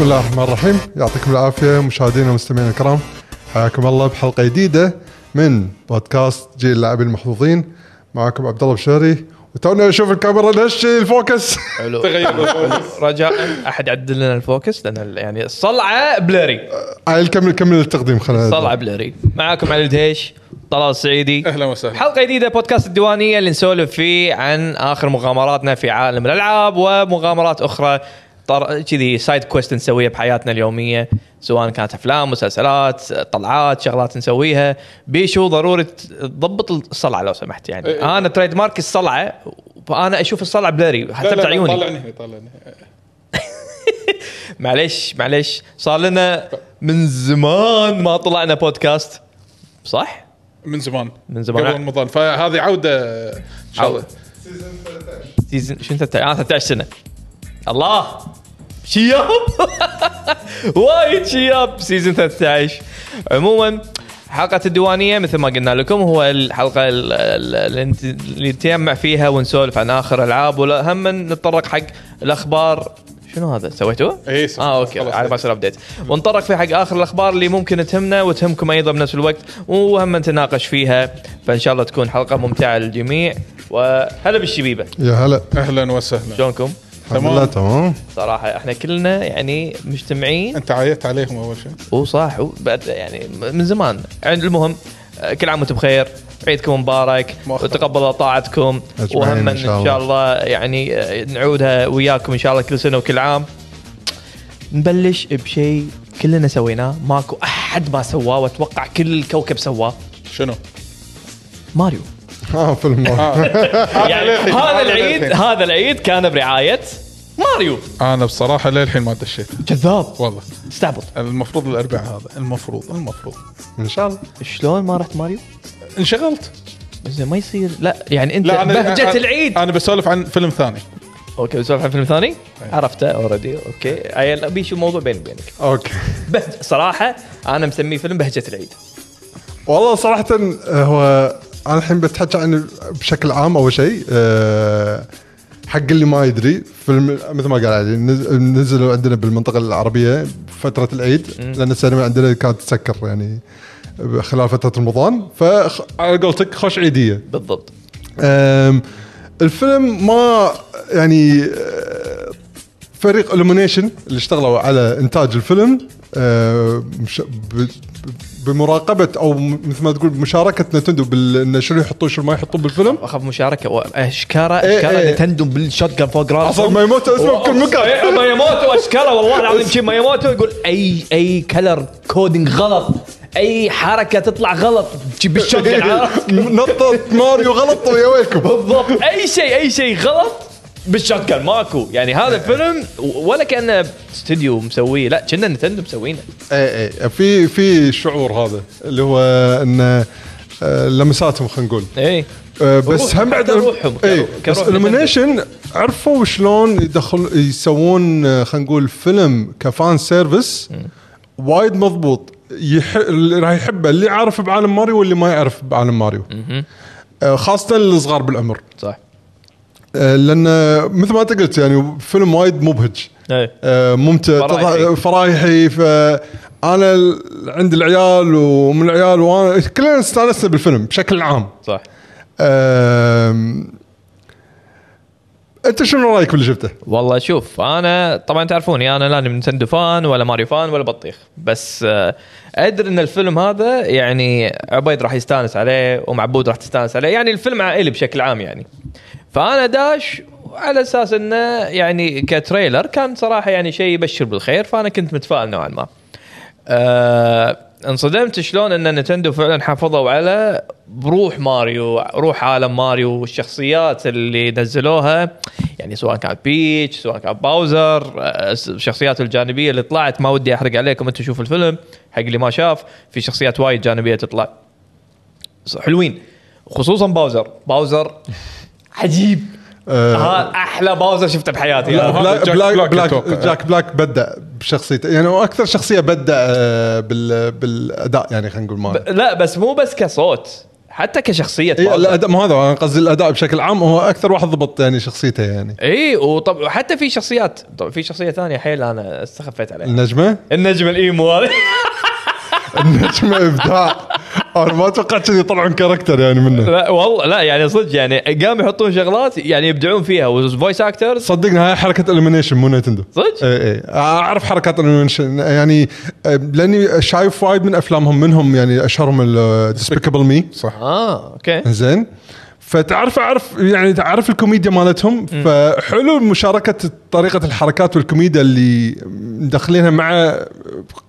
الله الرحمن الرحيم يعطيكم العافية مشاهدينا ومستمعينا الكرام حياكم الله بحلقة جديدة من بودكاست جيل اللاعبين المحظوظين معكم عبد الله بشهري وتونا نشوف الكاميرا نهشي الفوكس حلو رجاء احد يعدل لنا الفوكس لان يعني الصلعه بلري عيل نكمل كمل التقديم خلينا الصلعه بلري معاكم علي الدهيش طلال السعيدي أهلاً وسهلاً. حلقه جديده بودكاست الديوانيه اللي نسولف فيه عن اخر مغامراتنا في عالم الالعاب ومغامرات اخرى طر... كذي سايد كويست نسويها بحياتنا اليوميه سواء كانت افلام مسلسلات طلعات شغلات نسويها بيشو ضروري تضبط الصلعه لو سمحت يعني إيه. انا تريد مارك الصلعه فانا اشوف الصلعه بلري لا، حتى لا، بعيوني طالعني هنا، طالعني معليش معليش صار لنا من زمان ما طلعنا بودكاست صح؟ من زمان من زمان. قبل رمضان فهذه عوده ان شاء الله عودة. سيزون شنو 13 آه 13 سنه الله شياب وايد شياب سيزون 13 عموما حلقة الديوانية مثل ما قلنا لكم هو الحلقة ال- ال- اللي نت- اللي نتيمع فيها ونسولف عن آخر ألعاب ولا هم نتطرق حق الأخبار شنو هذا سويتوه؟ إيه، سويت. اه اوكي خلاص. على بال- يصير ابديت ونطرق في حق اخر الاخبار اللي ممكن تهمنا وتهمكم ايضا بنفس الوقت وهم نتناقش فيها فان شاء الله تكون حلقه ممتعه للجميع وهلا بالشبيبه يا هلا اهلا وسهلا شلونكم؟ الحمد تمام. لله تمام صراحه احنا كلنا يعني مجتمعين انت عايت عليهم اول شيء وصاح وبعد- يعني من زمان عند المهم آه، كل عام وانتم بخير عيدكم مبارك مؤخرا. وتقبل الله طاعتكم أجمعين وهم إن ان شاء شاء الله يعني آه، نعودها وياكم ان شاء الله كل سنه وكل عام نبلش بشيء كلنا سويناه ماكو احد ما سواه واتوقع كل الكوكب سواه شنو؟ ماريو ها آه، فيلم يعني للحين، هذا هذا العيد للحين. هذا العيد كان برعايه ماريو انا بصراحه للحين ما دشيت كذاب والله استعبط المفروض الاربعاء هذا المفروض المفروض ان شاء الله شلون ما رحت ماريو؟ انشغلت زين ما يصير لا يعني انت بهجه أنا- العيد انا بسولف عن فيلم ثاني اوكي بسولف عن فيلم ثاني؟ عرفته اوريدي اوكي عيل بيشو موضوع بيني وبينك اوكي بهج صراحه انا مسميه فيلم بهجه العيد والله صراحة آه، هو انا الحين بتحكي عن بشكل عام اول شيء آه، حق اللي ما يدري فيلم مثل ما قال علي نز- نزلوا عندنا بالمنطقة العربية فترة العيد لان السينما عندنا كانت تسكر يعني خلال فترة رمضان فعلى قولتك خوش عيدية بالضبط أم، الفيلم ما يعني أه، فريق الومنيشن اللي اشتغلوا على انتاج الفيلم أه، مش- ب- بمراقبه او م- مثل ما تقول بمشاركه نتندو بال- إن شنو يحطون شنو ما يحطون بالفيلم اخاف مشاركه واشكره إيه، اشكره إيه. نتندم بالشوت جن فوق إيه، راسه اصلا ما يموت اسمه بكل مكان مايموتو اشكره والله العظيم شي مايموتو يقول اي اي كلر كودينج غلط اي حركه تطلع غلط شي بالشوت جن عرفت؟ نطت ماريو غلط ويا ويلكم بالضبط اي شيء اي شيء غلط بالشوت جن ماكو يعني هذا الفيلم ولا كانه استوديو مسويه لا كنا نتندم مسوينه اي اي إيه، في في شعور هذا اللي هو انه أه، لمساتهم خلينا نقول اي آه، بس روح- هم بعد كروحهم، اي كروح- بس كروح الومنيشن عرفوا شلون يدخل يسوون آه، خلينا نقول فيلم كفان سيرفيس وايد مضبوط يح... اللي راح يحبه اللي عارف بعالم ماريو واللي ما يعرف بعالم ماريو آه، خاصه الصغار بالعمر صح آه، لان آه، مثل ما انت قلت يعني فيلم وايد مبهج ايه آه، ممتع فرايحي. تضع- فرايحي فانا ال- عند العيال ومن العيال وانا كلنا استانسنا بالفيلم بشكل عام صح أم... انت شنو رايك باللي شفته؟ والله شوف انا طبعا تعرفوني انا لا أنا نينتندو فان ولا ماريو فان ولا بطيخ بس آه، ادري ان الفيلم هذا يعني عبيد راح يستانس عليه ومعبود راح تستانس عليه يعني الفيلم عائلي بشكل عام يعني فانا داش على اساس انه يعني كتريلر كان صراحه يعني شيء يبشر بالخير فانا كنت متفائل نوعا ما آه انصدمت شلون ان نتندو فعلا حافظوا على بروح ماريو روح عالم ماريو والشخصيات اللي نزلوها يعني سواء كانت بيتش سواء كانت باوزر آه، الشخصيات الجانبيه اللي طلعت ما ودي احرق عليكم انتم شوفوا الفيلم حق اللي ما شاف في شخصيات وايد جانبيه تطلع حلوين خصوصا باوزر باوزر عجيب أه... هذا احلى باوزر شفته بحياتي لا، أنا. بلاك جاك بلاك بلاك بلاك أتوقع. جاك بلاك بدا بشخصيته يعني هو اكثر آه، شخصيه بدا أه، بال... بالاداء يعني خلينا نقول ماله إيه، لا بس مو بس كصوت حتى كشخصيه اي بارزة. الاداء مو هذا انا قصدي الاداء بشكل عام هو اكثر واحد ضبط يعني شخصيته يعني اي إيه، وطب حتى في شخصيات طب في شخصيه ثانيه حيل انا استخفيت عليها النجمه النجم الايمو هذا النجمه ابداع انا ما توقعت كذي يطلعون كاركتر يعني منه لا والله لا يعني صدق يعني قام يحطون شغلات يعني يبدعون فيها وفويس اكترز صدقني هاي حركه الومنيشن مو نينتندو صدق اي اي اعرف إيه، حركات الانيميشن يعني آه، لاني شايف وايد من افلامهم منهم يعني اشهرهم ديسبيكابل مي صح اه اوكي زين فتعرف اعرف يعني تعرف الكوميديا مالتهم فحلو مشاركه طريقه الحركات والكوميديا اللي مدخلينها مع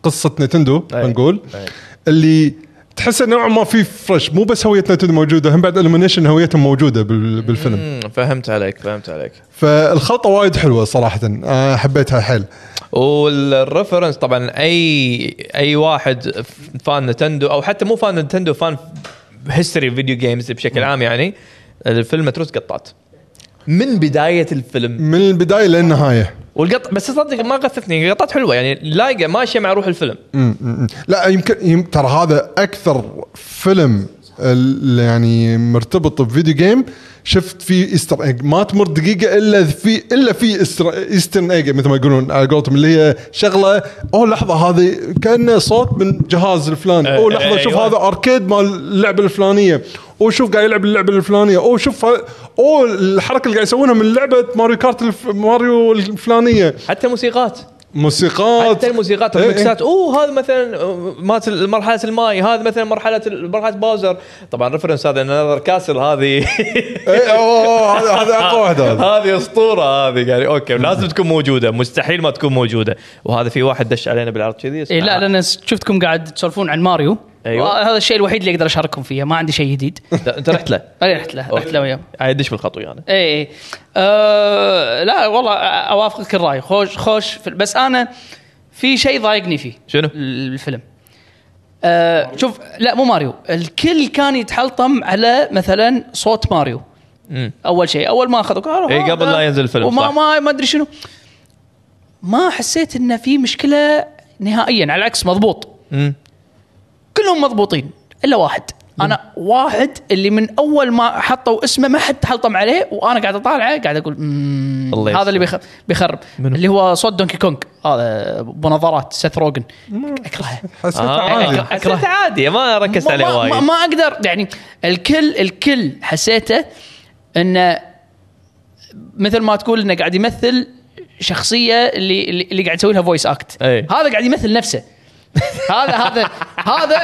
قصه نتندو أي. خلينا نقول أي. اللي تحس نوعا ما في فرش مو بس هويه نتندو موجوده هم بعد الومنيشن هويتهم موجوده بال- بالفيلم أمم، فهمت عليك فهمت عليك فالخلطه وايد حلوه صراحه أنا حبيتها حيل والريفرنس طبعا اي اي واحد فان نتندو او حتى مو فان نتندو فان هيستوري فيديو جيمز بشكل عام يعني الفيلم متروس قطات من بدايه الفيلم من البدايه للنهايه والقط بس صدق ما غثتني قطات حلوه يعني لايقه ماشيه مع روح الفيلم مم، مم. لا يمكن يم- ترى هذا اكثر فيلم ال- يعني مرتبط بفيديو جيم شفت فيه ايستر ايج ما تمر دقيقه الا في الا في إستر- ايستر ايج مثل ما يقولون على قولتهم اللي هي شغله اوه لحظه هذه كانه صوت من جهاز الفلاني اوه لحظه شوف أيوة. هذا اركيد مال اللعبه الفلانيه اوه شوف قاعد يلعب اللعبه الفلانيه اوه شوف ه- اوه الحركه اللي قاعد يسوونها من لعبه ماريو كارت الف... ماريو الفلانيه حتى الموسيقات موسيقات حتى الموسيقات إيه، إيه. والميكسات اوه هذا مثلا آه، مات مرحله الماي هذا مثلا مرحله مرحله باوزر طبعا ريفرنس هذا نذر كاسل هذه اي اوه هذا هذا آه. اقوى واحد هذا هذه اسطوره هذه يعني اوكي لازم تكون موجوده مستحيل ما تكون موجوده وهذا في واحد دش علينا بالعرض كذي اسمه- إيه لا لان شفتكم قاعد تسولفون عن ماريو آه، أيوة. هذا الشيء الوحيد اللي اقدر اشارككم فيه ما عندي شيء جديد لا، انت رحت له أنا رحت له رحت له وياه عاد دش يعني. بالخطوه انا اي اي أه لا والله اوافقك الراي خوش خوش في- بس انا في شيء ضايقني فيه شنو؟ الفيلم أه شوف لا مو ماريو الكل كان يتحلطم على مثلا صوت ماريو مم. اول شيء اول ما اخذوا قالوا إي، هذا- قبل لا ينزل الفيلم، وما صح. ما ما ادري شنو ما حسيت انه في مشكله نهائيا على العكس مضبوط مم. كلهم مضبوطين الا واحد انا واحد اللي من اول ما حطوا اسمه ما حد حلطم عليه وانا قاعد اطالعه قاعد اقول مم، الله يستر. هذا اللي بيخ- بيخرب منو؟ اللي هو صوت دونكي كونغ هذا بنظارات سيث روجن اكرهه حسيت آه، عادي أكره- حسيت عادي ما ركزت ما- عليه ما, ما, وايد ما اقدر يعني الكل الكل حسيته انه مثل ما تقول انه قاعد يمثل شخصيه اللي اللي اللي قاعد يسوي لها فويس اكت أي. هذا قاعد يمثل نفسه هذا هذا هذا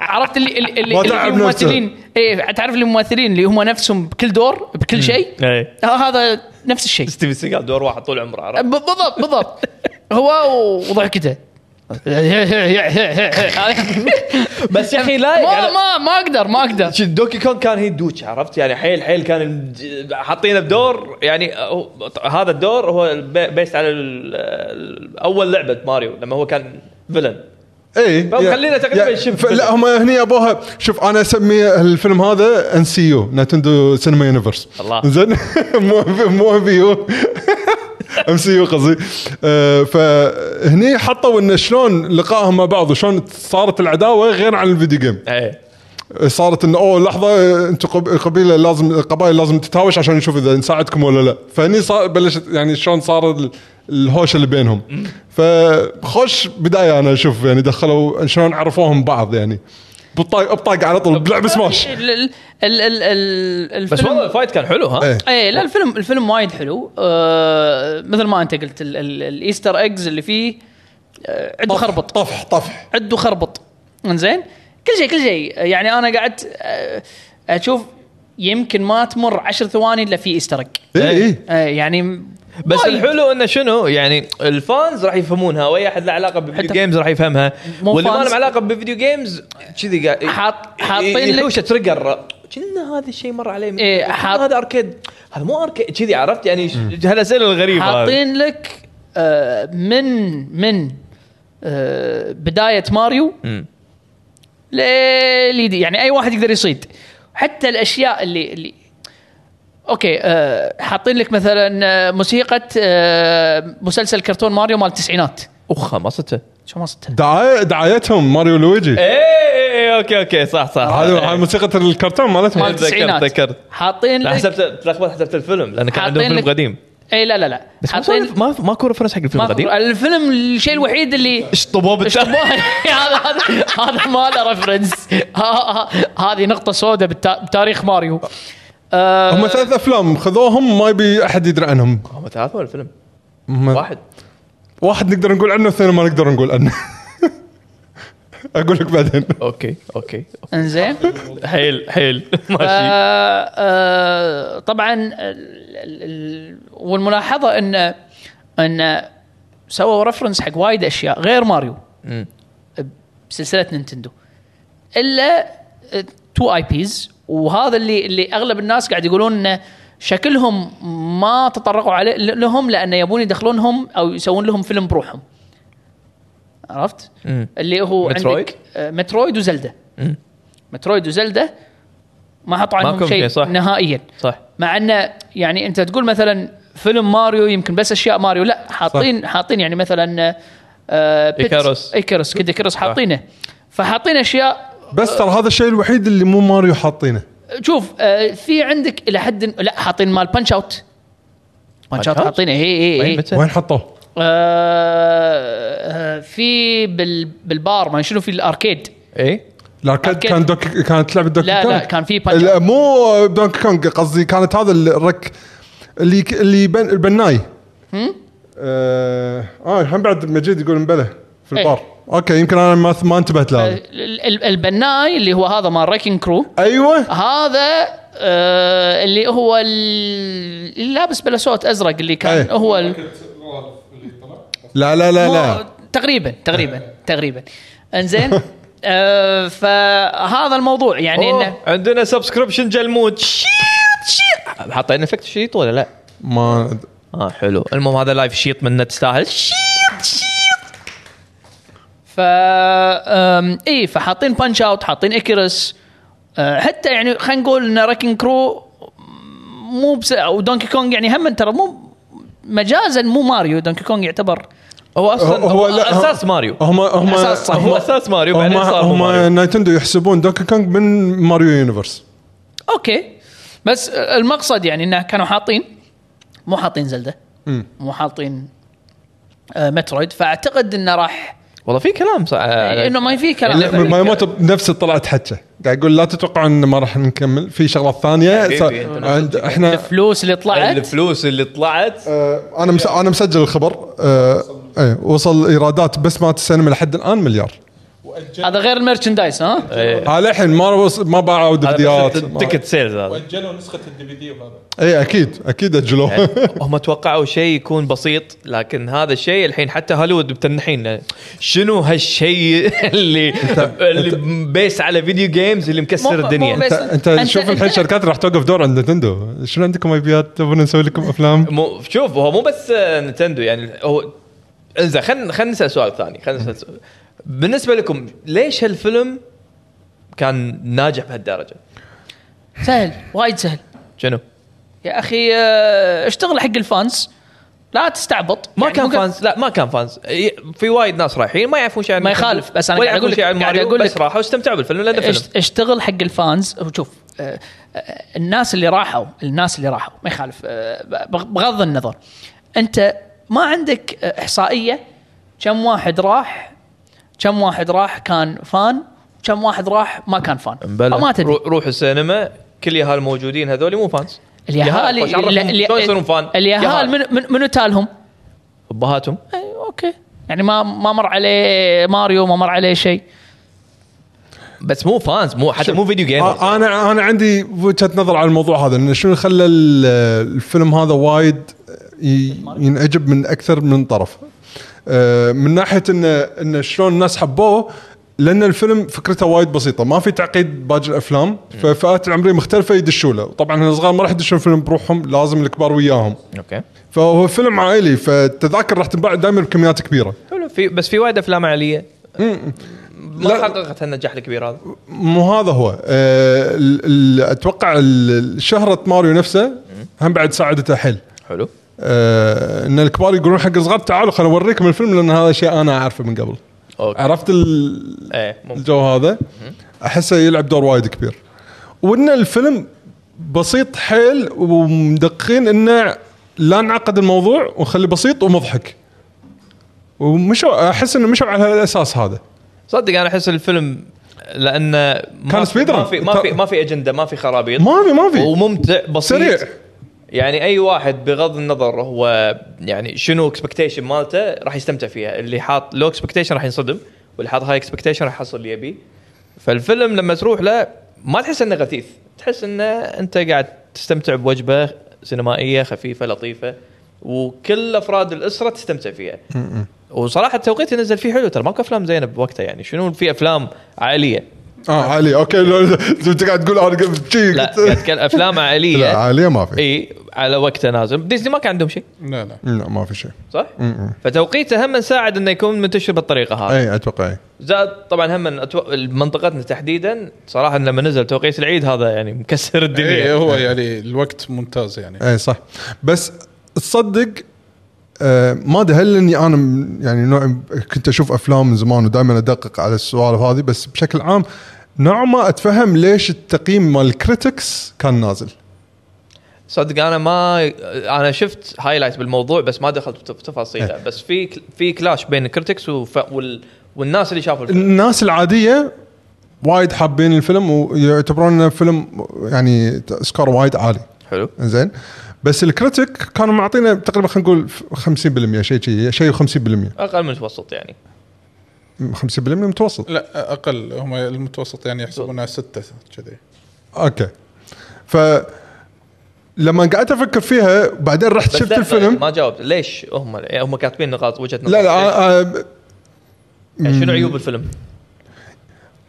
عرفت اللي اللي اللي, ما اللي تعب الممثلين اي تعرف اللي الممثلين اللي هم نفسهم بكل دور بكل شيء إي. ه- هذا نفس الشيء ستيفن سيجال دور واحد طول عمره عرفت؟ ب- بالضبط بالضبط هو وضحكته بس يا اخي لايق ما على- ما ما اقدر ما اقدر شي دوكي كونغ كان هي دوتش عرفت يعني حيل حيل كان حاطينه بدور يعني هو- هذا الدور هو البي- بيست على ال- ال- اول لعبه ماريو لما هو كان فيلن اي بل خلينا تقريباً شبه. لا هم هني ابوها شوف انا اسمي الفيلم هذا ان سي يو نتندو سينما يونيفرس الله. زين مو مو ام بي يو ام سي يو قصدي آه، فهني حطوا انه شلون لقائهم مع بعض وشلون صارت العداوه غير عن الفيديو جيم إيه. ايه صارت انه اوه لحظه انتم قب- قبيله لازم القبائل لازم تتهاوش عشان نشوف اذا نساعدكم ولا لا فهني صار بلشت يعني شلون صار ال- الهوشه اللي بينهم فخوش بدايه انا اشوف يعني دخلوا شلون عرفوهم بعض يعني بطاق بطاق على طول بلعب سماش ال ال ال ال ال بس والله الفيلم الفايت كان حلو ها إيه. اي لا الفيلم الفيلم وايد حلو آه مثل ما انت قلت ال ال الايستر ايجز اللي فيه آه عده خربط طفح طفح عده خربط انزين كل شيء كل شيء يعني انا قعدت آه، اشوف يمكن ما تمر عشر ثواني الا في ايستر ايج اي إيه. اي آه يعني بس وايد. الحلو انه شنو يعني الفانز راح يفهمونها واي احد له علاقه بالفيديو حتى- جيمز راح يفهمها مو واللي ما فانز. له علاقه بالفيديو جيمز كذي قاعد حاط- حاطين لك- يحوشه تريجر كنا هذا الشيء مر عليه إيه، حاط- هذا اركيد هذا مو اركيد كذي عرفت يعني ش- هالاسئله الغريبه هذه. حاطين لك آه من من آه بدايه ماريو مم. لليدي يعني اي واحد يقدر يصيد حتى الاشياء اللي اللي اوكي آه حاطين لك مثلا آه، موسيقى آه مسلسل كرتون ماريو مال التسعينات وخمسته شو ما صدتها دعاية دعايتهم ماريو لويجي ايه اوكي اوكي اوكي صح صح هذا هذا موسيقى الكرتون مالتهم مال التسعينات. تذكرت تذكرت حاطين لا لك- حسبت تلخبطت حسبت الفيلم لان كان عندهم حاطين فيلم لك- قديم اي لا لا لا بس ما حاطين صار- ما ماكو ريفرنس حق الفيلم ما القديم أذكر. الفيلم الشيء الوحيد اللي اشطبوه بالتاريخ اشتبوه هذا هذا هذا ما له ريفرنس هذه نقطه سوداء بالتا- بتاريخ ماريو آه، هم ثلاث افلام خذوهم ما يبي احد يدري عنهم هم ثلاثة ولا فيلم؟ هم- واحد واحد نقدر نقول عنه والثاني ما نقدر نقول عنه اقول لك بعدين اوكي اوكي انزين حيل حيل ماشي آه، آه، طبعا ال- ال- ال- والملاحظه ان ان سووا رفرنس حق وايد اشياء غير ماريو مم. بسلسله نينتندو الا تو اي بيز وهذا اللي اللي اغلب الناس قاعد يقولون انه شكلهم ما تطرقوا عليه ل- لهم لان يبون يدخلونهم او يسوون لهم فيلم بروحهم عرفت؟ مم. اللي هو مترويد؟ عندك آه، مترويد وزلدة مم. مترويد وزلدة ما حطوا ما عنهم كان شيء شيء، صح. نهائيا صح مع انه يعني انت تقول مثلا فيلم ماريو يمكن بس اشياء ماريو لا حاطين صح. حاطين يعني مثلا آه بيت- إيكاروس. ايكاروس كيد ايكاروس حاطينه فحاطين اشياء بس ترى هذا الشيء الوحيد اللي مو ماريو حاطينه شوف آه في عندك الى حد لا حاطين مال بانش اوت بانش اوت Punch Out؟ طيب، حاطينه اي اي وين اي متى؟ وين حطوه؟ آه، آه، في بال بالبار ما شنو في الاركيد اي الاركيد أركيد. كان دوكي كانت لعبه دوكي لا، كونغ لا، كان في بانش لا مو دوكي كونغ قصدي كانت هذا الرك اللي اللي بن البناي اه آه، الحين بعد مجيد يقول مبلى في إيه. البار اوكي يمكن انا ما ما انتبهت لهذا ال- ال- البناي اللي هو هذا مال ريكن كرو ايوه هذا آه اللي هو ال- اللي لابس بلسوت ازرق اللي كان أي. هو ال... لا إيه. لا لا مو- لا تقريبا تقريبا تقريبا انزين آه فهذا الموضوع يعني انه أوه، عندنا سبسكريبشن جلمود شيت شيت حاطين افكت شيت ولا لا؟ ما اه حلو المهم هذا لايف شيط منه تستاهل شيط ف أم، اي فحاطين بانش اوت حاطين اكيرس أه، حتى يعني خلينا نقول ان راكن كرو مو بس او دونكي كونج يعني هم ترى مو مجازا مو ماريو دونكي كونج يعتبر هو اصلا هو- هو, هو لا، هو- اساس ماريو هم هم أساس صح. هو اساس ماريو هم بعدين صار هو ماريو هم نايتندو يحسبون دوكي كونغ من ماريو يونيفرس اوكي بس المقصد يعني انه كانوا حاطين مو حاطين زلده مم. مو حاطين آه، مترويد فاعتقد انه راح والله في كلام صح انه ما في لا، كلام آه، ما يموت بنفس طلعت حكه قاعد يقول لا تتوقعوا ان ما راح نكمل في شغلات ثانيه حبيبي، أنت صار- عند احنا الفلوس اللي إيه، طلعت الفلوس اللي طلعت آه، انا مس... انا مسجل الخبر آه، ايه وصل ايرادات بس مالت السينما لحد الان مليار هذا غير الميرشندايز ها إيه. آه، للحين ما وص... ما باعوا هذا دفديات بس التكت سيلز هذا واجلوا نسخه الدي في دي وهذا اي اكيد اكيد اجلوه هم توقعوا شيء يكون بسيط لكن هذا الشيء الحين حتى هوليوود متنحين شنو هالشيء اللي اللي بيس على فيديو جيمز اللي مو- مكسر مو الدنيا بس- انت, انت شوف الحين شركات راح توقف دور عند نتندو شنو عندكم ايبيات تبون نسوي لكم افلام مو شوف هو مو بس آه، نتندو يعني هو انزين خلينا خلينا نسال سؤال ثاني خلينا نسال سؤال بالنسبه لكم ليش هالفيلم كان ناجح بهالدرجه؟ سهل وايد سهل شنو؟ يا اخي آه، اشتغل حق الفانس لا تستعبط ما يعني كان ممكن- فانز لا ما كان فانز إيه، في وايد ناس رايحين ما يعرفون شيء عن ما نتندو، يخالف، بس أنا ولا قاعد يعرفون أقول شيء لك- عن قاعد ماريو، أقول بس لك- راحوا استمتعوا بالفيلم لانه فيلم اشت- اشتغل حق الفانز وشوف آه، آه، الناس اللي راحوا الناس اللي راحوا ما يخالف آه، بغ- بغض النظر انت ما عندك آه، احصائيه كم واحد راح كم واحد راح كان فان كم واحد راح ما كان فان بلى. فما تدري رو- روح السينما كل يهال موجودين هذول مو فانز اليهال خوش عرفهم شلون يصيرون فان اليهال من- من- منو تالهم؟ ابهاتهم أي، اوكي يعني ما ما مر عليه ماريو ما مر عليه شيء بس مو فانز مو حتى مو فيديو جيمرز آه، انا انا عندي وجهه نظر على الموضوع هذا انه شنو خلى ال- الفيلم هذا وايد ي- ينعجب من اكثر من طرف آه، من ناحيه انه انه شلون الناس حبوه لان الفيلم فكرته وايد بسيطه ما في تعقيد باقي الافلام ففئات العمريه مختلفه يدشوا له طبعا الصغار ما راح يدشون فيلم بروحهم لازم الكبار وياهم اوكي فهو فيلم عائلي فالتذاكر راح تنباع دائما بكميات كبيره حلو في بس في وايد افلام عاليه ما لا. حققت هالنجاح الكبير هذا مو هذا هو آه، ال- ال- اتوقع ال- شهره ماريو نفسه هم بعد ساعدته حيل حلو آه، ان الكبار يقولون حق الصغار تعالوا خليني اوريكم الفيلم لان هذا شيء انا اعرفه من قبل اوكي عرفت ال- ايه ممكن الجو هذا احسه يلعب دور وايد كبير وان الفيلم بسيط حيل ومدقين انه لا نعقد الموضوع ونخليه بسيط ومضحك ومشوا احس انه مشوا على الاساس هذا صدق انا احس الفيلم لان ما كان في- speed run. ما في ما في ما في اجنده ما في خرابيط ما في ما في وممتع بسيط سريع. يعني اي واحد بغض النظر هو يعني شنو اكسبكتيشن مالته راح يستمتع فيها اللي حاط لو اكسبكتيشن راح ينصدم واللي حاط هاي اكسبكتيشن راح يحصل اللي يبيه فالفيلم لما تروح له ما تحس انه غثيث تحس انه انت قاعد تستمتع بوجبه سينمائيه خفيفه لطيفه وكل افراد الاسره تستمتع فيها وصراحه التوقيت اللي نزل فيه حلو ترى ماكو افلام زينه بوقتها يعني شنو في افلام عائليه آه، اه عالية اوكي لو انت قاعد تقول انا قبل شي لا إيه. قلت- قاعد اتكلم افلام لا عائليه عالية ما في اي على وقته نازل ديزني ما كان عندهم شيء لا لا لا ما في شيء صح؟ إيه، فتوقيته هم ساعد انه يكون منتشر بالطريقه هذه اي اتوقع اي زاد طبعا هم أتو... منطقتنا تحديدا صراحه لما نزل توقيت العيد هذا يعني مكسر إيه الدنيا هو يعني الوقت ممتاز يعني اي إيه، صح بس تصدق آه ما ادري هل اني انا م- يعني نوع كنت اشوف افلام من زمان ودائما ادقق على السوالف هذه بس بشكل عام نوع ما اتفهم ليش التقييم مال الكريتكس كان نازل صدق انا ما انا شفت هايلايت بالموضوع بس ما دخلت في تفاصيله إيه. بس في كل- في كلاش بين الكريتكس وف... وال... والناس اللي شافوا الفيلم الناس العاديه وايد حابين الفيلم ويعتبرون انه فيلم يعني سكور وايد عالي حلو زين بس الكريتيك كانوا معطينا تقريبا خلينا نقول 50% شيء شيء شيء 50% اقل من المتوسط يعني 50% متوسط لا اقل هم المتوسط يعني يحسبونها سته كذي اوكي ف لما قعدت افكر فيها بعدين رحت بس شفت لا، الفيلم ما جاوبت ليش هم هم كاتبين نقاط وجهه نظر لا آه، لا أنا- يعني شنو عيوب الفيلم؟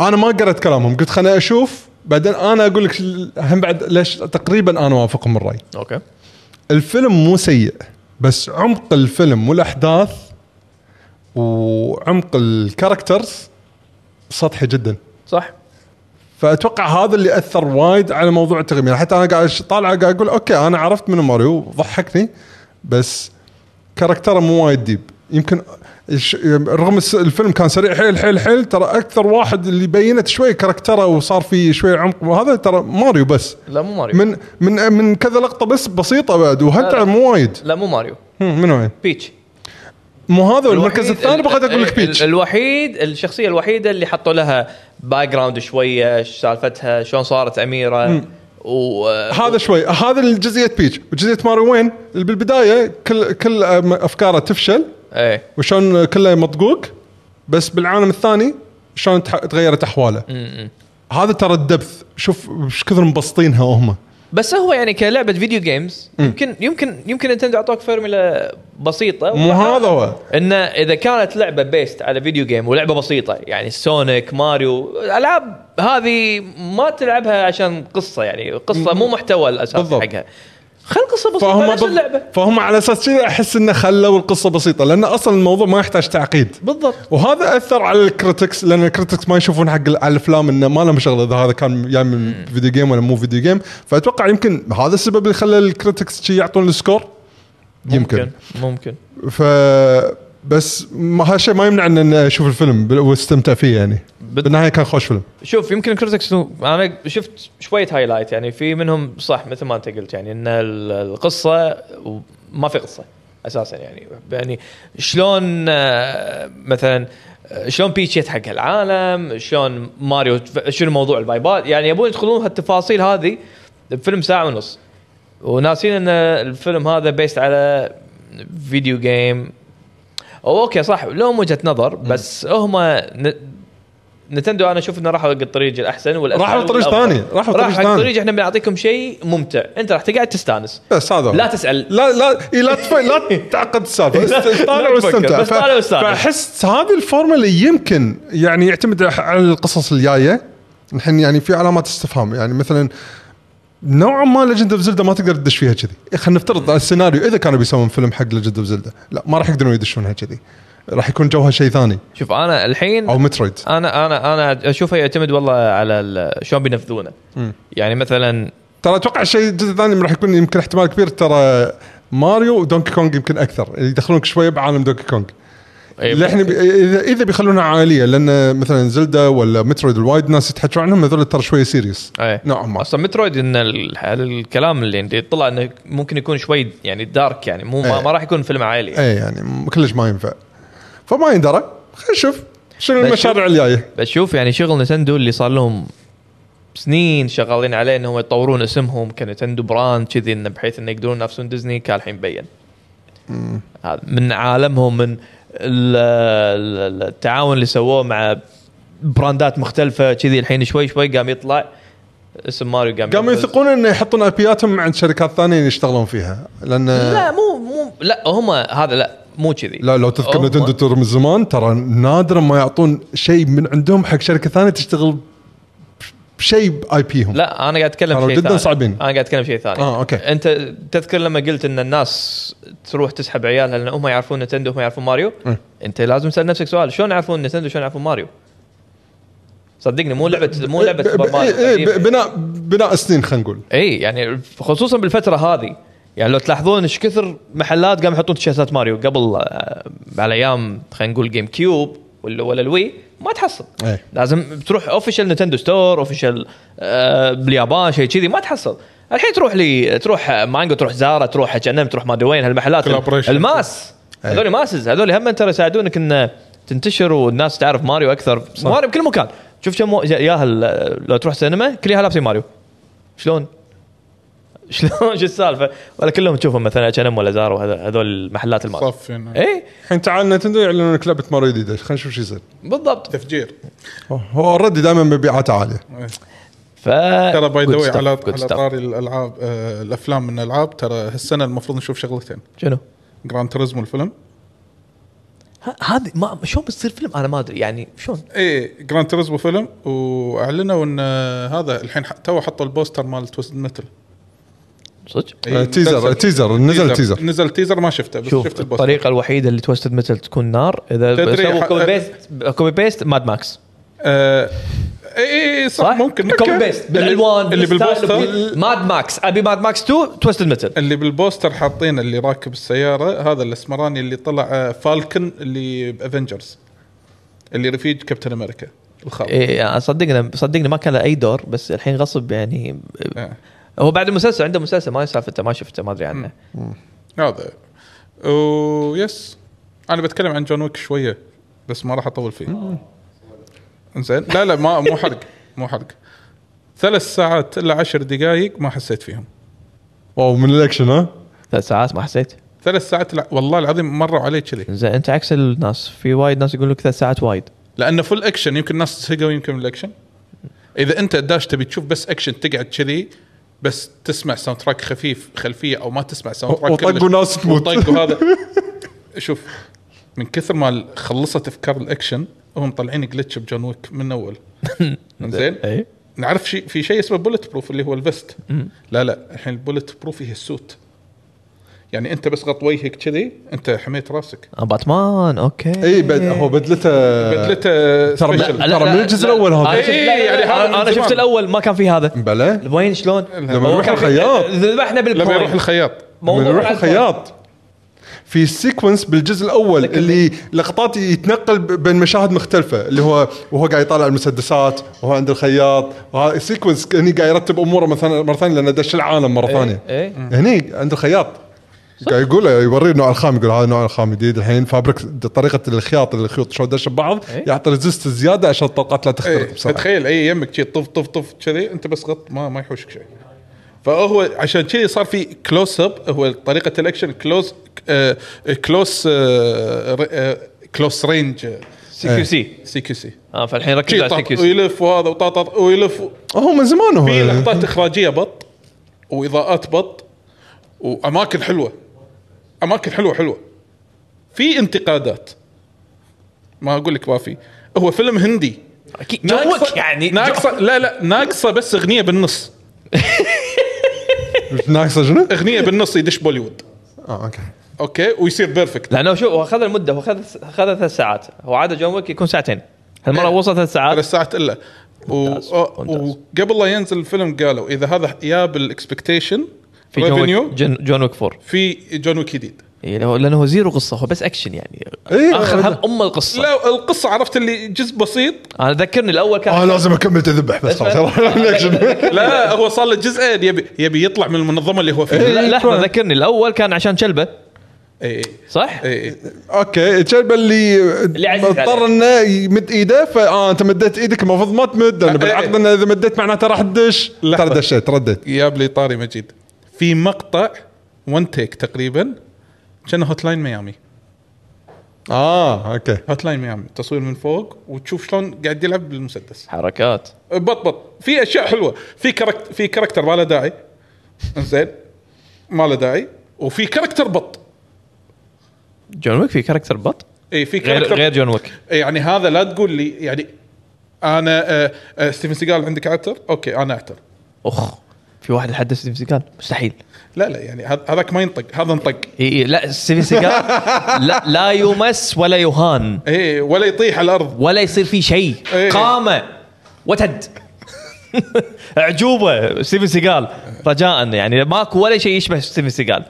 انا ما قرأت كلامهم قلت خليني اشوف بعدين انا اقول لك ال- هم بعد ليش تقريبا انا وافقهم الراي اوكي الفيلم مو سيء بس عمق الفيلم والاحداث وعمق الكاركترز سطحي جدا صح فاتوقع هذا اللي اثر وايد على موضوع التقييم يعني حتى انا قاعد أش- طالع قاعد اقول اوكي انا عرفت من ماريو ضحكني بس كاركتره مو وايد ديب يمكن الش- رغم الس- الفيلم كان سريع حيل حيل حيل ترى اكثر واحد اللي بينت شوي كاركتره وصار فيه شوي عمق وهذا ترى ماريو بس لا مو ماريو من من من كذا لقطه بس بسيطه بعد وحتى لا. مو وايد لا مو ماريو هم، من وين؟ بيتش مو هذا المركز الوحيد- الثاني بغيت اقول لك ال- ال- بيتش الوحيد الشخصيه الوحيده اللي حطوا لها باك جراوند شويه إيش سالفتها شلون صارت اميره و هذا شوي هذا الجزئيه بيتش وجزئيه ماريو وين بالبدايه كل كل أم- افكاره تفشل ايه وشلون كله مطقوق بس بالعالم الثاني شلون تح- تغيرت احواله هذا ترى الدبث شوف ايش كثر مبسطينها هم بس هو يعني كلعبه فيديو جيمز يمكن يمكن يمكن انتندو اعطوك فورمولا بسيطه مو هذا هو انه اذا كانت لعبه بيست على فيديو جيم ولعبه بسيطه يعني سونيك ماريو الالعاب هذه ما تلعبها عشان قصه يعني قصه مو محتوى الاساسي بالضبط. حقها خل قصه بسيطه فهم نفس بال- اللعبه فهم على اساس كذا احس انه خلوا القصه بسيطه لان اصلا الموضوع ما يحتاج تعقيد بالضبط وهذا اثر على الكريتكس لان الكريتكس ما يشوفون حق ال- على الافلام انه ما لهم شغله اذا هذا كان جاي من فيديو جيم ولا مو فيديو جيم فاتوقع يمكن هذا السبب اللي خلى الكريتكس شي يعطون السكور يمكن ممكن ف بس ما هالشيء ما يمنع ان اشوف الفيلم بال- واستمتع فيه يعني بت- بالنهايه كان خوش فيلم شوف يمكن كريتكس انا شفت شويه هايلايت يعني في منهم صح مثل ما انت قلت يعني ان ال- القصه ما في قصه اساسا يعني يعني شلون آه، مثلا آه، شلون بيتش يتحق العالم شلون ماريو تف- شنو موضوع الفايبات يعني يبون يدخلون هالتفاصيل هذه بفيلم ساعه ونص وناسين ان الفيلم هذا بيست على فيديو جيم أو اوكي صح لهم وجهه نظر بس هم ن- نتندو انا اشوف انه راحوا حق الطريق الاحسن والأسهل راحوا لطريق والأفضل. ثاني، راحوا راح لطريق حق ثاني. طريق احنا بنعطيكم شيء ممتع انت راح تقعد تستانس بس هذا هو. لا تسال لا لا إي لا تف... لا تعقد السالفه لا- است- طالع لا تفكر، واستمتع بس طالع واستانس. فاحس هذه الفورمولا يمكن يعني يعتمد على- على القصص الجايه الحين يعني في علامات استفهام يعني مثلا نوعا ما ليجند اوف زلدا ما تقدر تدش فيها كذي خلينا نفترض السيناريو اذا كانوا بيسوون فيلم حق ليجند اوف زلدا لا ما راح يقدرون يدشونها كذي راح يكون جوها شيء ثاني شوف انا الحين او مترويد انا انا انا اشوفه يعتمد والله على ال- شلون بينفذونه يعني مثلا ترى اتوقع شيء جزء ثاني راح يكون يمكن احتمال كبير ترى ماريو ودونكي كونج يمكن اكثر يدخلونك شويه بعالم دونكي كونج إيه. للحين بي- اذا اذا بيخلونها عاليه لان مثلا زلدا ولا مترويد الوايد ناس يتحكوا عنهم هذول ترى شويه سيريس إيه. نوعا ما اصلا مترويد ان ال- الكلام اللي عندي طلع انه ممكن يكون شوي يعني دارك يعني مو ما, إيه. ما راح يكون فيلم عائلي اي يعني م- كلش ما ينفع فما يندرى خلينا نشوف شنو بس المشاريع الجايه بس شوف يعني شغل نتندو اللي صار لهم سنين شغالين عليه انهم يطورون اسمهم كنتندو براند كذي إنه بحيث انه يقدرون ينافسون ديزني كالحين بين هذا من عالمهم من ال- ال- التعاون اللي سووه مع براندات مختلفه كذي الحين شوي شوي قام يطلع اسم ماريو قام قاموا يبرز. يثقون انه يحطون ابياتهم عند شركات ثانيه يشتغلون فيها لان لا مو مو لا هم هذا لا مو كذي لا لو تذكر هم- نتندو تور من زمان ترى نادرا ما يعطون شيء من عندهم حق شركه ثانيه تشتغل بش- بشيء باي بيهم لا انا قاعد اتكلم كانوا شيء جداً ثاني. صعبين. انا قاعد اتكلم شيء ثاني آه، أوكي. انت تذكر لما قلت ان الناس تروح تسحب عيالها لان هم يعرفون نتندو هم يعرفون ماريو إيه. انت لازم تسال نفسك سؤال شلون يعرفون نتندو شلون يعرفون ماريو صدقني مو لعبه مو لعبه سوبر ماريو إيه، إيه، قديمة. بناء بناء سنين خلينا نقول اي يعني خصوصا بالفتره هذه يعني لو تلاحظون ايش كثر محلات قام يحطون تيشيرتات ماريو قبل آه، على ايام خلينا نقول جيم كيوب ولا ولا الوي ما تحصل إيه. لازم تروح اوفيشال نتندو ستور اوفيشال آه، باليابان شيء كذي ما تحصل الحين تروح لي تروح مانجو تروح زارا تروح اتش ان تروح ما ادري وين هالمحلات Collaboration. الماس إيه. هذول ماسز هذول هم ترى يساعدونك ان تنتشر والناس تعرف ماريو اكثر ماريو بكل مكان شوف كم و- ياهل آه، لو تروح سينما كل ياهل لابسين ماريو شلون؟ شلون شو السالفه؟ ولا كلهم تشوفهم مثلا اتش ام ولا زارا وهذا- هذول المحلات إيه؟ الماريو صافين اي الحين تعال نتندو يعلنون لك لعبه ماريو جديده خلينا نشوف شو يصير بالضبط تفجير هو اوريدي دائما مبيعاته عاليه ف ترى باي Good ذا stuff, على good على stuff. طاري الالعاب آه، الافلام من الالعاب ترى هالسنه المفروض نشوف شغلتين شنو؟ جراند تريزمو الفيلم ه- هذه ما شلون بتصير فيلم انا ما ادري يعني شلون؟ ايه جراند تريزمو فيلم واعلنوا ان آه، هذا الحين ح- تو حطوا البوستر مال توست متل صدق؟ آه، تيزر- تيزر، نزل تيزر. نزل تيزر ما شفته بس شوف شفت البوستر الطريقه الوحيده اللي توستد متل تكون نار اذا تدري سووا ح- كوبي بيست كوبي بيست ماد ماكس آه، اي اي صح؟ صح ممكن كوبي أوكي. بيست بالالوان اللي بالبوستر ماد ماكس ابي ماد ماكس 2 توستد متل اللي بالبوستر حاطين اللي راكب السياره هذا الاسمراني اللي طلع آه، فالكن اللي بافنجرز اللي رفيج كابتن امريكا الخاطئ ايه صدقنا صدقني ما كان له اي دور بس الحين غصب يعني إيه. هو بعد المسلسل عنده مسلسل ما سالفته ما شفته ما ادري عنه هذا ويس انا بتكلم عن جون ويك شويه بس ما راح اطول فيه زين لا لا ما مو حرق مو حرق ثلاث ساعات الا عشر دقائق ما حسيت فيهم واو من الاكشن ها ثلاث ساعات ما حسيت ثلاث ساعات لا والله العظيم مروا علي كذي زين انت عكس الناس في وايد ناس يقول لك ثلاث ساعات وايد لانه فل اكشن يمكن الناس تسهقوا يمكن من الاكشن اذا انت داش تبي تشوف بس اكشن تقعد كذي بس تسمع ساوند تراك خفيف خلفيه او ما تسمع ساوند تراك وطقوا كلش. ناس تموت. وطقوا هذا شوف من كثر ما خلصت افكار الاكشن هم طالعين جلتش بجون ويك من اول زين اي نعرف شيء في شيء اسمه بولت بروف اللي هو الفست لا لا الحين البولت بروف هي السوت يعني انت بس غط وجهك كذي انت حميت راسك آه، باتمان اوكي إيه، اي إيه، بد... إيه. هو بدلته بدلته آه، ترى special. لا. ترى من الجزء الأول هذا. انا شفت, لا، إي، لا، يعني لا، هذا أنا- من أنا زمان. شفت الاول ما كان في هذا بلى وين شلون؟ لما يروح الخياط. ذبحنا لما يروح بالكوين الخياط من موضوع روح على الخياط في سيكونس بالجزء الاول لكن- اللي لقطات يتنقل ب- بين مشاهد مختلفه اللي هو وهو قاعد يطالع المسدسات وهو عند الخياط وهذا سيكونس هني قاعد يرتب اموره مثلا مره ثانيه لانه دش العالم مره ثانيه إيه. هني عند الخياط قاعد يقول يوريه النوع الخام يقول هذا نوع الخام جديد الحين فابريك طريقه الخياط الخيوط شلون دش ببعض إيه. يعطي ريزست زياده عشان الطلقات لا تخترق ايه بسرعه تخيل اي يمك شي طف طف طف كذي انت بس غط ما ما يحوشك شيء فهو عشان كذي صار في كلوز اب هو طريقه الاكشن كلوز آه كلوز آه ر- آه كلوز رينج سي كيو سي سي كيو سي اه فالحين ركزوا شي على سي كيو طاط سي ويلف وهذا وطاطط ويلف هو من زمان هو في لقطات اخراجيه بط واضاءات بط واماكن حلوه اماكن حلوه حلوه في انتقادات ما اقول لك ما في هو فيلم هندي أكيد. جوك يعني ناقصه لا لا ناقصه بس اغنيه بالنص ناقصه شنو؟ اغنيه بالنص يدش بوليوود اه اوكي اوكي ويصير بيرفكت لانه شوف هو اخذ المده هو اخذ اخذ ثلاث ساعات هو عاده جون ويك يكون ساعتين هالمره إيه. وصل ثلاث ساعات ثلاث ساعات الا و- ممتاز، ممتاز. وقبل لا ينزل الفيلم قالوا اذا هذا جاب الاكسبكتيشن في جون ريفينيو ويك جن- جون ويك 4 في جون ويك جديد إيه، لأنه- لانه هو زيرو قصه هو بس اكشن يعني إيه، اخذ هذا- هم ام القصه لا القصه عرفت اللي جزء بسيط انا ذكرني الاول كان اه لازم اكمل تذبح بس خلاص الاكشن لا هو صار له جزئين يبي يبي يطلع من المنظمه اللي هو فيها لا، لحظه ذكرني الاول كان عشان كلبه اي صح؟ اي اوكي الكلب اللي عزيز اضطر عليه. انه يمد ايده فاه انت مديت ايدك المفروض ما تمد لان إيه. بالعقد انه اذا مديت معناته راح تدش لحظة. ترى دشيت رديت جاب لي طاري مجيد في مقطع ون تيك تقريبا كان هوت لاين ميامي اه اوكي هوت لاين ميامي تصوير من فوق وتشوف شلون قاعد يلعب بالمسدس أه، حركات بط بط في اشياء حلوه في كاركتر في كاركتر ما له داعي زين ما له داعي وفي كاركتر بط جون ويك في كاركتر بط اي في غير كاركتر غير جون ويك يعني هذا لا تقول لي يعني انا آه، آه، ستيفن سيجال عندك عتر اوكي انا اعتر اخ في واحد لحد ستيفن سيجال مستحيل لا لا يعني هذ- هذاك ما ينطق هذا انطق اي اي لا ستيفن سيجال لا, لا يمس ولا يهان اي ولا يطيح على الارض ولا يصير فيه شيء إيه. قامه وتد اعجوبه ستيفن سيجال رجاء يعني ماكو ولا شيء يشبه ستيفن سيجال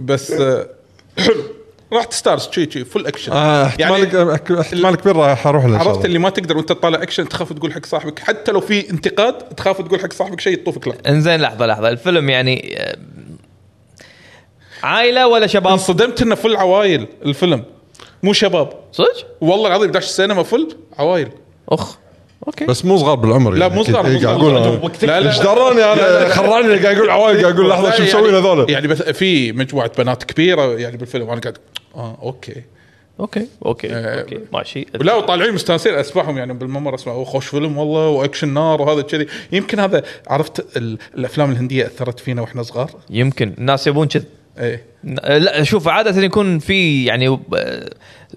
بس آه، حلو رحت ستارز شي شي فول اكشن آه، احتمال احتمال كبير راح اروح له إن شاء يعني عرفت الله. اللي ما تقدر وانت تطالع اكشن تخاف تقول حق صاحبك حتى لو في انتقاد تخاف تقول حق صاحبك شيء يطوفك لا انزين لحظه لحظه الفيلم يعني آه، عائله ولا شباب انصدمت انه فل عوايل الفيلم مو شباب صدق والله العظيم داش السينما فل عوايل اخ اوكي بس مو صغار بالعمر لا يعني مو أكيد. صغار إيه، مو قاعد صغار. اقول أنا. وقتك- لا، لا. ايش دراني لا، انا لا. خراني اللي قاعد اقول عوايد قاعد اقول لحظه شو يعني- مسوين هذول يعني بس في مجموعه بنات كبيره يعني بالفيلم وانا قاعد اه اوكي اوكي اوكي آه، اوكي ماشي ولا وطالعين مستانسين اسمعهم يعني بالممر اسمع أوه، خوش فيلم والله واكشن نار وهذا كذي يمكن هذا عرفت ال- الافلام الهنديه اثرت فينا واحنا صغار يمكن الناس يبون كذا ايه لا شوف عاده يكون في يعني آه،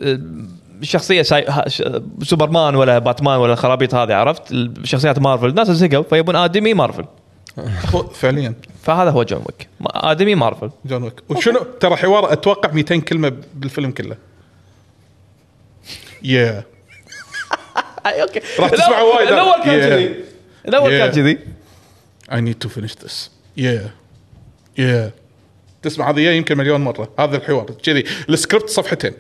آه، شخصيه ساي... ها- ش- سوبرمان ولا باتمان ولا الخرابيط هذه عرفت شخصيات مارفل الناس زهقوا فيبون ادمي مارفل هو فعليا فهذا هو جون ويك ما- ادمي مارفل جون ويك وشنو ترى حوار اتوقع 200 كلمه بالفيلم كله يا اوكي راح تسمع وايد. الاول كان Yeah. كذي الاول كان Yeah. كذي اي نيد تو فينيش ذس يا يا تسمع هذه يا يمكن مليون مره هذا الحوار كذي السكريبت صفحتين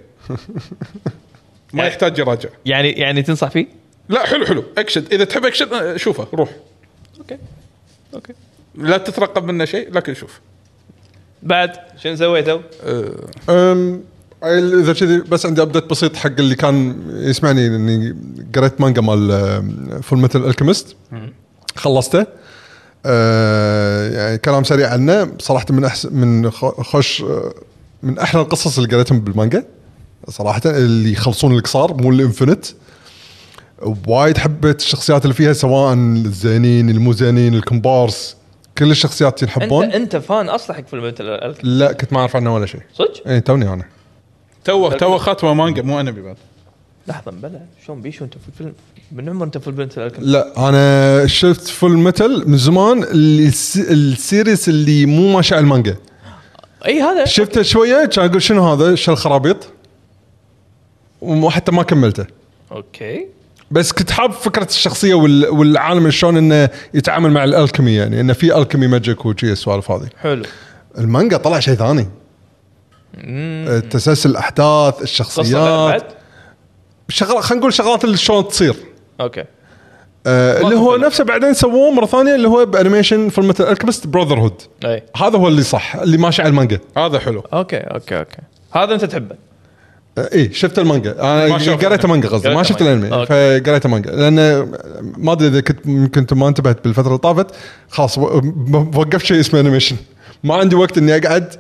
ما يحتاج يراجع يعني يعني تنصح فيه؟ لا حلو حلو اكشن اذا تحب اكشن آه، شوفه روح اوكي اوكي لا تترقب منه شيء لكن شوف بعد شنو سويتوا؟ آه، أم، اذا كذي بس عندي ابديت بسيط حق اللي كان يسمعني اني قريت مانجا مال فول ميتال الكيمست خلصته أه، يعني كلام سريع عنه صراحه من أحس من خ- خوش أه، من احلى القصص اللي قريتهم بالمانجا صراحه اللي يخلصون القصار مو الانفنت وايد حبيت الشخصيات اللي فيها سواء الزينين المو زينين الكومبارس كل الشخصيات انت ينحبون انت فان اصلا حق فيلم مثل الألك- لا كنت ما اعرف عنه ولا شيء صدق؟ اي توني انا توه توه خاتمه مانجا مو انمي بعد لحظه بلا شلون بيشو انت في الفيلم من عمر انت في الفيلم مثل الألك- لا انا شفت فول ميتال من زمان اللي الس- السيريس اللي مو ماشي على المانجا اي هذا شفته شويه كان اقول شنو هذا شو الخرابيط وحتى ما كملته اوكي بس كنت حاب فكره الشخصيه وال- والعالم شلون انه يتعامل مع الالكيمي يعني انه في الكيمي ماجيك وشي السوالف هذه حلو المانجا طلع شيء ثاني آه، تسلسل الاحداث قصه الشخصيات بعد شغل خلينا نقول شغلات اللي شلون تصير اوكي آه، اللي هو تفضل. نفسه بعدين سووه مره ثانيه اللي هو بانيميشن فيلم الكيمست براذر هود اي هذا هو اللي صح اللي ماشي على المانجا هذا حلو اوكي اوكي اوكي هذا انت تحبه آه، ايه شفت المانجا ما انا شفت. قريت مانجا قصدي ما قريت شفت مانجا. الانمي أوكي. فقريت مانجا لان ما ادري اذا كنت يمكن ما انتبهت بالفتره اللي طافت خلاص و- ب- وقفت شيء اسمه انيميشن ما عندي وقت اني اقعد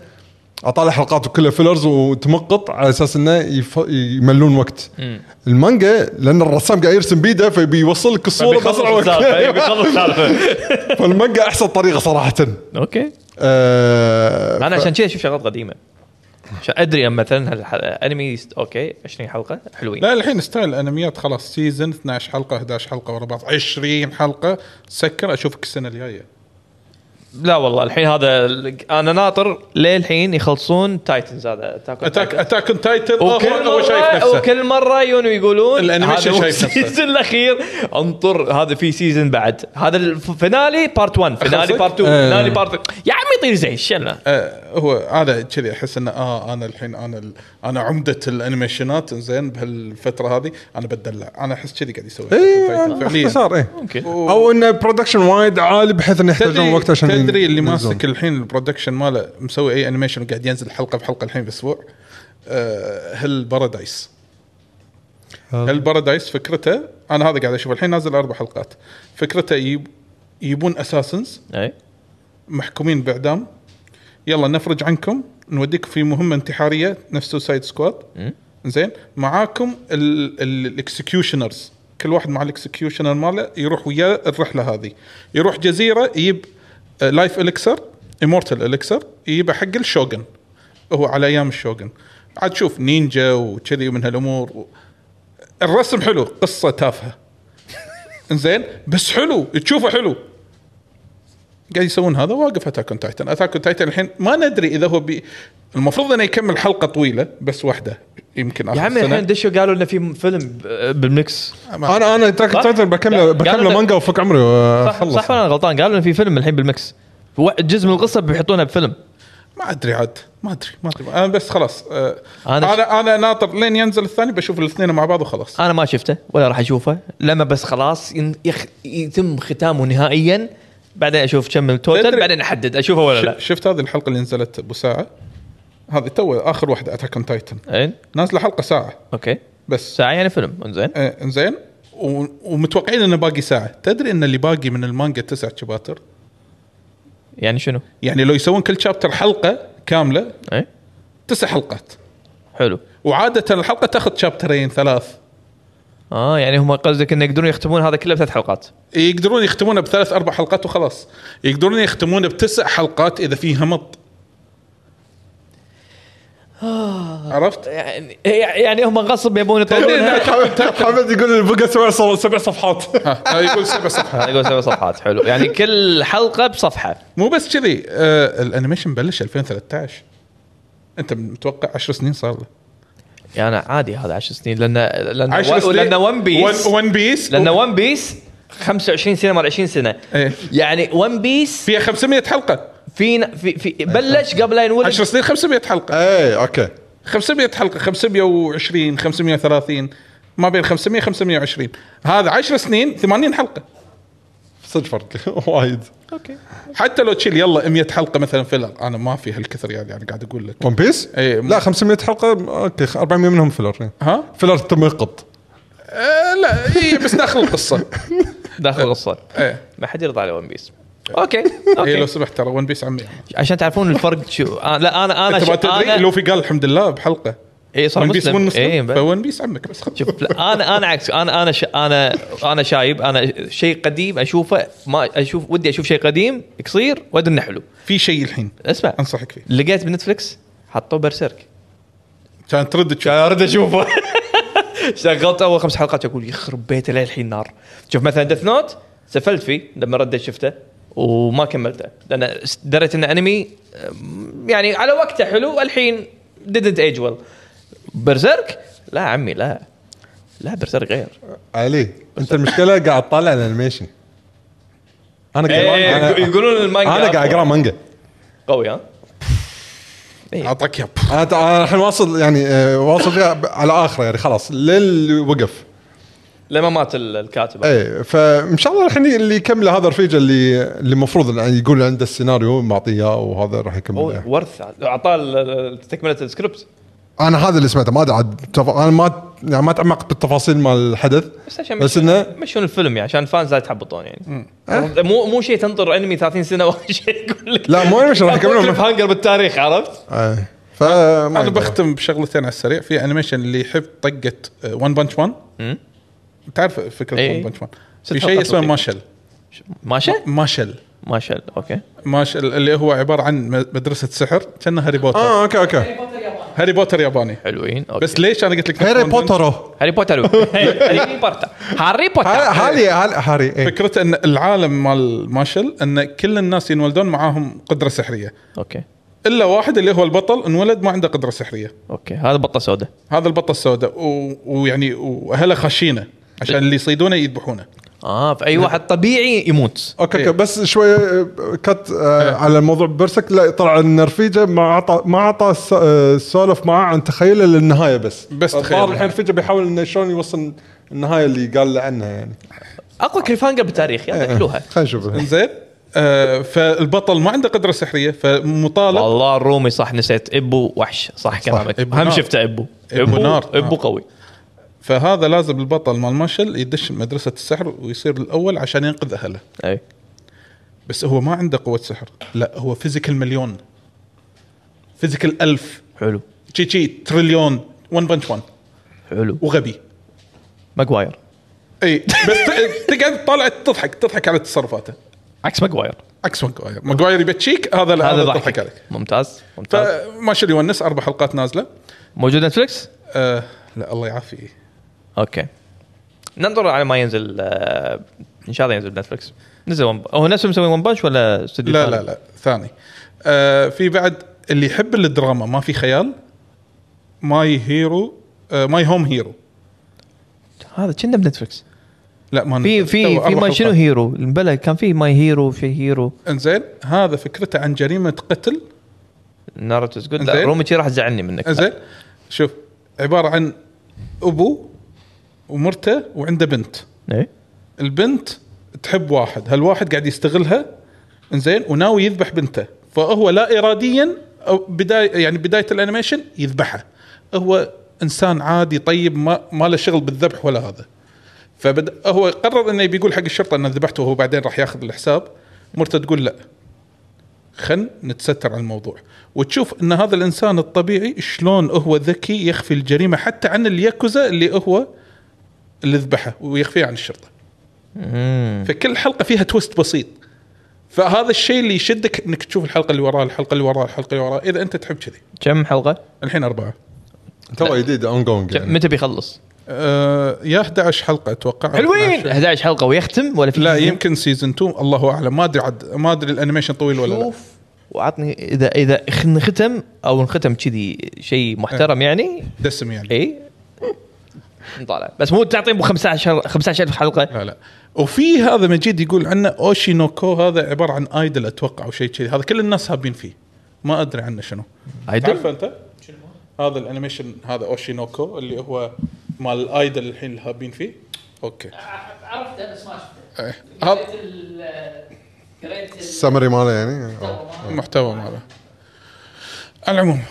اطالع حلقات وكلها فيلرز وتمقط على اساس انه يف... يملون وقت المانجا لان الرسام قاعد يرسم بيده فبيوصل لك الصوره باسرع وقت إيه، بيخلص السالفه فالمانجا احسن طريقه صراحه اوكي آه، انا ف- عشان كذا اشوف شغلات قديمه عشان ادري أما مثلا هالح- انمي يست- اوكي 20 حلقه حلوين لا الحين ستايل الانميات خلاص سيزون 12 حلقه 11 حلقه ورا بعض 20 حلقه سكر اشوفك السنه الجايه لا والله الحين هذا انا ناطر للحين يخلصون تايتنز هذا Attack on اتاك Titan. اتاك اون تايتن وكل هو شايف مره نفسه وكل مره يجون ويقولون الأنيميشن هذا هو شايف نفسه. السيزون الاخير انطر هذا في سيزون بعد هذا الفينالي بارت 1 فينالي أخلصك؟ بارت 2 آه. فينالي بارت يا عمي طير زين شلنا آه، هو انا كذي احس انه اه انا الحين انا ال- انا عمده الانيميشنات زين بهالفتره هذه انا بتدلع انا احس كذي قاعد يسوي اي إيه، يعني باختصار اي او انه برودكشن وايد عالي بحيث انه يحتاجون تدري وقت عشان تدري اللي ينزلون. ماسك الحين البرودكشن ماله مسوي اي انيميشن وقاعد ينزل حلقه بحلقه الحين باسبوع آه، هل بارادايس آه. هل بارادايس فكرته انا هذا قاعد اشوف الحين نازل اربع حلقات فكرته يجيب- يجيبون اساسنز اي محكومين باعدام يلا نفرج عنكم نوديك في مهمه انتحاريه نفس سوسايد سكواد زين معاكم الاكسكيوشنرز كل واحد مع الاكسكيوشنر ماله يروح وياه الرحله هذه يروح جزيره يجيب لايف اليكسر امورتال اليكسر يجيبه حق الشوغن هو على ايام الشوغن عاد تشوف نينجا وكذي ومن هالامور و... الرسم حلو قصه تافهه زين بس حلو تشوفه حلو قاعد يسوون هذا واقف اتاك اون تايتن اتاك اون تايتن الحين ما ندري اذا هو بي المفروض انه يكمل حلقه طويله بس واحده يمكن يا آخر عمي السنة. الحين دشوا قالوا انه في فيلم بالميكس انا انا تاك صح؟ تايتن لا، بكمله قالوا بكمله لا. مانجا وفك عمري صح واخلص صح ولا انا غلطان قالوا انه في فيلم الحين بالميكس و- جزء من القصه بيحطونها بفيلم ما ادري عاد ما ادري ما ادري انا بس خلاص آه، أنا- انا انا, أنا ناطر لين ينزل الثاني بشوف الاثنين مع بعض وخلاص انا ما شفته ولا راح اشوفه لما بس خلاص ين- يخ... يتم ختامه نهائيا بعدين اشوف كم التوتل تدري- بعدين احدد اشوفه ولا ش- آه، لا شفت هذه الحلقه اللي نزلت ابو ساعه هذه تو اخر واحده اتاك اون تايتن زين نازله حلقه ساعه اوكي بس ساعه إيه؟ يعني فيلم زين آه، انزين و- ومتوقعين انه باقي ساعه تدري ان اللي باقي من المانجا تسع شباتر يعني شنو؟ يعني لو يسوون كل شابتر حلقه كامله اي تسع حلقات حلو وعاده الحلقه تاخذ شابترين ثلاث اه يعني هم قصدك انه يقدرون يختمون هذا كله بثلاث حلقات يقدرون يختمونه بثلاث اربع حلقات وخلاص يقدرون يختمونه بتسع حلقات اذا في همط عرفت؟ يعني يعني هم غصب يبون يطولون حمد يقول البقى سبع صف- سبع صفحات ها، يقول سبع صفحات يقول سبع صفحات حلو يعني كل حلقه بصفحه مو بس كذي آه الانيميشن بلش 2013 انت متوقع 10 سنين صار له يعني عادي هذا 10 سنين لان لان 10 سنين لان ون بيس ون بيس لان ون بيس 25 سنه مال 20 سنه إيه. يعني ون بيس فيها 500 حلقه في في, في بلش قبل لا ينولد 10 سنين 500 حلقه اي اوكي 500 حلقه 520 530 ما بين 500 520 هذا 10 سنين 80 حلقه صدق فرق وايد اوكي حتى لو تشيل يلا 100 حلقه مثلا فيلر انا ما في هالكثر يعني انا قاعد اقول لك ون بيس؟ إيه. لا 500 حلقه اوكي 400 منهم إيه. فيلر ها؟ فيلر تم يقط آه لا اي بس داخل القصه داخل القصه ايه ما حد يرضى على ون بيس اوكي إيه لو اوكي سمحت ترى ون بيس عمي عشان تعرفون الفرق شو آه، لا انا انا انت شو- ما أنا- تدري لوفي قال الحمد لله بحلقه اي صار ون بيس مو مسلم إيه، مسلم بس. فون بيس عمك بس خلاص شوف لا انا انا عكس انا انا ش... انا انا شايب انا شيء قديم اشوفه ما اشوف ودي اشوف شيء قديم قصير وادري انه حلو في شيء الحين اسمع انصحك فيه لقيت بنتفلكس حطوه برسيرك كان ترد تشوف كان ارد اشوفه شغلت اول خمس حلقات اقول يخرب بيته للحين نار شوف مثلا ديث نوت سفلت فيه لما ردت شفته وما كملته لان دريت انه انمي أم، يعني على وقته حلو الحين didn't ايج ويل برزيرك لا عمي لا لا برزيرك غير علي انت المشكله قاعد تطالع الانيميشن انا إيه، قاعد أنا- يقولون المانجا انا قاعد اقرا مانجا قوي ها اعطاك ياب انا ت- أنا الحين واصل يعني آه، واصل فيها ب- على اخره يعني خلاص للي وقف لما مات ال- الكاتب اي فان إيه، شاء الله الحين اللي يكمله هذا رفيجه اللي اللي المفروض يعني يقول عنده السيناريو معطيه إياه وهذا راح هو يكمل ورث اعطاه ال- ال- تكمله السكريبت انا هذا اللي سمعته ما ادري عاد تف- انا ما يعني ما تعمقت بالتفاصيل مال الحدث بس عشان بس مشون- إنه- مشون الفيلم يعني عشان الفانز لا يتحبطون يعني أه؟ مو مو شيء تنطر انمي 30 سنه ولا شيء يقول لك لا، مو أنمي، راح يكملون. هانجر بالتاريخ عرفت؟ اي إيه. فما انا أدري. أيوة. بختم بشغلتين على السريع في انيميشن اللي يحب آه، طقه ون بانش مان مم. تعرف فكره إيه. ون بانش مان ست في شيء حلقات اسمه بسيطة. ماشل ماشي؟ ماشل ماشي اوكي ماشل اللي هو عباره عن م- مدرسه سحر كان هاري بوتر اه اوكي اوكي هاري بوتر ياباني حلوين اوكي بس ليش انا قلت لك هاري نفس One Punch Man؟ بوتر هاري بوتر هاري بوتر هاري بوتر هاري هاري- هاري إيه. فكرته ان العالم مال ماشل ان كل الناس ينولدون معاهم قدره سحريه اوكي الا واحد اللي هو البطل انولد ما عنده قدره سحريه اوكي هذا بطه سوداء هذا البطه السوداء و... ويعني واهله خشينه عشان إيه. اللي يصيدونه يذبحونه اه فاي واحد طبيعي يموت اوكي إيه. اوكي بس شوي آه، كت آه، على الموضوع برسك لا طلع ان رفيجه ما اعطى ما اعطى الس- آه، السولف معاه عن تخيله للنهايه بس بس تخيله. الظاهر الحين رفيجه بيحاول انه شلون يوصل النهايه اللي قال له عنها يعني اقوى كليفانجر بالتاريخ إيه. يلا اكلوها خلينا نشوف زين آه فالبطل ما عنده قدره سحريه فمطالب والله الرومي صح نسيت ابو وحش صح كلامك إبو هم نار. شفته ابو إبو نار. ابو آه. قوي فهذا لازم البطل مال ماشل يدش مدرسه السحر ويصير الاول عشان ينقذ اهله اي بس هو ما عنده قوه سحر لا هو فيزيكال مليون فيزيكال ألف حلو تشي تشي تريليون 1 بنش 1 حلو وغبي ماجواير اي بس ت- تقعد تطالع تضحك تضحك على تصرفاته عكس ماجواير عكس ماجواير ماجواير يبي تشيك هذا لا هذا هذا تضحك ضحك عليك ممتاز ممتاز فماشل يونس اربع حلقات نازله موجود نتفلكس آه لا الله يعافيه اوكي ننظر على ما ينزل آه، ان شاء الله ينزل نتفلكس نزل ون هو نفسه مسوي ون بانش ولا استوديو لا ثاني؟ لا لا ثاني آه في بعد اللي يحب الدراما ما في خيال ماي هيرو آه ماي هوم هيرو هذا كنا بنتفلكس لا ما في نزل. تو في في أربع ما حلقات. شنو هيرو بلا كان في ماي هيرو في هيرو انزين هذا فكرته عن جريمه قتل ناروتوز جود لا إنزين. رومي شي راح تزعلني منك انزين شوف عباره عن ابو ومرته وعنده بنت إيه؟ البنت تحب واحد هالواحد قاعد يستغلها انزين وناوي يذبح بنته فهو لا اراديا او بدايه يعني بدايه الانيميشن يذبحها هو انسان عادي طيب ما ما له شغل بالذبح ولا هذا فبد هو قرر انه يبي يقول حق الشرطه انه ذبحته وهو بعدين راح ياخذ الحساب مرته تقول لا خل نتستر على الموضوع وتشوف ان هذا الانسان الطبيعي شلون هو ذكي يخفي الجريمه حتى عن الياكوزا اللي هو اللي ذبحه ويخفيها عن الشرطه مم. فكل حلقه فيها تويست بسيط فهذا الشيء اللي يشدك انك تشوف الحلقه اللي وراها الحلقه اللي وراها الحلقه اللي وراها اذا انت تحب كذي كم حلقه؟ الحين اربعه تو جديد يعني. اون جوينج كم- متى بيخلص؟ آه يا 11 حلقه اتوقع أو 12. 11 حلقه ويختم ولا في لا season؟ يمكن سيزون 2 الله اعلم ما ادري عد ما ادري الانيميشن طويل ولا لا شوف وعطني اذا اذا خن- ختم او انختم كذي شيء محترم إيه. يعني دسم يعني اي نطالع بس مو تعطيه ب 15 15000 حلقه لا لا وفي هذا مجيد يقول عنه اوشي نوكو هذا عباره عن ايدل اتوقع او شيء كذي هذا كل الناس هابين فيه ما ادري عنه شنو تعرفه عدل انت؟ هذا الانيميشن هذا اوشينوكو اللي هو مال الايدل الحين اللي هابين فيه اوكي عرفته بس ما شفته إيه. هذا قريت السمري ماله يعني المحتوى ماله على العموم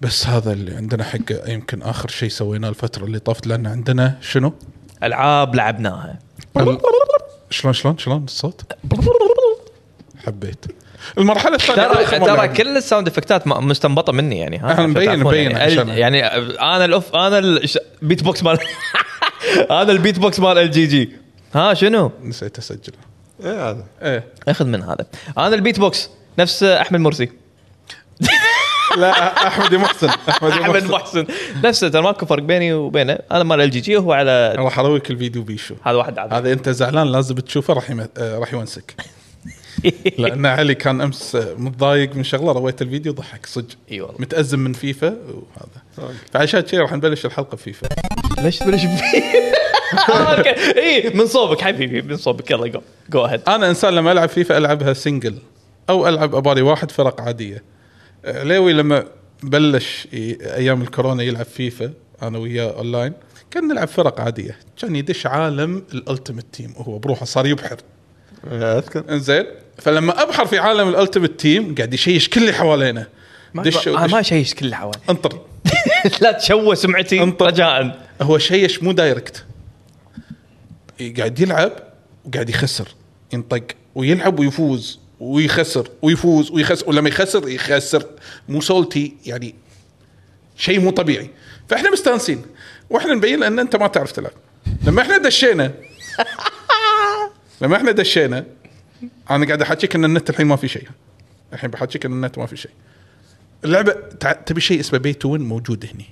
بس هذا اللي عندنا حق يمكن اخر شيء سويناه الفتره اللي طافت لان عندنا شنو؟ العاب لعبناها ال- شلون شلون شلون الصوت؟ حبيت المرحله الثانيه ترى آخر مرة ترى لعبنا. كل الساوند افكتات ما- مستنبطه مني يعني ها أنا مبين- تعرفون مبين يعني, ال- عشان- يعني انا الاوف انا البيت بوكس مال انا البيت بوكس مال الجي جي ها شنو؟ نسيت اسجل ايه هذا ايه اخذ من هذا انا البيت بوكس نفس احمد مرسي لا احمد يا محسن احمد يا احمد محسن محسن نفسه ترى ماكو فرق بيني وبينه انا مال الجي جي وهو على راح ارويك الفيديو بيشو هذا واحد عادي هذا انت زعلان لازم تشوفه راح يم... آه، راح يونسك لان علي كان امس متضايق من شغله رويت الفيديو ضحك صدق اي والله متازم من فيفا وهذا فعشان كذا راح نبلش الحلقه بفيفا ليش ليش في- آه، اوكي اي من صوبك حبيبي من صوبك يلا جو جو اهيد انا انسان لما العب فيفا العبها سنجل او العب اباري واحد فرق عاديه عليوي لما بلش ي- ايام الكورونا يلعب فيفا انا وياه اونلاين كان نلعب فرق عاديه كان يدش عالم الالتيمت تيم وهو بروحه صار يبحر إيه، اذكر انزين فلما ابحر في عالم الالتيمت تيم قاعد يشيش كل اللي حوالينا دش آه، ودش ما شيش كل حوالي انطر لا تشوه سمعتي انطر. رجاء هو شيش مو دايركت قاعد يلعب وقاعد يخسر ينطق ويلعب ويفوز ويخسر ويفوز ويخسر ولما يخسر يخسر مو سولتي يعني شيء مو طبيعي فاحنا مستانسين واحنا نبين ان انت ما تعرف تلعب لما احنا دشينا لما احنا دشينا انا قاعد احكيك ان النت الحين ما في شيء الحين بحكيك ان النت ما في شيء اللعبه تع- تبي شيء اسمه بي تو وين موجود هني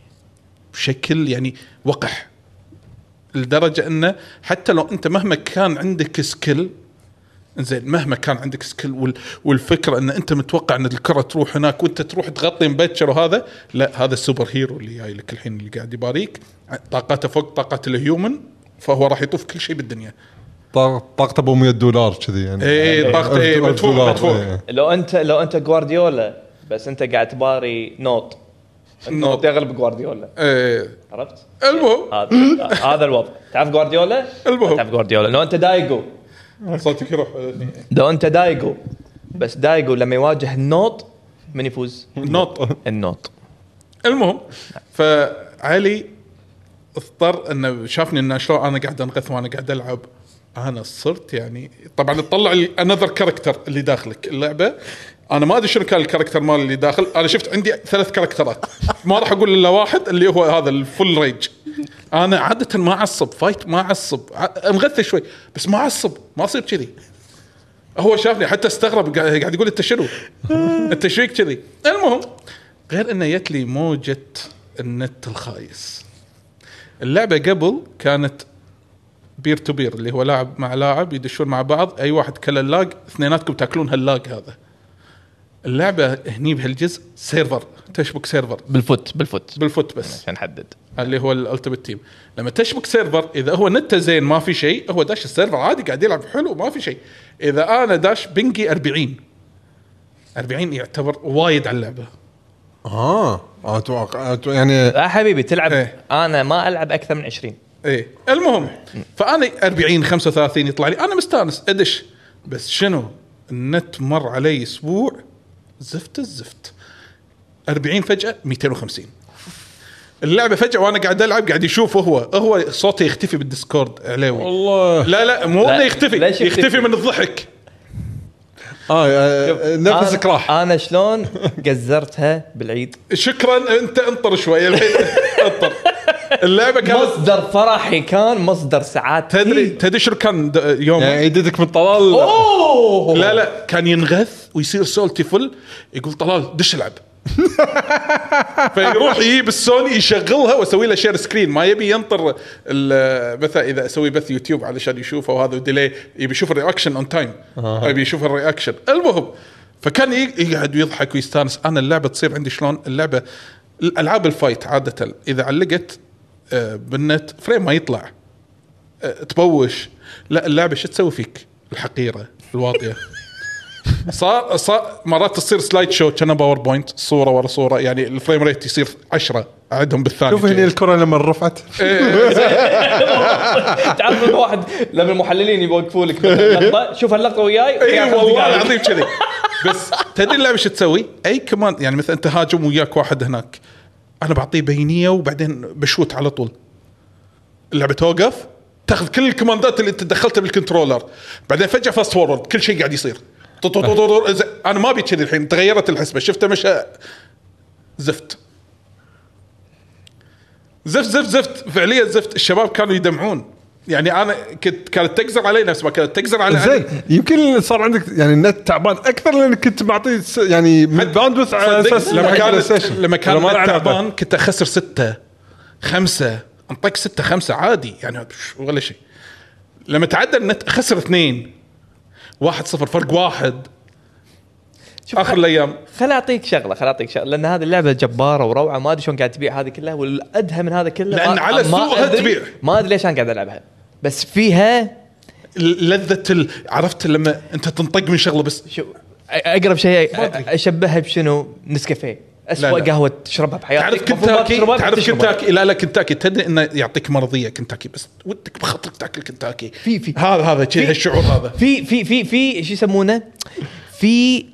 بشكل يعني وقح لدرجه انه حتى لو انت مهما كان عندك سكيل زين مهما كان عندك سكيل وال... والفكره ان انت متوقع ان الكره تروح هناك وانت تروح تغطي مبكر وهذا لا هذا السوبر هيرو اللي جاي لك الحين اللي قاعد يباريك طاقته فوق طاقه الهيومن فهو راح يطوف كل شيء بالدنيا طاق- طاقته ب 100 دولار كذي يعني اي إيه، طاقته اي ألف مدفوع دولار، مدفوع إيه. لو انت لو انت جوارديولا بس انت قاعد تباري نوط النوط نوط. يغلب جوارديولا إيه. عرفت؟ المهم هذا هذا الوضع تعرف جوارديولا؟ المهم. تعرف جوارديولا لو انت دايجو صوتك يروح لو انت دايجو بس دايجو لما يواجه النوط من يفوز؟ نوط النوط المهم فعلي اضطر انه شافني انه شلون انا قاعد انغث وانا قاعد العب انا صرت يعني طبعا تطلع انذر كاركتر اللي داخلك اللعبه انا ما ادري شنو كان الكاركتر مال اللي داخل انا شفت عندي ثلاث كاركترات ما راح اقول الا واحد اللي هو هذا الفل ريج انا عاده ما اعصب فايت ما اعصب ع- انغث شوي بس ما اعصب ما اصير كذي هو شافني حتى استغرب قاعد قاعد يقول انت شنو؟ انت شيك كذي؟ المهم غير انه جت لي موجه النت الخايس اللعبه قبل كانت بير تو بير اللي هو لاعب مع لاعب يدشون مع بعض اي واحد كله اللاج اثنيناتكم تاكلون هاللاج هذا اللعبه هني بهالجزء سيرفر تشبك سيرفر بالفوت بالفوت بالفوت بس عشان نحدد اللي هو الالتيميت تيم لما تشبك سيرفر اذا هو نته زين ما في شيء هو داش السيرفر عادي قاعد يلعب حلو ما في شيء اذا انا داش بنجي 40 40 يعتبر وايد على اللعبه اه اتوقع أتوقع- يعني يا آه، حبيبي تلعب إيه. انا ما العب اكثر من 20 ايه المهم فانا 40 35 يطلع لي انا مستانس ادش بس شنو النت مر علي اسبوع زفت الزفت 40 فجاه 250 اللعبه فجاه وانا قاعد العب قاعد يشوف هو هو صوته يختفي بالديسكورد علاوي والله لا لا مو لا، انه يختفي ليش يختفي؟ يختفي من الضحك اه آه، نفسك أنا- راح انا شلون قزرتها بالعيد شكرا انت انطر شوي الحين انطر اللعبه كانت مصدر فرحي كان مصدر سعادتي تدري تدري شنو كان د- يوم يعني يددك من طلال اوه لا لا كان ينغث ويصير سولتي فل يقول طلال دش العب فيروح يجيب السوني يشغلها واسوي له شير سكرين ما يبي ينطر ال- مثلا اذا اسوي بث يوتيوب علشان يشوفه وهذا وديلي يبي يشوف الرياكشن اون تايم يبي يشوف الرياكشن المهم فكان ي- يقعد ويضحك ويستانس انا اللعبه تصير عندي شلون اللعبه الالعاب الفايت عاده اذا علقت آه، بالنت فريم ما يطلع آه، تبوش لا اللعبه شو تسوي فيك الحقيره الواطيه صار صار مرات تصير سلايد شو كان باوربوينت صوره ورا صوره يعني الفريم ريت يصير 10 عدهم بالثانيه شوف هني الكره لما رفعت تعرف لما واحد لما المحللين يوقفوا لك اللقطه شوف هاللقطه وياي اي وياي خمس إيه، والله دقايق. العظيم كذي بس تدري اللعبه شو تسوي؟ اي كمان يعني مثلا انت هاجم وياك واحد هناك انا بعطيه بينيه وبعدين بشوت على طول اللعبه توقف تاخذ كل الكوماندات اللي انت دخلتها بالكنترولر بعدين فجاه فاست فورورد كل شيء قاعد يصير طو- طو- طو- طو- طو- زي- انا ما ابي كذي الحين تغيرت الحسبه شفته مش زفت زفت زفت زفت فعليا زفت الشباب كانوا يدمعون يعني انا كنت كانت تقزر علي نفس ما كانت تقزر علي زين يمكن صار عندك يعني النت تعبان اكثر لانك كنت معطيه س- يعني من الباندوث على صدق، اساس آه، لما حق كان PlayStation. لما كان ولا ما له النت علاقة. تعبان كنت اخسر ستة خمسة انطق ستة خمسة عادي يعني ش- ولا شيء لما تعدى النت اخسر اثنين واحد صفر فرق واحد شوف، اخر الايام خل اعطيك شغله خل اعطيك شغله لان هذه اللعبه جباره وروعه ما ادري شلون قاعد تبيع هذه كلها والادهى من هذا كله لأن ما- على ما سوقها أدري- تبيع. ما ادري ليش انا قاعد العبها بس فيها ل- لذة ال- عرفت لما انت تنطق من شغله بس شو اقرب شيء ما أدري. اشبهها بشنو نسكافيه اسوء لا، لا. قهوه تشربها بحياتك تعرف المفروض ما كنتاكي تشربها، تعرف تشربها. كنتاكي لا لا كنتاكي تدري انه يعطيك مرضيه كنتاكي بس ودك بخاطرك تاكل كنتاكي في- في. هذا هذا كذي في- هالشعور هذا في في في في شو يسمونه في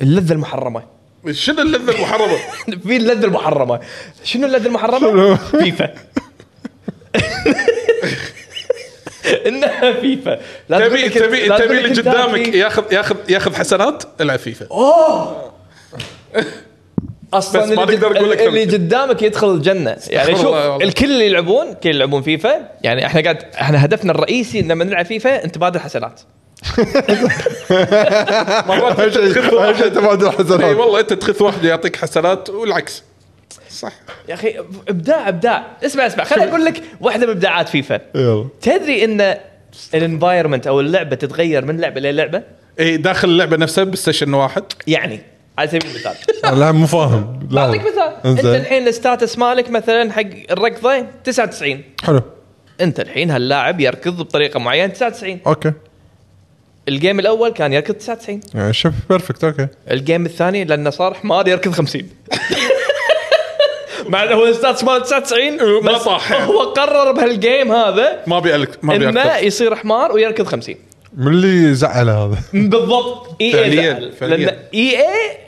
اللذه المحرمه شنو اللذه المحرمه؟ في اللذه المحرمه شنو اللذه المحرمه؟ فيفا انها فيفا لا تقول تبي لي كنت- تبي لا تقول إيه، تبي لي اللي كنت قدامك هاكي. ياخذ ياخذ ياخذ حسنات العب فيفا اصلا بس ما اللي نقدر قد- نقول أكثر من اللي كذا. قدامك يدخل الجنه يعني الله شوف والله. الكل اللي يلعبون كل اللي يلعبون فيفا يعني احنا قاعد احنا هدفنا الرئيسي لما نلعب فيفا نتبادل حسنات مرات اهم شيء تخف أهم شيء واحد تبادل اي حسنات والله انت تخف واحد يعطيك حسنات والعكس صح يا اخي ابداع ابداع اسمع اسمع خليني اقول لك واحده من ابداعات فيفا يلا تدري ان الانفايرمنت او اللعبه تتغير من لعبه للعبه اي داخل اللعبه نفسها بالسيشن واحد يعني على سبيل المثال لا مو فاهم لا اعطيك مثال انت آه. إنزين. الحين الستاتس مالك مثلا حق الركضه 99 حلو انت الحين هاللاعب يركض بطريقه معينه 99 اوكي الجيم الاول كان يركض 99 يعني شوف بيرفكت اوكي الجيم الثاني لانه صار حمار يركض 50 مع انه هو الستاتس ماله 99 إيه، ما بس طاح. هو قرر بهالجيم هذا ما ابي ألك- ما ابي انه أكثر. يصير حمار ويركض 50 من اللي زعل هذا بالضبط إيه اي فعلياً- اي فعلياً. لان اي اي إيه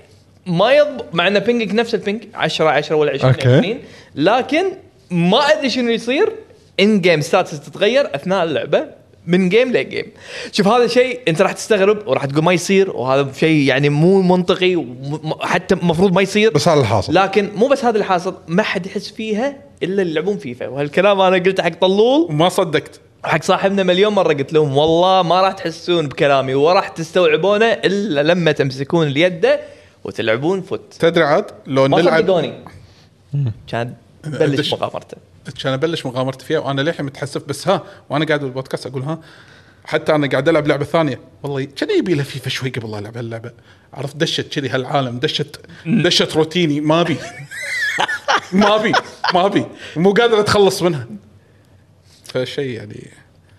ما يض مع ان بينجك نفس البينج 10 10 ولا 20 أوكي. 20 لكن ما ادري شنو يصير ان جيم ستاتس تتغير اثناء اللعبه من جيم لجيم شوف هذا شيء انت راح تستغرب وراح تقول ما يصير وهذا شيء يعني مو منطقي وم- م- حتى المفروض ما يصير بس هذا اللي حاصل لكن مو بس هذا اللي حاصل ما حد يحس فيها الا اللي يلعبون فيفا وهالكلام انا قلته حق طلول وما صدقت حق صاحبنا مليون مره قلت لهم والله ما راح تحسون بكلامي وراح تستوعبونه الا لما تمسكون اليد وتلعبون فوت تدري عاد لو ما نلعب صدقوني كان أدش. بلش مغامرته كان ابلش مغامرتي فيها وانا للحين متحسف بس ها وانا قاعد بالبودكاست اقول ها حتى انا قاعد العب لعبه ثانيه والله كان يبي لها فيفا شوي قبل لا العب هاللعبه عرفت دشت كذي هالعالم دشت دشت روتيني ما ابي ما ابي ما ابي مو قادر اتخلص منها فشيء يعني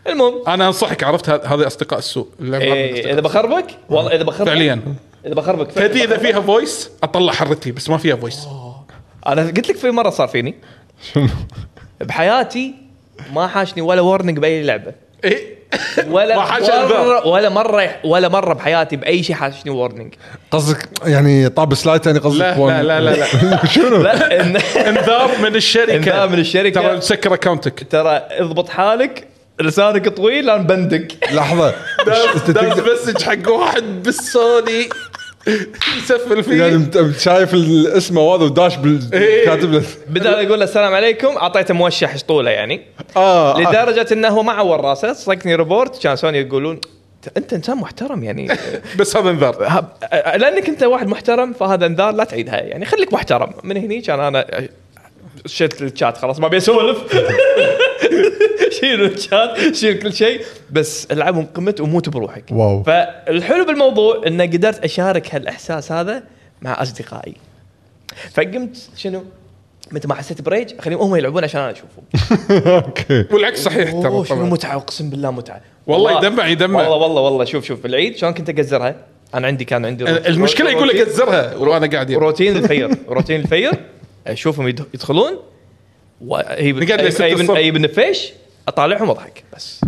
المهم انا انصحك عرفت هذ- هذه اصدقاء السوء اللعبة هذه من إيه أصدقاء اذا بخربك والله اذا بخربك فعليا اذا بخربك فعلاً تدري اذا بخربك. فيها فويس اطلع حرتي بس ما فيها فويس انا قلت لك في مره صار فيني شنو بحياتي ما حاشني ولا ورنينج باي لعبه ايه ولا ما حاش مرة الباب. ولا مره ولا مره بحياتي باي شيء حاشني ورنينج قصدك يعني طاب سلايد يعني قصدك لا وان- لا لا لا, لا. شنو لا إن- انذار من الشركه انذار من الشركة. ترى سكر اكونتك ترى اضبط حالك لسانك طويل انا بندق لحظه أنت داز تقدر- مسج حق واحد بالسوني يسفل فيه يعني مت- شايف الاسم هذا وداش بال- إيه. كاتب له بدال اقول له السلام عليكم اعطيته موشح شطوله يعني اه آه. لدرجه انه هو ما عور راسه صكني ريبورت كان سوني يقولون "أنت- انت انسان محترم يعني آه، بس هذا انذار ها- لانك انت واحد محترم فهذا انذار لا تعيدها يعني خليك محترم من هني كان انا شلت الشات خلاص ما ابي اسولف شيلوا الشات شيل كل شيء بس العبهم قمت وموت بروحك واو. فالحلو بالموضوع انه قدرت اشارك هالاحساس هذا مع اصدقائي فقمت شنو متى ما حسيت بريج خليهم هم يلعبون عشان انا اشوفهم اوكي والعكس صحيح أوه، ترى شنو طبعاً. متعه اقسم بالله متعه والله يدمع- يدمع. والله والله والله شوف شوف العيد شلون كنت اقزرها انا عندي كان عندي روت- المشكله يقول لك اتزرها وانا قاعد يم. روتين الفير روتين الفير اشوفهم يد- يدخلون وهي نقعد لستة الصبح. اي بالنفيش اطالعهم واضحك بس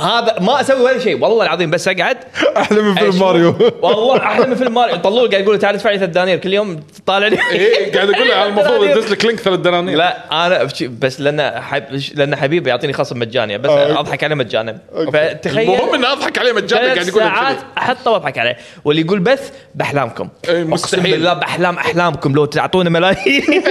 هذا ما اسوي ولا شيء والله العظيم بس اقعد احلى من أشوف- فيلم ماريو والله احلى من فيلم ماريو طلول قاعد يقول لي تعال ادفع لي ثلاث دنانير كل يوم تطالعني ايه قاعد اقول له المفروض دنانير. ادز لك لينك ثلاث دنانير لا انا بش- بس لان حب لان حبيبي يعطيني خصم مجاني بس آه. اضحك عليه مجانا فتخيل المهم اني اضحك عليه مجانا قاعد ثلاث يقول ساعات لك احطه واضحك عليه واللي يقول بث باحلامكم إيه، اقسم مستحيل. بالله باحلام احلامكم لو تعطونا ملايين كذي.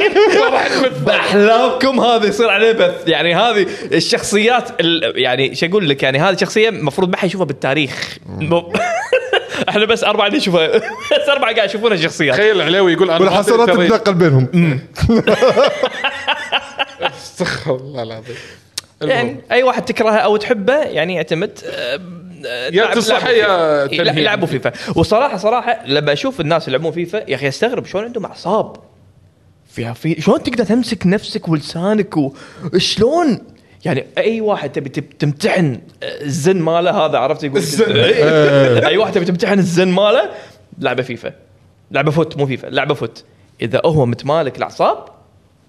باحلامكم هذا يصير عليه بث يعني هذه الشخصيات ال- يعني شو اقول لك يعني هذه شخصيه المفروض ما حيشوفها بالتاريخ مو- احنا بس اربعه نشوفها بس اربعه قاعد يشوفونها شخصيات تخيل العلاوي يقول انا ما أدري والحسرات ترى- تتنقل بينهم استغفر الله العظيم يعني اي واحد تكرهه او تحبه يعني يعتمد أه، أه، يا لعب- لعبوا تنصحه يا فيفا. إيه، لا، تنهيه. يلعبوا فيفا وصراحه صراحه لما اشوف الناس يلعبون فيفا يا اخي استغرب شلون عندهم اعصاب فيها في شلون تقدر تمسك نفسك ولسانك وشلون يعني اي واحد تبي تب- تمتحن الزن ماله هذا عرفت يقول الزن. إيه. اي واحد تبي تمتحن الزن ماله لعبه فيفا لعبه فوت مو فيفا لعبه فوت اذا هو متمالك الاعصاب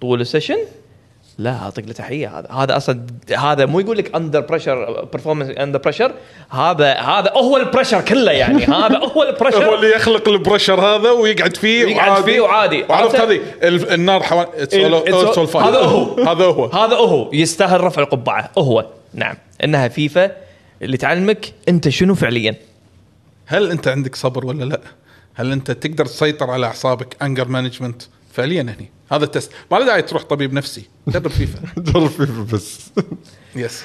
طول السيشن لا اعطيك له تحيه هذا هذا اصلا هذا مو يقول لك اندر بريشر برفورمانس اندر بريشر هذا هذا هو البريشر كله يعني هذا هو البريشر هو اللي يخلق البريشر هذا ويقعد فيه يقعد وعادي. فيه وعادي. وعرفت عرفت؟ هذه ال- النار حوالي It's all- هذا هو. هذا هو هذا هو يستاهل رفع القبعه هو نعم انها فيفا اللي تعلمك انت شنو فعليا هل انت عندك صبر ولا لا؟ هل انت تقدر تسيطر على اعصابك انجر مانجمنت فعليا هني هذا التست ما له داعي تروح طبيب نفسي جرب فيفا جرب فيفا بس يس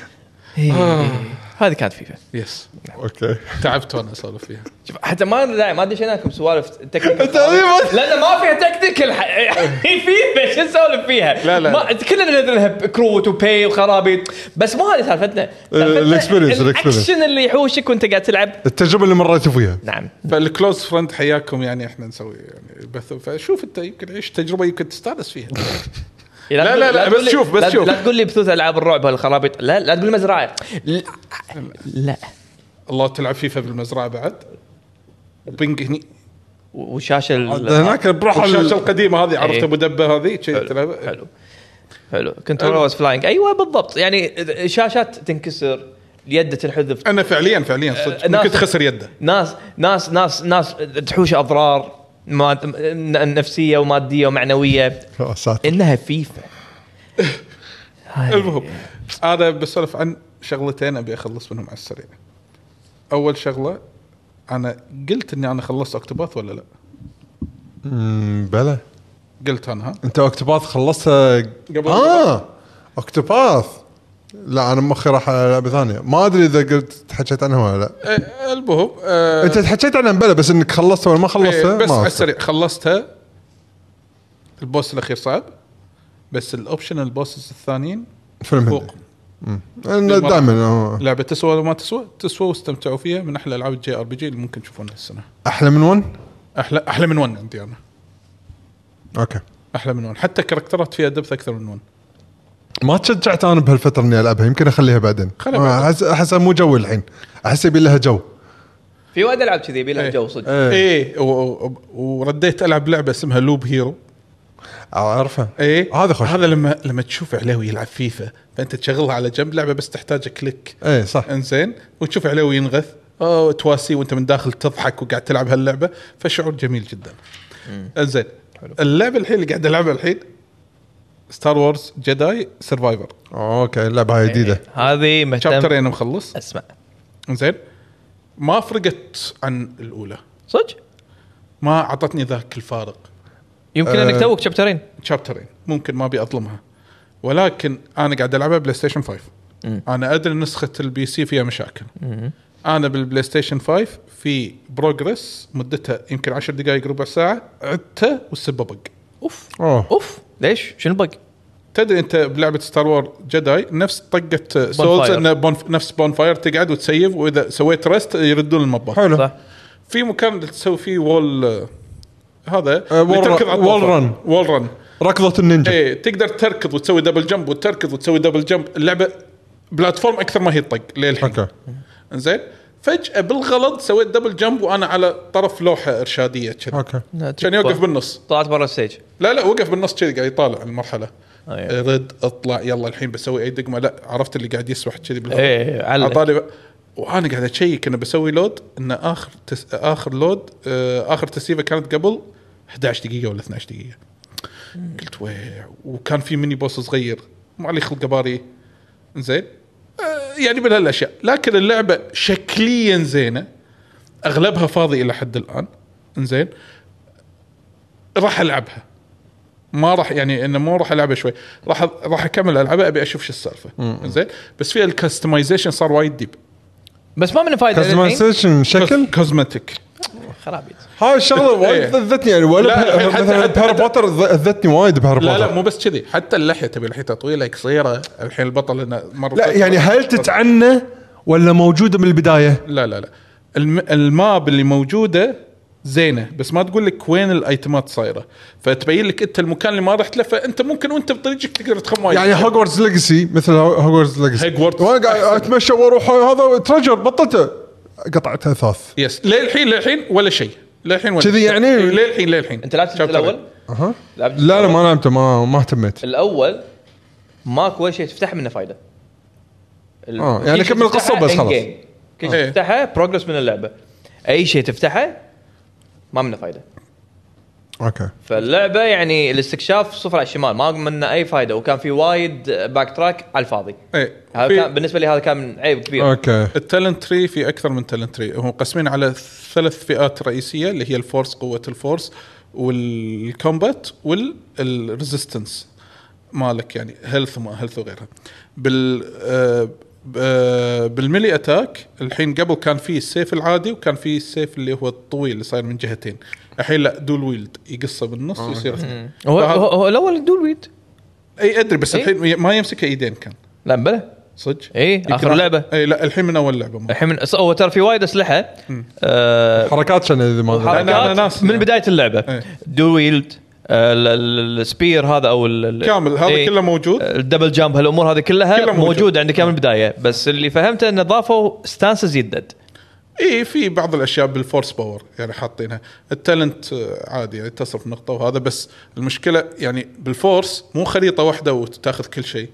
هذه كانت فيفا يس اوكي تعبت وانا اسولف فيها شوف حتى ما داعي ما دشيناكم سوالف تكنيكال أنت ما- لان ما فيها تكنيكال فيفا شو نسولف فيها؟ لا، لا. ما كلنا ندري انها كروت وبي وخرابيط بس مو هذه سالفتنا سالفتنا الإكسبيرينس، الإكسبيرينس. الاكشن اللي يحوشك وانت قاعد تلعب التجربه اللي مريتوا فيها نعم فالكلوز فرند حياكم يعني احنا نسوي يعني بث فشوف انت يمكن عيش تجربه يمكن تستانس فيها لا، تقول- لا، لا، تقول بس لي- شوف، بس لا- شوف. لا تقول لي بثوث العاب الرعب هالخرابيط لا لا تقول لي مزرعه لا, لا. الله تلعب فيفا بالمزرعه بعد وبنج هني وشاشه ال- هناك بروح الشاشه القديمه هذه عرفت إيه. ابو دبه هذه شي حلو، تلعب حلو حلو أه. كنترول فلاينج ايوه بالضبط يعني شاشات تنكسر اليد تنحذف انا فعليا فعليا صدق أه، ناس- ممكن تخسر يده ناس ناس ناس ناس تحوش اضرار ماد- ن- نفسيه وماديه ومعنويه يا ساتر. انها فيفا هاي. المهم انا بسولف عن شغلتين ابي اخلص منهم على السريع اول شغله انا قلت اني انا خلصت اكتوباث ولا لا أمم، بلى قلت انا ها انت اكتوباث خلصتها قبل قبل اه اكتوباث لا انا مخي راح على لعبه ثانيه ما ادري اذا قلت حكيت عنها ولا لا أه، المهم أه، انت حكيت عنها بلا بس انك خلصتها ولا ما إيه، خلصتها بس ما على أعرف. السريع خلصتها البوس الاخير صعب بس الاوبشن البوسز الثانيين فيلم هندي فوق إيه، أنا المرة. دائما آه. لعبه تسوى ولا ما تسوى تسوى واستمتعوا فيها من احلى العاب الجي ار بي جي اللي ممكن تشوفونها السنه احلى من ون احلى احلى من ون عندي انا اوكي احلى من ون حتى كاركترات فيها دبث اكثر من ون ما تشجعت انا بهالفتره اني العبها يمكن اخليها بعدين خليها آه، بعدين. احس احسها مو جوي الحين احس يبي لها جو في وايد العاب كذي يبي لها إيه. جو صدق إيه. ايه و- و- ورديت العب لعبه اسمها لوب هيرو اعرفها ايه هذا خوش هذا لما لما تشوف علاوي يلعب فيفا فانت تشغلها على جنب لعبه بس تحتاج كليك اي إيه، صح انزين وتشوف علاوي ينغث أو تواسي وانت من داخل تضحك وقاعد تلعب هاللعبه فشعور جميل جدا انزين اللعبه الحين اللي قاعد العبها الحين ستار وورز جداي سرفايفر اوكي اللعبه هاي جديده هذه مهتم شابترين مخلص اسمع انزين ما فرقت عن الاولى صدق ما اعطتني ذاك الفارق يمكن أه. انك توك إيه. شابترين شابترين ممكن ما ابي اظلمها ولكن انا قاعد العبها بلاي ستيشن 5 انا ادري نسخه البي سي فيها مشاكل انا بالبلاي ستيشن 5 في بروجرس مدتها يمكن 10 دقائق ربع ساعه عدته والسبه بق اوف اوه اوف ليش شنو البق؟ تدري انت بلعبه ستار وور جداي نفس طقه سولز Bonfire. انه بونف... نفس بون فاير تقعد وتسيف واذا سويت رست يردون المبات حلو صح في مكان اللي تسوي فيه وول آه، هذا آه، wall run- wall run. وول رن ركضه النينجا ايه تقدر تركض وتسوي دبل جمب وتركض وتسوي دبل جمب اللعبه بلاتفورم اكثر ما هي طق للحين اوكي زين فجاه بالغلط سويت دبل جمب وانا على طرف لوحه ارشاديه كذا اوكي نعم. كان طيب. يوقف بالنص طلعت برا الستيج لا لا وقف بالنص كذا قاعد يطالع المرحله أيه. رد اطلع يلا الحين بسوي اي دقمه لا عرفت اللي قاعد يسبح كذي بالغلط إيه، علق. عطاني ب- وانا قاعد اشيك انه بسوي لود انه اخر تس... اخر لود آه، اخر تسييفه كانت قبل 11 دقيقه ولا 12 دقيقه قلت ويع وكان في ميني بوس صغير ما عليه خلق باري زين آه، يعني من هالاشياء لكن اللعبه شكليا زينه اغلبها فاضي الى حد الان زين راح العبها ما راح يعني انه مو راح العبها شوي راح راح اكمل العبها ابي اشوف شو السالفه زين بس فيها الكستمايزيشن صار وايد ديب بس ما منه فايده للحين. إيه. كاستمايزيشن شكل كوزمتيك خرابيط هاي الشغله إيه. وايد لذتني يعني ولا لا، بها- الحين حتى- مثلا حتى- بهاري بوتر لذتني وايد بهاري لا لا بوتر مو بس كذي حتى اللحيه تبي لحيتها طويله قصيره الحين البطل انه مره لا يعني هل تتعنى ولا موجوده من البدايه؟ لا لا لا الم... الماب اللي موجوده زينه بس ما تقول لك وين الايتمات صايره فتبين لك انت المكان اللي ما رحت له فانت ممكن وانت بطريقك تقدر تخمن يعني هوجورتس ليجسي مثل هوجورتس ليجسي إيه. Hogwarts. وانا قاعد اتمشى واروح هذا ترجر بطلته قطعت اثاث يس للحين للحين ولا شيء للحين ولا كذي شيء. يعني؟ إيه، للحين للحين انت لعبت شابتر الاول؟ اها لعبت لا لا ما لعبته ما ما اهتميت الاول ماكو ولا شيء تفتح منه فايده ال- آه، كل يعني شيء كمل القصة تفتحه وبس end خلاص. game. كل إيه. شيء تفتحه بروجرس من اللعبه اي شيء تفتحه ما منه فايده اوكي فاللعبه يعني الاستكشاف صفر على الشمال ما منه اي فايده وكان في وايد باك تراك على الفاضي ايه هذا في- كان بالنسبه لي هذا كان عيب إيه. كبير اوكي التالنت تري في اكثر من تالنت تري هم مقسمين على ثلاث فئات رئيسيه اللي هي الفورس قوه الفورس والكومبات والريزيستنس مالك يعني هيلث وما هيلث وغيرها بال آه، ب- بالملي اتاك الحين قبل كان في السيف العادي وكان في السيف اللي هو الطويل اللي صاير من جهتين الحين لا دول ويلد يقصه بالنص ويصير اثنين. هو فهذا- هو, هو الاول دول ويد اي ادري بس إي. الحين ما يمسكه ايدين كان لا بلا صدق إي، يمكن إيه، آخر أح- لعبة. إيه. اي لا الحين من اول لعبه ما. الحين من- هو ترى في وايد اسلحه آه، حركات عشان اذا ما لا، لا، لا، حركات ناس- من بدايه اللعبه إيه. دول ويلد آه، السبير هذا او ال- ال- كامل هذا إيه. كله موجود. الدبل جامب هالامور هذه كلها كله موجود. موجود. إيه. عندك إياها من البدايه بس اللي فهمته انه ضافوا ستانسز يدد اي إيه، في بعض الاشياء بالفورس باور يعني حاطينها التالنت آه، عادي يعني تصرف نقطه وهذا بس المشكله يعني بالفورس مو خريطه واحده وتاخذ كل شيء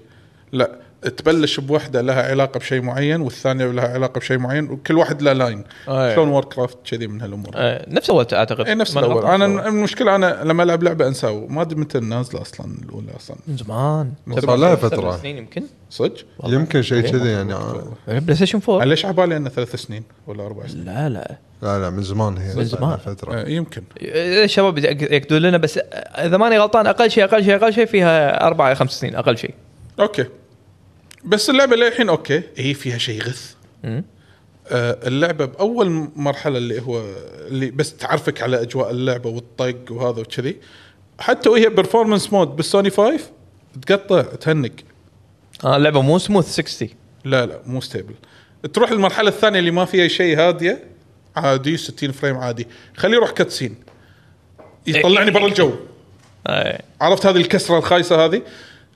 لا تبلش بوحده لها علاقه بشيء معين والثانيه لها علاقه بشيء معين وكل واحد له لاين أي. شلون وور كرافت كذي من هالامور آه، نفس اول اعتقد اي إيه. نفس ما الاول غلطان. انا المشكله انا لما العب لعبه انساو ما ادري متى نازله اصلا الاولى اصلا من زمان صار لها سبع فترة. سنين يمكن صدق؟ يمكن شيء كذي يعني آه. بلاي ستيشن 4 ليش على بالي انه ثلاث سنين ولا اربع سنين لا لا لا لا من زمان هي يعني من زمان. فتره آه، يمكن الشباب ياكدون لنا بس اذا ماني غلطان اقل شيء اقل شيء اقل شيء فيها اربع خمس سنين اقل شيء اوكي بس اللعبه للحين اوكي هي فيها شيء غث مم. آه، اللعبه باول مرحله اللي هو اللي بس تعرفك على اجواء اللعبه والطق وهذا وكذي حتى وهي برفورمانس مود بالسوني 5 تقطع تهنق آه اللعبه مو سموث 60 لا لا مو ستيبل تروح المرحله الثانيه اللي ما فيها شيء هاديه عادي 60 فريم عادي خليه يروح كاتسين يطلعني برا الجو آه. عرفت هذه الكسره الخايسه هذه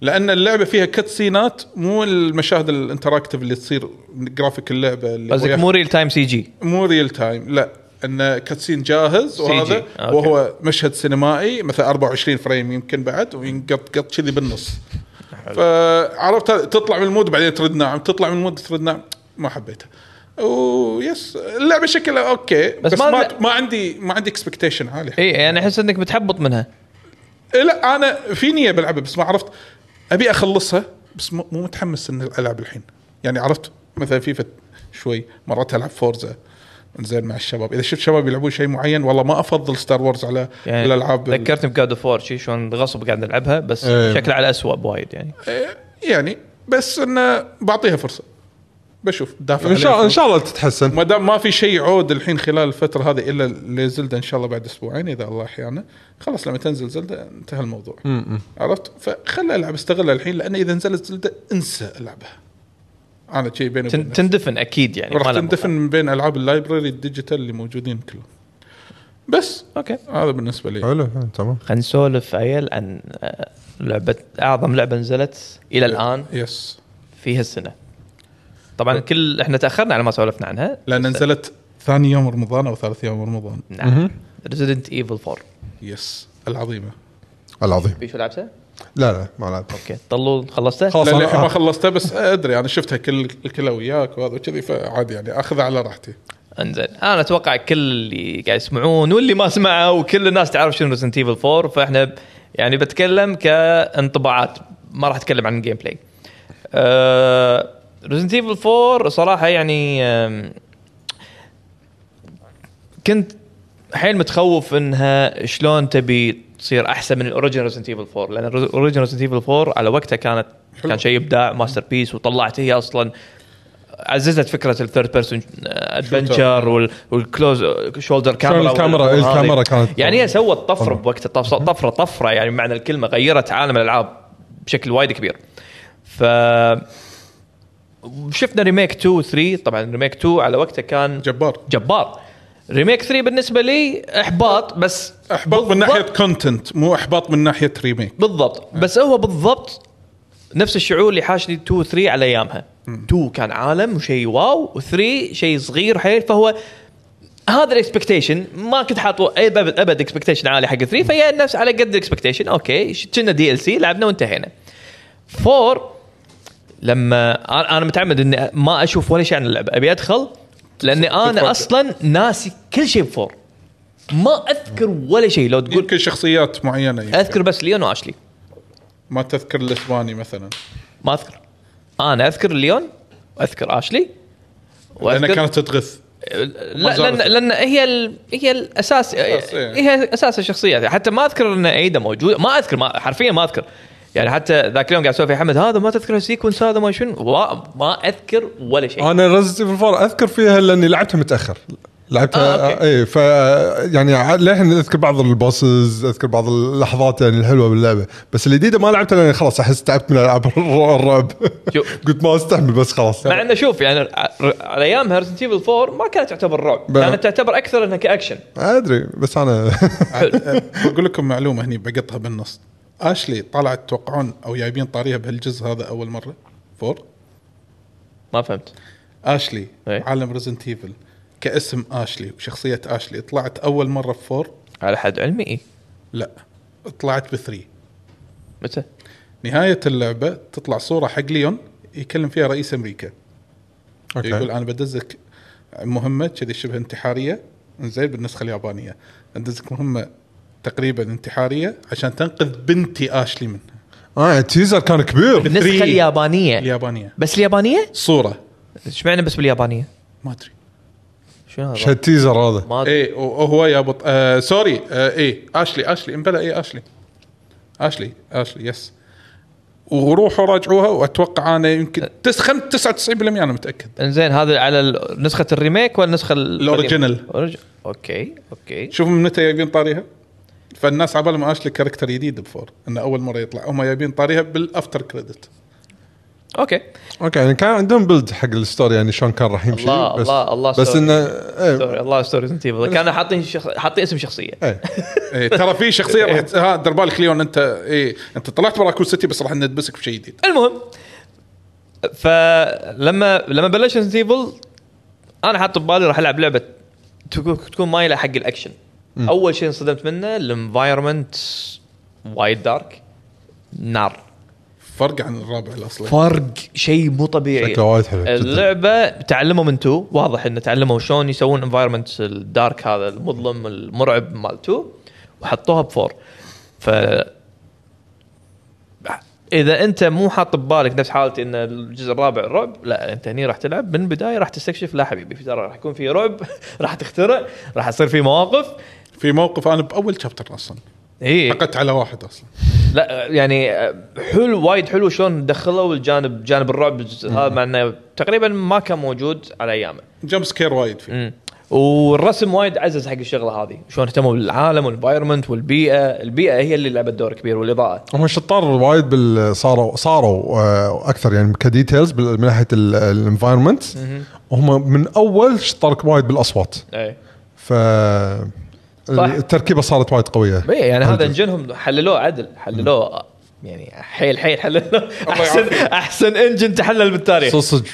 لان اللعبه فيها كت سينات مو المشاهد الانتراكتيف اللي تصير جرافيك اللعبه اللي قصدك وياك- مو ريل تايم سي جي مو ريل تايم لا ان كاتسين جاهز وهذا CG. آه، أوكي. وهو مشهد سينمائي مثلا 24 فريم يمكن بعد وينقط قط كذي بالنص فعرفت هذا- تطلع من المود بعدين ترد ناعم تطلع من المود ترد ناعم ما حبيتها ويس اللعبه شكلها اوكي بس, ما- ما, ما, ما عندي ما عندي اكسبكتيشن عالي اي يعني احس انك بتحبط منها إيه لا انا في نيه بلعبها بس ما عرفت ابي اخلصها بس مو مو متحمس ان العب الحين يعني عرفت مثلا فيفا شوي مرات العب فورزا زين مع الشباب اذا شفت شباب يلعبون شيء معين والله ما افضل ستار وورز على يعني يعني الالعاب ال- ذكرتني بجاد اوف وور شي شلون غصب قاعد نلعبها بس إيه. شكلها على اسوء بوايد يعني إيه، يعني بس انه بعطيها فرصه بشوف دافع ان شاء عليها ان شاء الله تتحسن ما دام ما في شيء عود الحين خلال الفتره هذه الا لزلدة ان شاء الله بعد اسبوعين اذا الله احيانا خلاص لما تنزل زلدة انتهى الموضوع عرفت فخلى العب استغلها الحين لان اذا نزلت زلدة انسى العبها انا شيء بيني تن- وبين تندفن اكيد يعني راح ما لها تندفن من بين العاب اللايبرري الديجيتال اللي موجودين كلهم بس مقابل. اوكي هذا بالنسبه لي حلو حلو، تمام خلينا نسولف عيل عن آه، لعبه اعظم لعبه نزلت إيه. الى الان يس في هالسنه إيه. طبعا كل احنا تاخرنا على ما سولفنا عنها لان نزلت ثاني يوم رمضان او ثالث يوم رمضان نعم ريزيدنت ايفل 4 يس العظيمه العظيم بيشو لعبته؟ لا لا ما لعبت اوكي طلول خلصته؟ خلاص لأن الحين ما انا خلصتها بس ادري انا شفتها كل كلها وياك وهذا وكذي فعادي يعني اخذها على راحتي انزين انا اتوقع كل اللي قاعد يسمعون واللي ما سمعوا وكل الناس تعرف شنو ريزنت ايفل 4 فاحنا ب- يعني بتكلم كانطباعات ما راح اتكلم عن الجيم بلاي. آه ريزنت ايفل 4 صراحه يعني آم، كنت حيل متخوف انها شلون تبي تصير احسن من الاوريجنال ريزنت ايفل 4 لان الاوريجنال ريزنت ايفل 4 على وقتها كانت حلو. كان شيء ابداع ماستر بيس وطلعت هي اصلا عززت فكره الثيرد بيرسون آه، ادفنشر والكلوز شولدر كاميرا الكاميرا- والأمور هذه. الكاميرا كانت- يعني هي سوت طفره بوقتها طف- طفره طفره يعني بمعنى الكلمه غيرت عالم الالعاب بشكل وايد كبير ف شفنا ريميك 2 و 3 طبعا ريميك 2 على وقتها كان جبار جبار ريميك 3 بالنسبه لي احباط بس احباط من بالضبط- ناحيه كونتنت مو احباط من ناحيه ريميك بالضبط بس هو بالضبط نفس الشعور اللي حاشني 2 3 على ايامها 2 كان عالم وشيء واو و3 شيء صغير حيل فهو هذا الاكسبكتيشن ما كنت حاط أي ابد ابد اكسبكتيشن عالي حق 3 فهي نفس على قد الاكسبكتيشن اوكي ش- كنا دي ال سي لعبنا وانتهينا 4 لما أنا- انا متعمد اني ما اشوف ولا شيء عن اللعبه ابي ادخل لاني تتفرج. انا اصلا ناسي كل شيء بفور ما اذكر ولا شيء لو تقول يمكن شخصيات معينه يمكن. اذكر بس ليون واشلي ما تذكر الاسباني مثلا ما اذكر انا اذكر ليون واذكر اشلي لانها كانت تتغث لا لان لان هي ال... هي الاساس أساس، إيه. يعني هي اساس الشخصيه حتى ما اذكر ان ايدا موجود ما اذكر ما حرفيا ما اذكر يعني حتى ذاك اليوم قاعد اسولف يا حمد هذا ما تذكر السيكونس هذا ما شنو وا- ما اذكر ولا شيء انا ريزنت ايفل اذكر فيها لاني لعبتها متاخر لعبتها آه، آه، أوكي. اي ف يعني ع- للحين اذكر بعض البوسز اذكر بعض اللحظات يعني الحلوه باللعبه بس الجديده ما لعبتها لان خلاص احس تعبت من العاب الر- الرعب شوف. قلت ما استحمل بس خلاص مع انه شوف يعني ر- على ايامها ريزنت ايفل 4 ما كانت تعتبر رعب بلى. كانت تعتبر اكثر انها كاكشن ادري بس انا بقول لكم معلومه هني بقطها بالنص اشلي طلعت توقعون او جايبين طاريها بهالجزء هذا اول مره فور ما فهمت اشلي إيه. عالم ريزنت ايفل كاسم اشلي وشخصيه اشلي طلعت اول مره بفور على حد علمي إيه. لا طلعت بثري متى؟ نهايه اللعبه تطلع صوره حق ليون يكلم فيها رئيس امريكا أوكي. يقول انا بدزك مهمه كذي شبه انتحاريه زين بالنسخه اليابانيه بدزك مهمه تقريبا انتحاريه عشان تنقذ بنتي اشلي منها اه التيزر كان كبير النسخه اليابانيه اليابانيه بس اليابانيه؟ صوره ايش معنى بس باليابانيه؟ ما ادري شنو ايش هذا؟ هالتيزر هذا ما أدري. ايه وهو يابط آه سوري آه ايه اشلي اشلي امبلا ايه اشلي اشلي اشلي يس وروحوا راجعوها واتوقع انا يمكن تس خم- 99% انا متاكد انزين هذا على ال- نسخه الريميك ولا النسخه ال- الأوريجينال. أوريج- اوكي اوكي شوف من متى جايبين طاريها فالناس عبالهم اشلي كاركتر جديد بفور انه اول مره يطلع هم جايبين طاريها بالافتر كريدت اوكي اوكي يعني كان عندهم بلد حق الستوري يعني شلون كان راح يمشي الله- بس الله- الله بس سوري. انه سوري ايه الله ستوري ريزنت ايفل كانوا حاطين شخ... حاطين اسم شخصيه إيه. إيه ترى في شخصيه راح ت- إيه. ها دير بالك ليون انت ايه انت طلعت برا كول سيتي بس راح ندبسك بشيء جديد المهم فلما لما بلش ريزنت ايفل انا حاط ببالي راح العب لعبه تكون تكون مايله حق الاكشن اول شيء انصدمت منه الانفايرمنت وايد دارك نار فرق عن الرابع الاصلي فرق شيء مو طبيعي إيه، شكله وايد حلو جداً. اللعبه تعلموا من تو واضح انه تعلموا شلون يسوون انفايرمنت الدارك هذا المظلم المرعب مال تو وحطوها بفور ف اذا انت مو حاط ببالك نفس حالتي ان الجزء الرابع رعب لا انت هني راح تلعب من البدايه راح تستكشف لا حبيبي في ترى راح يكون في رعب راح تخترع راح يصير في مواقف في موقف انا باول شابتر اصلا اي عقدت على واحد اصلا لا يعني حلو وايد حلو شلون دخلوا الجانب جانب الرعب هذا مع انه تقريبا ما كان موجود على ايامه جمب سكير وايد فيه مم. والرسم وايد عزز حق الشغله هذه شلون اهتموا بالعالم والانفايرمنت والبيئه البيئه هي اللي لعبت دور كبير والاضاءه هم شطار وايد بال صاروا صاروا آه، اكثر يعني كديتيلز بال- من ناحيه الانفايرمنت هم من اول شطار وايد بالاصوات اي ف التركيبه صارت وايد قويه يعني هذا عدل. انجنهم حللوه عدل حللوه يعني حيل حيل حللوه احسن يعافيك. احسن انجن تحلل بالتاريخ صدق صدق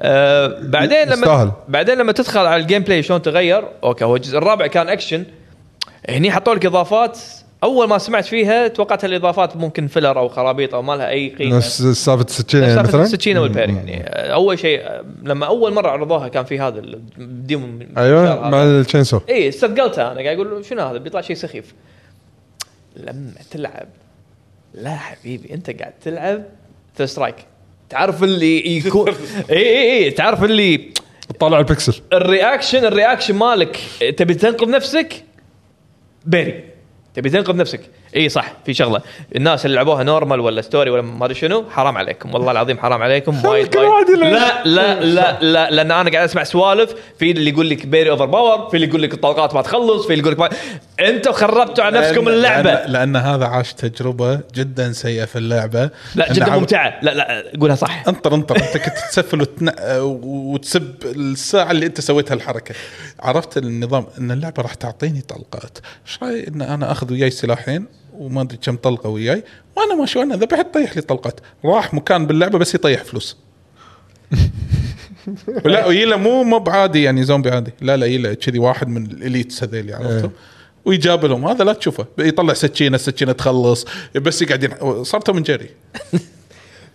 آه بعدين لما يستاهل. بعدين لما تدخل على الجيم بلاي شلون تغير اوكي هو الجزء الرابع كان اكشن هني حطوا لك اضافات اول ما سمعت فيها توقعت الاضافات ممكن فيلر او خرابيط او ما لها اي قيمه نفس سالفه السكينه يعني سالفه مثلا السكينه والبير يعني آه، اول شيء آه، لما اول مره عرضوها كان في هذا الديمون ايوه مع التشينسو اي استثقلتها انا قاعد اقول شنو هذا بيطلع شيء سخيف لما تلعب لا حبيبي انت قاعد تلعب ثير سترايك تعرف اللي يكون اي اي اي تعرف اللي طالع البكسل الرياكشن الرياكشن مالك تبي تنقذ نفسك بيري تبي تنقذ نفسك اي صح في شغله الناس اللي لعبوها نورمال ولا ستوري ولا ما ادري شنو حرام عليكم والله العظيم حرام عليكم وايد كل واحد وايد يلعب. لا لا لا لا لان انا قاعد اسمع سوالف في اللي يقول لك بيري اوفر باور في اللي يقول لك الطلقات ما تخلص في اللي يقول لك ما... انتوا خربتوا على نفسكم لأن- اللعبه لأن, لأن هذا عاش تجربه جدا سيئه في اللعبه لا إن جدا عب- ممتعه لا لا قولها صح انطر انطر انت كنت تسفل وتن... وتسب الساعه اللي انت سويت هالحركه عرفت النظام ان اللعبه راح تعطيني طلقات ايش راي ان انا اخذ وياي سلاحين وما ادري كم طلقه وياي وانا ما شو انا ذبحت طيح لي طلقات راح مكان باللعبه بس يطيح فلوس لا ويلا مو مو بعادي يعني زومبي عادي لا لا يلا كذي واحد من الاليتس هذيل عرفتهم ويجابلهم هذا لا تشوفه يطلع سكينه السكينه تخلص بس يقعدين صرتوا من جري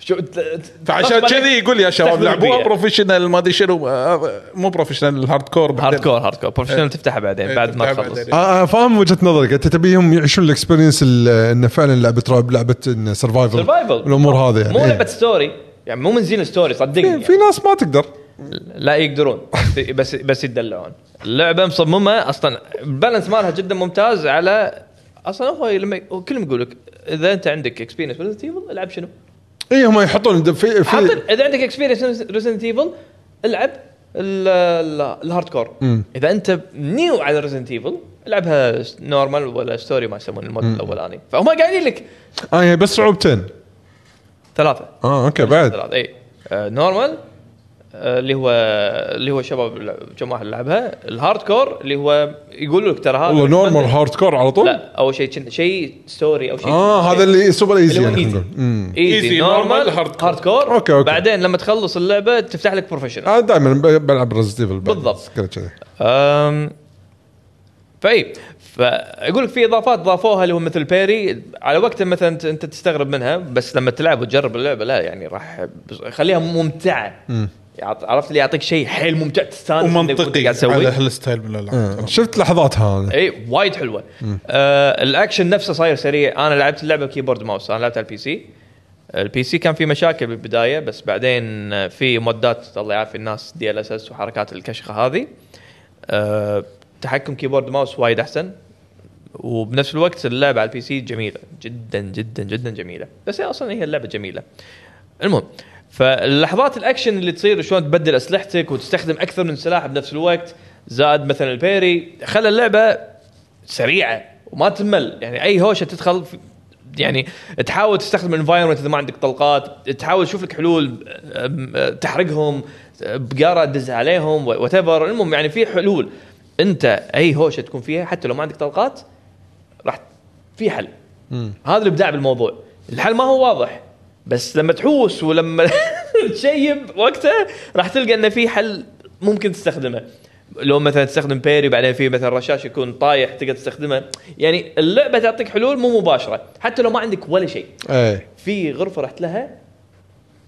شو- ت- ت- فعشان غصب كذي عليك يقول يا شباب تستخدم لعبوها البيئة. بروفيشنال ما ادري شنو آه، مو بروفيشنال الهارد كور بعدين. هارد كور هارد كور بروفيشنال تفتحها بعدين إيه، بعد ما تفتحها تخلص بعدين. آه آه، فاهم وجهه نظرك انت تبيهم يعيشون الاكسبيرينس انه فعلا لعبه رعب لعبه إنه سرفايفل سرفايفل الامور هذه يعني مو إيه. لعبه ستوري يعني مو من زين ستوري صدقني في- يعني. في ناس ما تقدر لا يقدرون بس بس يدلعون اللعبه مصممه اصلا البالانس مالها جدا ممتاز على اصلا هو لما هو كلهم يقول لك اذا انت عندك اكسبيرينس بريزنت ايفل العب شنو؟ اي إيه، هم يحطون د- في حاطين في اذا عندك اكسبيرينس ريزنت ايفل العب ال- ال- الهارد كور اذا انت نيو على ريزنت ايفل العبها نورمال ولا ستوري ما يسمون المود الاولاني فهم قاعدين لك اه هي بس صعوبتين ثلاثه اه اوكي بعد ثلاثه اي آه، نورمال آه، اللي هو اللي هو شباب لع- كم واحد لعبها الهارد كور اللي هو يقول لك ترى هذا والله نورمال هارد كور على طول لا اول شيء شيء ستوري او شيء اه شيء- هذا اللي سوبر ايزي اللي هو يعني ايزي نقول أمم. ايزي Easy, نورمال normal, hard هارد كور أوكي، أوكي. بعدين لما تخلص اللعبه تفتح لك بروفيشنال انا دائما آه، بلعب ريزنت ايفل بالضبط. كذا أم... فاي فاقول لك في اضافات ضافوها اللي هو مثل بيري على وقت مثلا انت- انت تستغرب منها بس لما تلعب وتجرب اللعبه لا يعني راح بس- خليها ممتعه يعط- عرفت اللي يعطيك شيء حيل ممتع تستانس إنك ومنطقي آه. قاعد تسويه على هالستايل من الالعاب شفت لحظاتها انا اي إيه، وايد حلوه آه الاكشن نفسه صاير سريع انا لعبت اللعبه بكيبورد ماوس انا لعبت على البي سي البي سي كان في مشاكل بالبدايه بس بعدين آه، في مودات الله يعافي الناس دي ال اس اس وحركات الكشخه هذه آه تحكم كيبورد ماوس وايد احسن وبنفس الوقت اللعبه على البي سي جميله جدا جدا جدا جميله بس هي اصلا هي اللعبه جميله المهم فاللحظات الاكشن اللي تصير شلون تبدل اسلحتك وتستخدم اكثر من سلاح بنفس الوقت زائد مثلا البيري خلى اللعبه سريعه وما تمل يعني اي هوشه تدخل في يعني تحاول تستخدم الانفايرمنت اذا ما عندك طلقات تحاول تشوف لك حلول أم، أه، تحرقهم أه، بقاره تدز عليهم وات المهم يعني في حلول انت اي هوشه تكون فيها حتى لو ما عندك طلقات راح في حل هذا الابداع بالموضوع الحل ما هو واضح بس لما تحوس ولما تشيب وقتها راح تلقى انه في حل ممكن تستخدمه لو مثلا تستخدم بيري بعدين في مثلا رشاش يكون طايح تقدر تستخدمه يعني اللعبه تعطيك حلول مو مباشره حتى لو ما عندك ولا شيء اي في غرفه رحت لها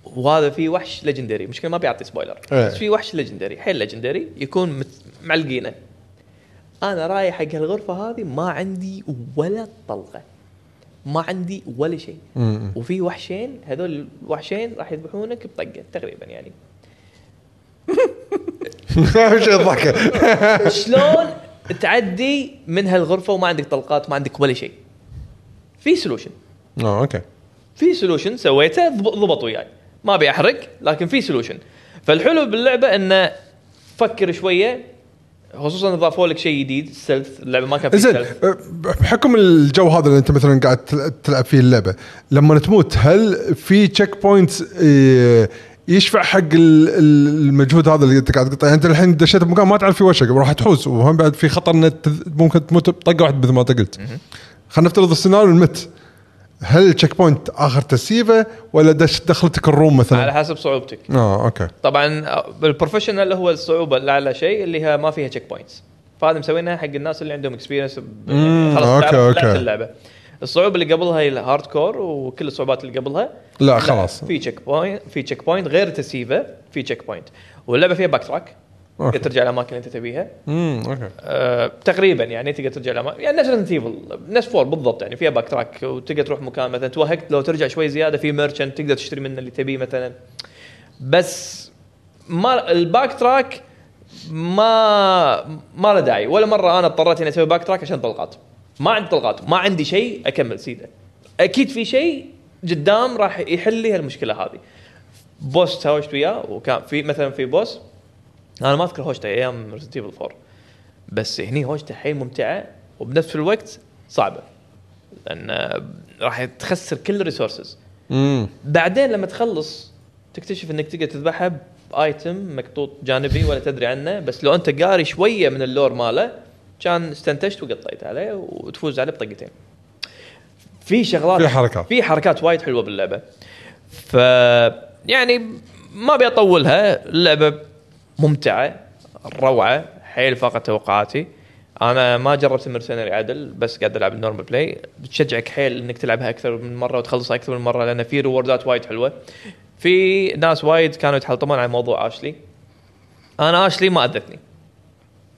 وهذا في وحش ليجندري مشكله ما بيعطي سبويلر إيه. بس في وحش ليجندري حيل ليجندري يكون مت... معلقينه انا رايح حق هالغرفه هذه ما عندي ولا طلقه ما عندي ولا شيء وفي وحشين هذول الوحشين راح يذبحونك بطقه تقريبا يعني اهم شيء الضحكه شلون تعدي من هالغرفه وما عندك طلقات ما عندك ولا شيء في سولوشن اه اوكي في سولوشن سويته ضب- ضبط وياي ما ابي احرق لكن في سولوشن فالحلو باللعبه انه فكر شويه خصوصا اضافوا لك شيء جديد السلث اللعبه ما كان فيها زين سلث أه، بحكم الجو هذا اللي انت مثلا قاعد تل- تلعب فيه اللعبه لما تموت هل في تشيك بوينتس يشفع حق ال- ال- المجهود هذا اللي انت قاعد تقطع يعني انت الحين دشيت بمكان ما تعرف فيه ولا شيء راح تحوس وهم بعد في خطر انك تذ- ممكن تموت بطقه واحده مثل ما انت قلت خلينا نفترض السيناريو المت هل التشيك بوينت اخر تسييفه ولا دش دخلتك الروم على مثلا؟ حسب صعوبتك اه اوكي طبعا بالبروفيشنال آه، هو الصعوبه الاعلى شيء اللي هي ما فيها تشيك بوينتس فهذا مسوينها حق الناس اللي عندهم يعني اكسبيرينس مم، أوكي، أوكي. اللعبه الصعوبه اللي قبلها هي الهارد كور وكل الصعوبات اللي قبلها لا خلاص في تشيك بوينت في تشيك بوينت غير تسييفه في تشيك بوينت واللعبه فيها باك تراك أوكي. تقدر ترجع الاماكن اللي انت تبيها امم اوكي أه تقريبا يعني تقدر ترجع لما يعني نفس ريزنت ايفل نفس فور بالضبط يعني فيها باك تراك وتقدر تروح مكان مثلا توهقت لو ترجع شوي زياده في ميرشنت تقدر تشتري منه اللي تبيه مثلا بس ما الباك تراك ما ما له داعي ولا مره انا اضطريت اني اسوي باك تراك عشان طلقات ما عندي طلقات ما عندي شيء اكمل سيده اكيد في شيء قدام راح يحل لي هالمشكله هذه بوس تهاوشت وياه وكان في مثلا في بوس انا ما اذكر هوشته ايام ريزنت ايفل 4 بس هني هوشته حيل ممتعه وبنفس الوقت صعبه لان آه، راح تخسر كل الريسورسز امم بعدين لما تخلص تكتشف انك تقدر تذبحها بايتم مقطوط جانبي ولا تدري عنه بس لو انت قاري شويه من اللور ماله كان استنتجت وقطيت عليه وتفوز عليه بطقتين. في شغلات في حركات. في حركات وايد حلوه باللعبه. ف يعني ما ابي اطولها اللعبه ممتعه روعه حيل فاقت توقعاتي. انا ما جربت المرسنري عدل بس قاعد العب النورمال بلاي بتشجعك حيل انك تلعبها اكثر من مره وتخلصها اكثر من مره لان في ريوردات وايد حلوه. في ناس وايد كانوا يتحلطمون على موضوع اشلي. انا اشلي ما اذتني.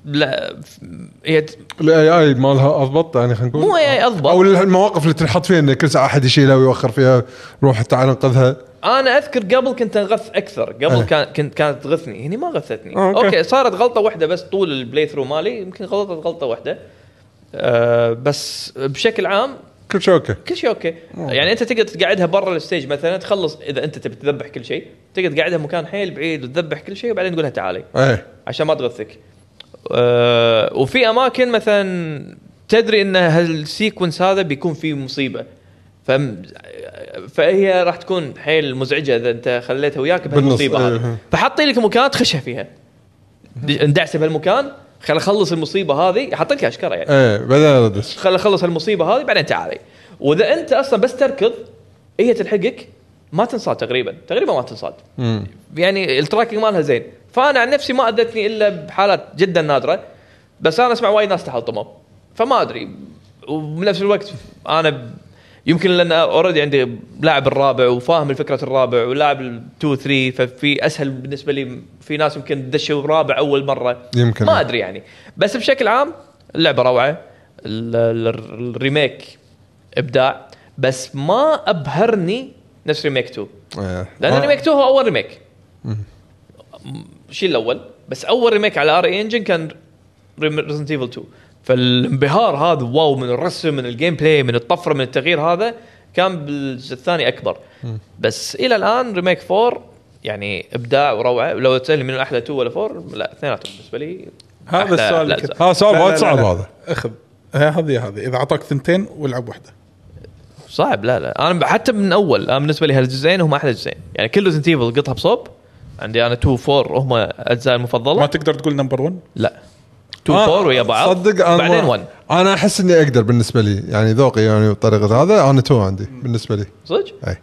لا ف- هي ت- الاي اي مالها اضبط يعني خلينا نقول مو AI أضبط. او المواقف اللي تنحط فيها ان كل ساعه احد يشيلها ويوخر فيها روح تعال انقذها انا اذكر قبل كنت اغث اكثر قبل أيه. كان كنت كانت تغثني هني ما غثتني آه، أوكي. اوكي صارت غلطه واحده بس طول البلاي ثرو مالي يمكن غلطت غلطه واحده أه بس آه، بشكل عام كل شيء اوكي كل شيء اوكي آه. يعني انت تقدر تقعدها برا الستيج مثلا تخلص اذا انت تبي تذبح كل شيء تقدر تقعدها مكان حيل بعيد وتذبح كل شيء وبعدين تقول لها تعالي ايه عشان ما تغثك أه وفي اماكن مثلا تدري ان هالسيكونس هذا بيكون فيه مصيبه فم فهي راح تكون حيل مزعجه اذا انت خليتها وياك بهالمصيبه بالنص، هذه إيه. فحاطين لك مكان تخشها فيها اندعسه بهالمكان خل اخلص المصيبه هذه حاطين لك اشكره يعني ايه بعدين اردش خل اخلص المصيبه هذه بعدين تعالي واذا انت اصلا بس تركض هي تلحقك ما تنصاد تقريبا تقريبا ما تنصاد يعني التراكنج مالها زين فانا عن نفسي ما اذتني الا بحالات جدا نادره بس انا اسمع وايد ناس تحطمه فما ادري وبنفس الوقت انا ب- يمكن لان اوريدي عندي لاعب الرابع وفاهم الفكره الرابع ولاعب 2 3 ففي اسهل بالنسبه لي في ناس يمكن دشوا رابع اول مره يمكن. ما ادري يعني بس بشكل عام اللعبه روعه ال- ال- الريميك ابداع بس ما ابهرني نفس ريميك 2 إيه. لان ما- ريميك 2 هو اول ريميك شيء الاول بس اول ريميك على ار انجن كان ريزنت ايفل 2 فالانبهار هذا واو من الرسم من الجيم بلاي من الطفره من التغيير هذا كان بالجزء الثاني اكبر بس الى الان ريميك 4 يعني ابداع وروعه لو تسالني من احلى 2 ولا 4 لا اثنيناتهم بالنسبه لي أحلى- هذا السؤال اللي أحلى كنت- أجزاء. ها، سؤال لا، لا، وايد لا، صعب لا. هذا. اخذ ها هذه يا هذه اذا اعطاك ثنتين والعب واحده صعب لا لا انا حتى من اول انا بالنسبه لي هالجزئين هم احلى جزئين يعني كل ريزنت ايفل قطها بصوب عندي انا 2 4 هم اجزاء المفضله ما تقدر تقول نمبر 1 لا 2 4 ويا بعض آه، صدق انا بعدين ما- 1 انا احس اني اقدر بالنسبه لي يعني ذوقي يعني وطريقه هذا انا تو عندي بالنسبه لي إيه. صدق؟ اي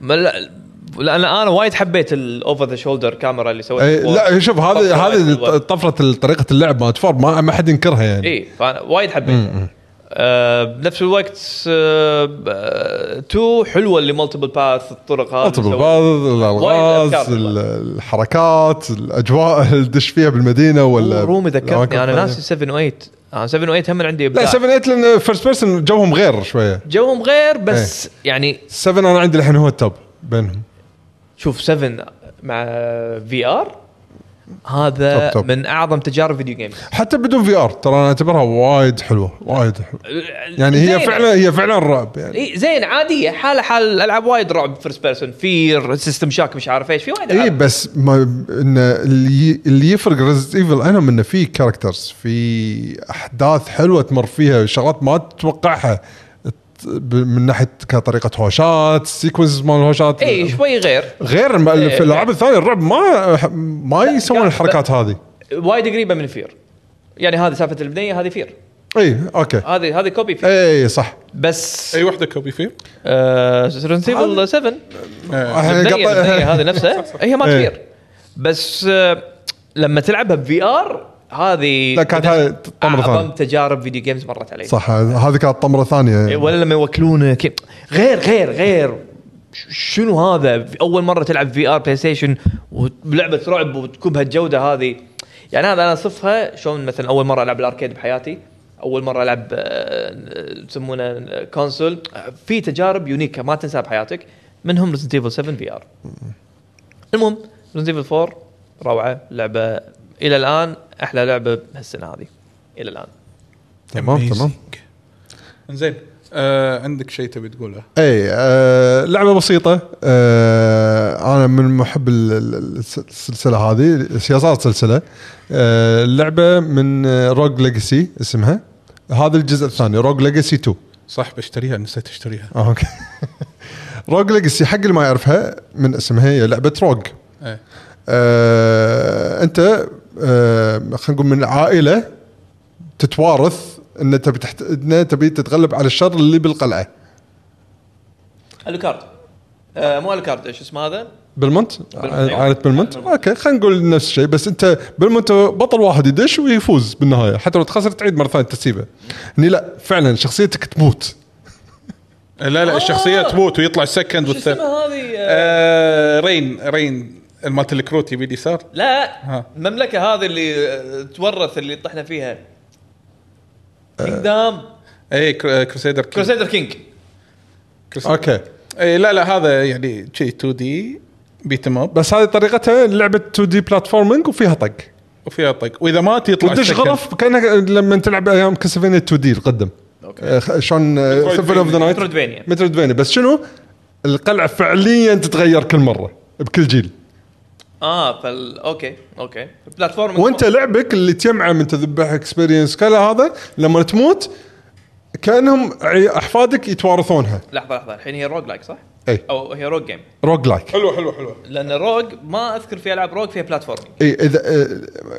ما لا- لان انا وايد حبيت الاوفر ذا شولدر كاميرا اللي سويتها اي إيه، لا شوف هذه هذه طفره طريقه اللعب مالت فور ما ما حد ينكرها يعني اي فانا إيه، وايد حبيتها آه بنفس الوقت 2 آه تو حلوه اللي مالتيبل باث الطرق هذه اطلب سويت- الباض وايد الالغاز أفكار ال- والله. الحركات الاجواء اللي تدش فيها بالمدينه ولا رومي يعني ذكرتني انا الأماكن ناسي 7 و 8 انا 7 و 8 هم لا عندي ابداع 7 8 لان فيرست بيرسون جوهم غير شويه جوهم غير إيه. بس يعني 7 انا عندي الحين هو التوب بينهم شوف 7 مع في ار هذا توب- توب. من اعظم تجارب فيديو جيمز حتى بدون في ار ترى انا اعتبرها وايد حلوه وايد حلوة. يعني هي زينة. فعلا هي فعلا رعب يعني اي زين عاديه حاله حال العاب وايد رعب فيرست بيرسون فير سيستم شاك مش عارف ايش في وايد اي العاب إيه، بس ما ان اللي اللي يفرق ريزد ايفل عنهم انه في كاركترز في احداث حلوه تمر فيها شغلات ما تتوقعها ت- ب- من ناحيه كطريقه هوشات سيكونس مال الهوشات اي شوي غير غير الم- إيه. في الالعاب الثانيه الرعب ما ما يسوون كان- الحركات هذه وايد قريبه من فير يعني هذه سالفه البنيه هذه فير اي اوكي هذه هذه كوبي فير اي إيه، صح بس آه، اي واحده كوبي فير ريزنت ايفل 7 آه. إحنا البنيه قطع- البنية هذه نفسها هي ما إيه. فير بس آه، لما تلعبها بفي ار هذه لا، كانت هذه طمرة ثانية. اعظم تجارب فيديو جيمز مرت علي صح هذه كانت طمره ثانيه إيه، ولا لما يوكلونك غير غير غير ش- شنو هذا اول مره تلعب في ار بلاي ستيشن ولعبه رعب وتكون بهالجوده هذه يعني هذا انا اصفها شلون مثلا اول مره العب الاركيد بحياتي اول مره العب آه، يسمونه كونسول في تجارب يونيكه ما تنساها بحياتك منهم ريزنت ايفل 7 في ار المهم ريزنت ايفل 4 روعه لعبه الى الان احلى لعبه هالسنه هذه الى الان إيه، تمام تمام زين آه عندك شيء تبي تقوله اي آه لعبه بسيطه آه انا من محب ال- ال- الس- السلسله هذه صار سلسله آه اللعبه من روج ليجاسي اسمها هذا الجزء الثاني روج ليجاسي 2 صح بشتريها نسيت اشتريها آه، اوكي روج ليجاسي حق اللي ما يعرفها من اسمها هي لعبه روج ايه آه انت آه خلينا نقول من عائله تتوارث ان تبي تحت... ان تبي تتغلب على الشر اللي بالقلعه الوكارد آه مو الوكارد ايش اسمه هذا؟ بالمنت بالمنت. عائلة بالمنت اوكي خلينا نقول نفس الشيء بس انت بالمنت بطل واحد يدش ويفوز بالنهايه حتى لو تخسر تعيد مره ثانيه تسيبه هني لا فعلا شخصيتك تموت لا لا آه. الشخصيه تموت ويطلع السكند شو اسمها والثالث هذه؟ آه آه رين رين مالت الكروت يبي اليسار لا ها. المملكه هذه اللي آه، تورث اللي طحنا فيها كينجدام اي إيه، كروسيدر كروسيدر كينج اوكي اي إيه، لا لا هذا يعني شيء 2 دي بيت اب بس هذه طريقتها لعبه 2 دي بلاتفورمينج وفيها طق وفيها طق واذا مات يطلع وتدش السكند. غرف كانك لما تلعب ايام كاسلفينيا 2 دي القدم اوكي آه، شلون سفن اوف ذا نايت مترويدفينيا. مترويدفينيا بس شنو؟ القلعه فعليا تتغير كل مره بكل جيل اه فال اوكي اوكي بلاتفورم وانت لعبك اللي تجمعه من تذبح اكسبيرينس كلا هذا لما تموت كانهم عي- احفادك يتوارثونها لحظه لحظه الحين هي روج لايك صح؟ اي او هي روج جيم روج لايك حلوه حلوه حلوه لان روج ما اذكر في العاب روج فيها بلاتفورمينج اي اذا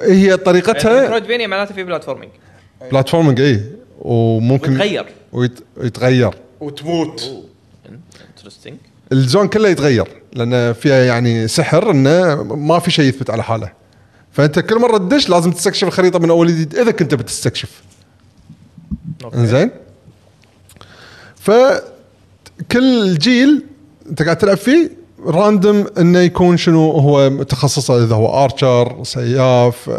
آه، هي طريقتها مترويدفينيا معناته فيها بلاتفورمينج بلاتفورمينج اي وممكن وتغير ويت- ويتغير وتموت انترستنج الزون كله يتغير لان فيها يعني سحر انه ما في شيء يثبت على حاله فانت كل مره تدش لازم تستكشف الخريطه من اول جديد اذا كنت بتستكشف انزين فكل جيل انت قاعد تلعب فيه راندم انه يكون شنو هو تخصصه اذا هو ارشر سياف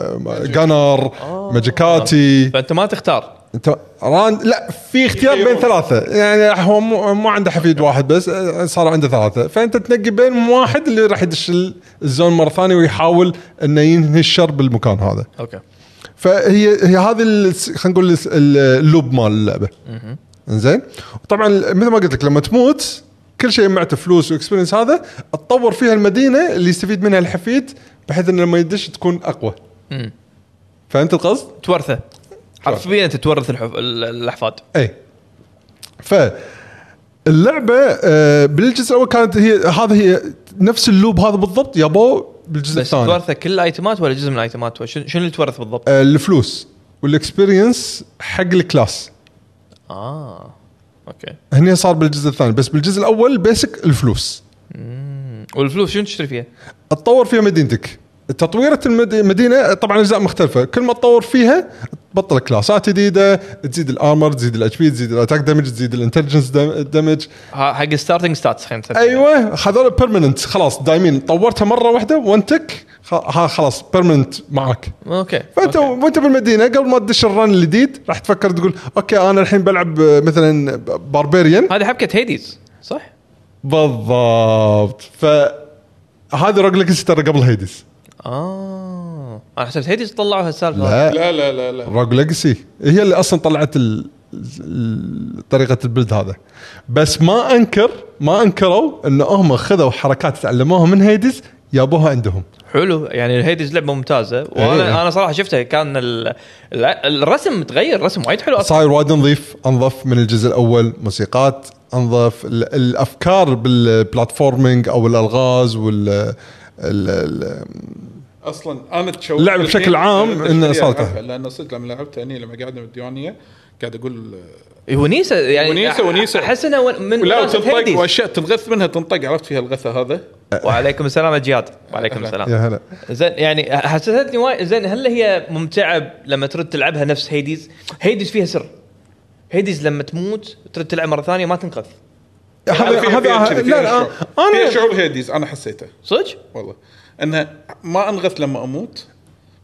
جانر ماجيكاتي فانت ما تختار انت راند لا في اختيار بين يخيرون. ثلاثه يعني هو مو, مو عنده حفيد واحد بس آه، صار عنده ثلاثه فانت تنقي بين واحد اللي راح يدش ال- الزون مره ثانيه ويحاول انه ينهي الشر بالمكان هذا اوكي فهي هي هذا ال- خلينا نقول ال- اللوب مال اللعبه انزين طبعا مثل ما قلت لك لما تموت كل شيء معته فلوس واكسبيرينس هذا تطور فيها المدينه اللي يستفيد منها الحفيد بحيث انه لما يدش تكون اقوى مم. فهمت القصد؟ تورثه حرفيا تتورث الحف... ال- الاحفاد اي إيه. ف اللعبه آه، بالجزء الاول كانت هي هذا هي نفس اللوب هذا بالضبط يابو بالجزء بس الثاني تورثه كل الايتمات ولا جزء من الايتمات شنو شنو اللي تورث بالضبط؟ آه، الفلوس والاكسبيرينس حق الكلاس اه اوكي هني صار بالجزء الثاني بس بالجزء الاول بيسك الفلوس والفلوس شنو تشتري فيها؟ تطور فيها مدينتك تطويرة المدينة طبعا اجزاء مختلفة كل ما تطور فيها تبطل كلاسات جديدة تزيد الارمر تزيد الاتش بي تزيد الاتاك دامج تزيد الانتلجنس دامج ها- حق ستارتنج ستاتس خلينا نسميها. ايوه هذول بيرمننت خلاص دايمين طورتها مره واحده وانتك خ- ها خلاص بيرمننت معك اوكي فانت أوكي. وانت بالمدينه قبل ما تدش الرن الجديد راح تفكر تقول اوكي انا الحين بلعب آه، مثلا باربيريان هذه حبكه هيديز صح؟ بالضبط ف هذا روج ليجاسي ترى قبل هيدس اه انا حسبت هيديز طلعوا هالسالفه آه. لا لا لا لا لا روج ليجاسي هي اللي اصلا طلعت ال... ال- طريقه البلد هذا بس ما انكر ما انكروا ان هم خذوا حركات تعلموها من هيدس يابوها عندهم حلو يعني الهيديز لعبه ممتازه وانا إيه. انا صراحه شفتها كان ال... ال- الرسم متغير رسم وايد حلو اصلا صاير وايد نظيف انظف من الجزء الاول موسيقات انظف ال- الافكار بالبلاتفورمينج او الالغاز وال ال- ال- اصلا انا تشوهت اللعبة بشكل الحين عام لما إنها تشتريها صارت. ألعبها، لان صدق لما لعبتها اني لما قاعد بالديوانيه قاعد اقول ونيسه يعني ونيسة- ونيسة. احس انه ون- من لا وناسة وتنطق هيديز واشياء تنغث منها تنطق عرفت فيها الغثه هذا وعليكم السلام يا جياد وعليكم أهلا. يا السلام هلا زين يعني حسستني وايد زين هل هي ممتعه لما ترد تلعبها نفس هيديز؟ هيديز فيها سر هيديز لما تموت ترد تلعب مره ثانيه ما تنقذ هذا فيها- فيها هذا كذي، لا فيها لا شعور. فيها انا شعور هيديز انا حسيته صدق؟ والله انها ما انغث لما اموت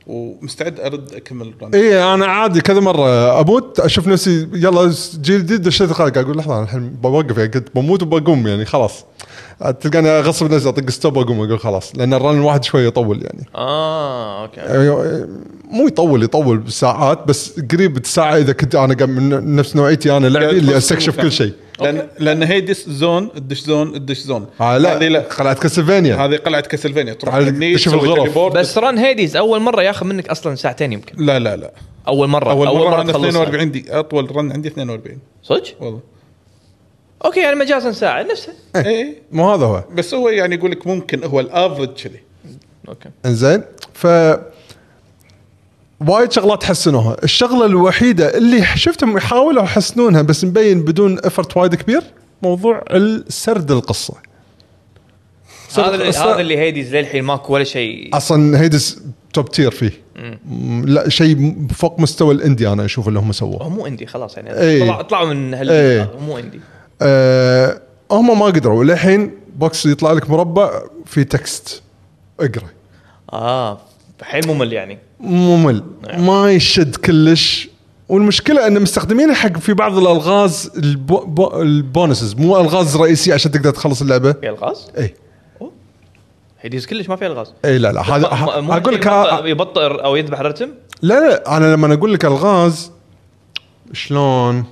ومستعد ارد اكمل الرن اي انا إيه، عادي كذا مره اموت اشوف نفسي يلا جيل جديد دشيت الخارج اقول لحظه انا الحين بوقف يعني كنت بموت وبقوم يعني خلاص تلقاني اغصب نفسي اطق ستوب واقوم اقول خلاص لان الرن الواحد شوي يطول يعني اه اوكي يعني مو يطول يطول بساعات بس قريب الساعه اذا كنت انا قم- من نفس نوعيتي انا لعبي اللي استكشف كل شيء لان لان هيديس زون الدش زون الدش زون آه هذه لا لا قلعه كاسلفانيا هذه قلعه كاسلفينيا تروح تعال هني، تشوف تسوي الغرف. تليبورت. بس ران هيديز اول مره ياخذ منك اصلا ساعتين يمكن لا لا لا اول مره اول مره, انا تخلصها. 42 دي اطول رن عندي 42 صدق؟ والله اوكي يعني مجازا ساعه نفسها اي مو هذا هو إيه، بس هو يعني يقول لك ممكن هو الافرج كذي اوكي انزين ف وايد شغلات حسنوها الشغله الوحيده اللي شفتهم يحاولوا يحسنونها بس مبين بدون افرت وايد كبير موضوع السرد القصه هذا اللي أصلاً- هذا اللي هيديز للحين ماكو ولا شيء اصلا هيدس توب تير فيه م- لا شيء فوق مستوى الاندي انا اشوف اللي هم سووه هو مو عندي خلاص يعني إيه. طلع- طلعوا من إيه. هال مو عندي أه هم ما قدروا للحين بوكس يطلع لك مربع في تكست اقرا اه حيل ممل يعني ممل ما يشد كلش والمشكله ان مستخدمينه حق في بعض الالغاز البو بو- البونسز مو الغاز رئيسيه عشان تقدر تخلص اللعبه في الغاز اي هيديز كلش ما فيها الغاز اي إيه، لا لا هذا ما- مو اقول لك شيء ها- يبطئ- يبطئ او يذبح رتم لا لا انا لما اقول لك الغاز شلون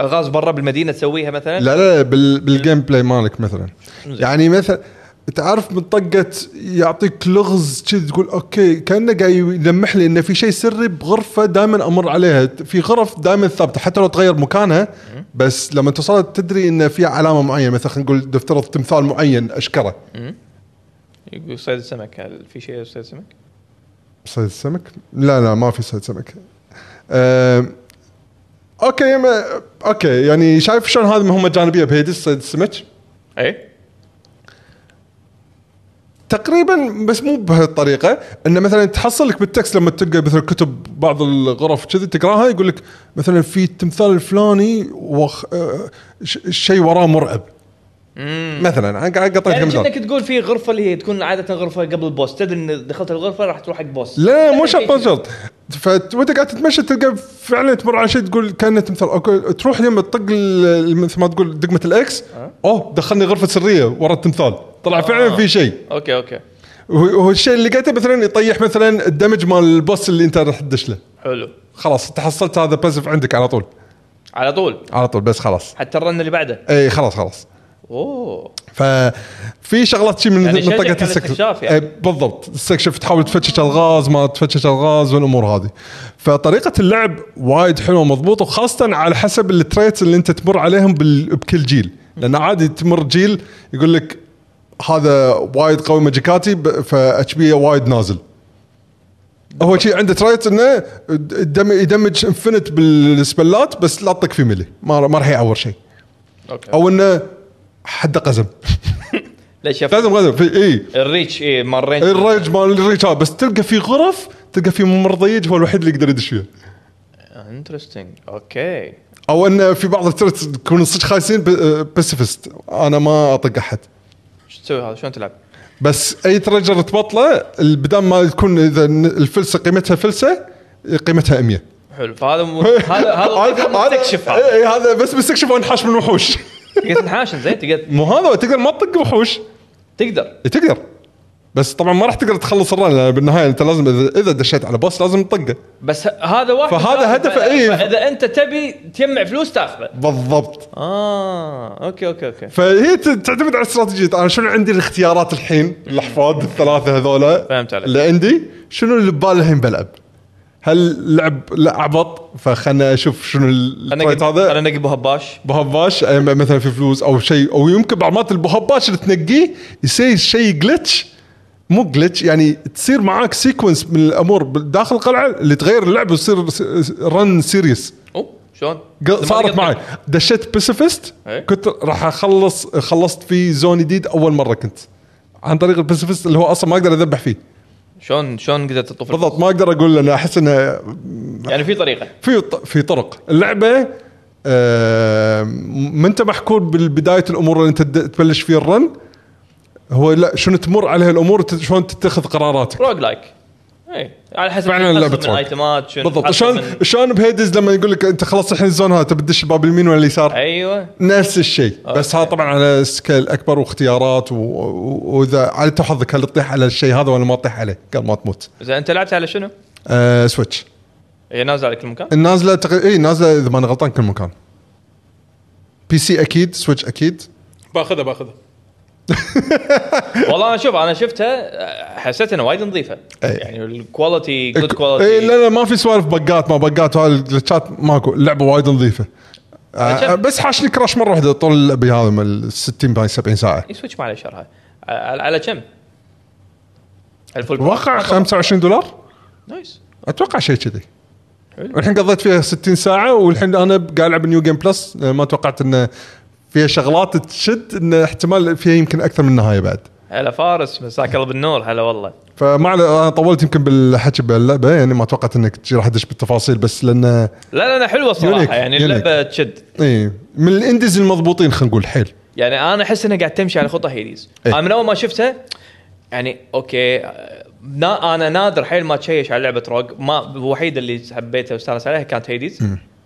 الغاز برا بالمدينه تسويها مثلا لا لا لا بال بالجيم بلاي مالك مثلا يعني مثلا تعرف من طقه يعطيك لغز كذي تقول اوكي كانه قاعد يلمح لي انه في شيء سري بغرفه دائما امر عليها في غرف دائما ثابته حتى لو تغير مكانها بس لما توصل تدري انه في علامه معينه مثلا خلينا نقول نفترض تمثال معين اشكره يقول صيد السمك هل في شيء صيد السمك؟ صيد السمك؟ لا لا ما في صيد سمك. أم، اوكي ما اوكي يعني شايف شلون هذه مهمه جانبيه بهيدس صيد السمك؟ اي تقريبا بس مو بهالطريقه انه مثلا تحصل لك بالتكست لما تلقى مثلا كتب بعض الغرف كذي تقراها يقول لك مثلا في التمثال الفلاني وخ... آه، ش... شيء وراه مرعب مثلا انا قاعد اعطيك يعني مثال كأنك تقول في غرفه اللي هي تكون عاده غرفه قبل البوس تدري ان دخلت الغرفه راح تروح حق بوس لا مو شرط مو شرط فوانت قاعد تتمشى تلقى فعلا تمر على شيء تقول كانه تمثال اوكي تروح يم تطق ال- مثل ما تقول دقمه الاكس اوه دخلني غرفه سريه ورا التمثال طلع فعلا في شيء اوكي اوكي هو هو الشيء اللي لقيته مثلا يطيح مثلا الدمج مال البوس اللي انت راح تدش له حلو خلاص تحصلت هذا باسف عندك على طول على طول على طول بس خلاص حتى الرن اللي بعده اي خلاص خلاص اوه ففي شغلات شي من يعني من شجع طاقة على السكشف. الاستكشاف يعني. إيه، بالضبط استكشف تحاول تفتش الغاز ما تفتش الغاز والامور هذه فطريقه اللعب وايد حلوه مضبوطه وخاصه على حسب التريتس اللي انت تمر عليهم بال... بكل جيل لان عادي تمر جيل يقول لك هذا وايد قوي ماجيكاتي ب- فاتش بيه وايد نازل هو شيء عنده تريت انه يدم- يدمج انفنت بالسبلات بس لا تطق في ملي ما ما راح يعور شيء اوكي او انه حد قزم لا شوف قزم قزم في اي الريتش اي مرين الريج مال الريج هذا بس تلقى في غرف تلقى في ممر ضيق هو الوحيد اللي يقدر يدش فيها آه، انترستنج اوكي او انه في بعض الترتس يكونوا صدق خايسين بيسفست انا ما اطق احد شو تسوي هذا شلون تلعب؟ بس اي تريجر تبطله بدل ما تكون اذا ن- الفلسه قيمتها فلسه قيمتها 100 حلو فهذا مو- هذا هذا مستكشف هذا اي هذا بس مستكشف وانحاش من وحوش تقدر تنحاش زين تقدر مو هذا تقدر ما تطق وحوش تقدر إي تقدر بس طبعا ما راح تقدر تخلص الرن لان بالنهايه انت لازم اذا إذا دشيت على بوس لازم تطقه بس ه- هذا واحد فهذا فاهم. هدفه إيه. فاذا انت تبي تجمع فلوس تاخذه بالضبط اه اوكي اوكي اوكي فهي ت- تعتمد على استراتيجيه انا شنو عندي الاختيارات الحين الاحفاد الثلاثه هذولا فهمت عليك. اللي عندي شنو اللي ببالي الحين بلعب هل لعب لا عبط فخلنا اشوف شنو انا الفايت نقب- طيب، هذا انا نقب هباش بهباش أي م- مثلا في فلوس او شيء او يمكن بعمات البهباش اللي تنقيه يصير شيء جلتش مو جلتش يعني تصير معاك سيكونس من الامور داخل القلعه اللي تغير اللعبه وتصير رن سيريس اوه شلون؟ ق- صارت معي دشيت باسيفست إيه. كنت راح اخلص خلصت في زون جديد اول مره كنت عن طريق الباسيفست اللي هو اصلا ما اقدر اذبح فيه شلون شلون قدرت تطوف بالضبط ما اقدر اقول انا احس انه يعني في طريقه في ط- في طرق اللعبه آه، ما انت محكور بالبدايه الامور اللي انت تد- تبلش فيها الرن هو لا شنو تمر عليها الامور وت- شلون تتخذ قراراتك روج لايك اي إيه. على حسب فعلاً على حسب لعبة من روج. ايتمات شنو بالضبط حسب شلون من- شلون بهيدز لما يقول لك انت خلص الحين الزون هذا تبي تدش الباب اليمين ولا اليسار ايوه نفس الشيء بس هذا طبعا على سكيل اكبر واختيارات و- و- واذا على تو حظك هل تطيح على الشيء هذا ولا ما تطيح عليه قبل ما تموت اذا انت لعبت على شنو؟ إيه، آه سويتش هي نازله على كل مكان النازله تق... اي نازله اذا ماني غلطان كل مكان بي سي اكيد سويتش اكيد باخذها باخذها والله انا شوف انا شفتها حسيت انها وايد نظيفه إي. يعني الكواليتي جود اي كواليتي إيه. لا لا ما في سوالف بقات ما بقات وهذا الجلتشات ماكو اللعبه وايد نظيفه آه أجل. بس حاشني كراش مره واحده طول اللعبه هذا من 60 باي 70 ساعه سويتش ما عليه شرها على على كم؟ الفول واقع 25 دولار نايس اتوقع شيء كذي حلو. والحين قضيت فيها 60 ساعه والحين انا قاعد العب نيو جيم بلس آه، ما توقعت انه فيها شغلات تشد انه احتمال فيها يمكن اكثر من النهايه بعد هلا فارس مساك الله بالنور هلا والله فما علي- انا طولت يمكن بالحكي باللعبه يعني ما توقعت انك شي راح تدش بالتفاصيل بس لانه لا لا لا حلوه يونيك، صراحه يعني يونيك. اللعبه تشد اي إيه، من الانديز المضبوطين خلينا نقول حيل يعني انا احس انها قاعد تمشي على خطى هيديز إيه. انا من اول ما شفتها يعني اوكي آه، نا انا نادر حيل ما تشيش على لعبه روج ما الوحيده اللي حبيتها واستانس عليها كانت هيديز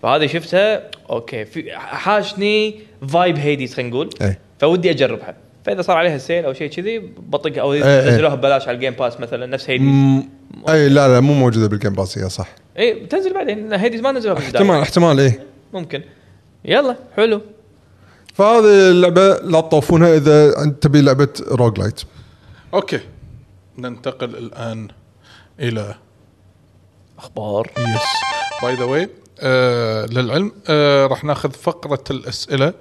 فهذه شفتها اوكي في حاشني فايب هيديز خلينا نقول إيه. فودي اجربها فاذا صار عليها سيل او شيء كذي بطقها او إيه. نزلوها ببلاش على الجيم باس مثلا نفس هيديز مم، اي إيه، لا لا مو موجوده بالجيم باس هي صح إيه، إيه. اي بتنزل بعدين هيديز ما نزلوها بالبداية. احتمال احتمال اي ممكن يلا حلو فهذه اللعبه لا تطوفونها اذا انت تبي لعبه روج لايت اوكي ننتقل الان الى اخبار يس باي ذا واي للعلم آه راح ناخذ فقره الاسئله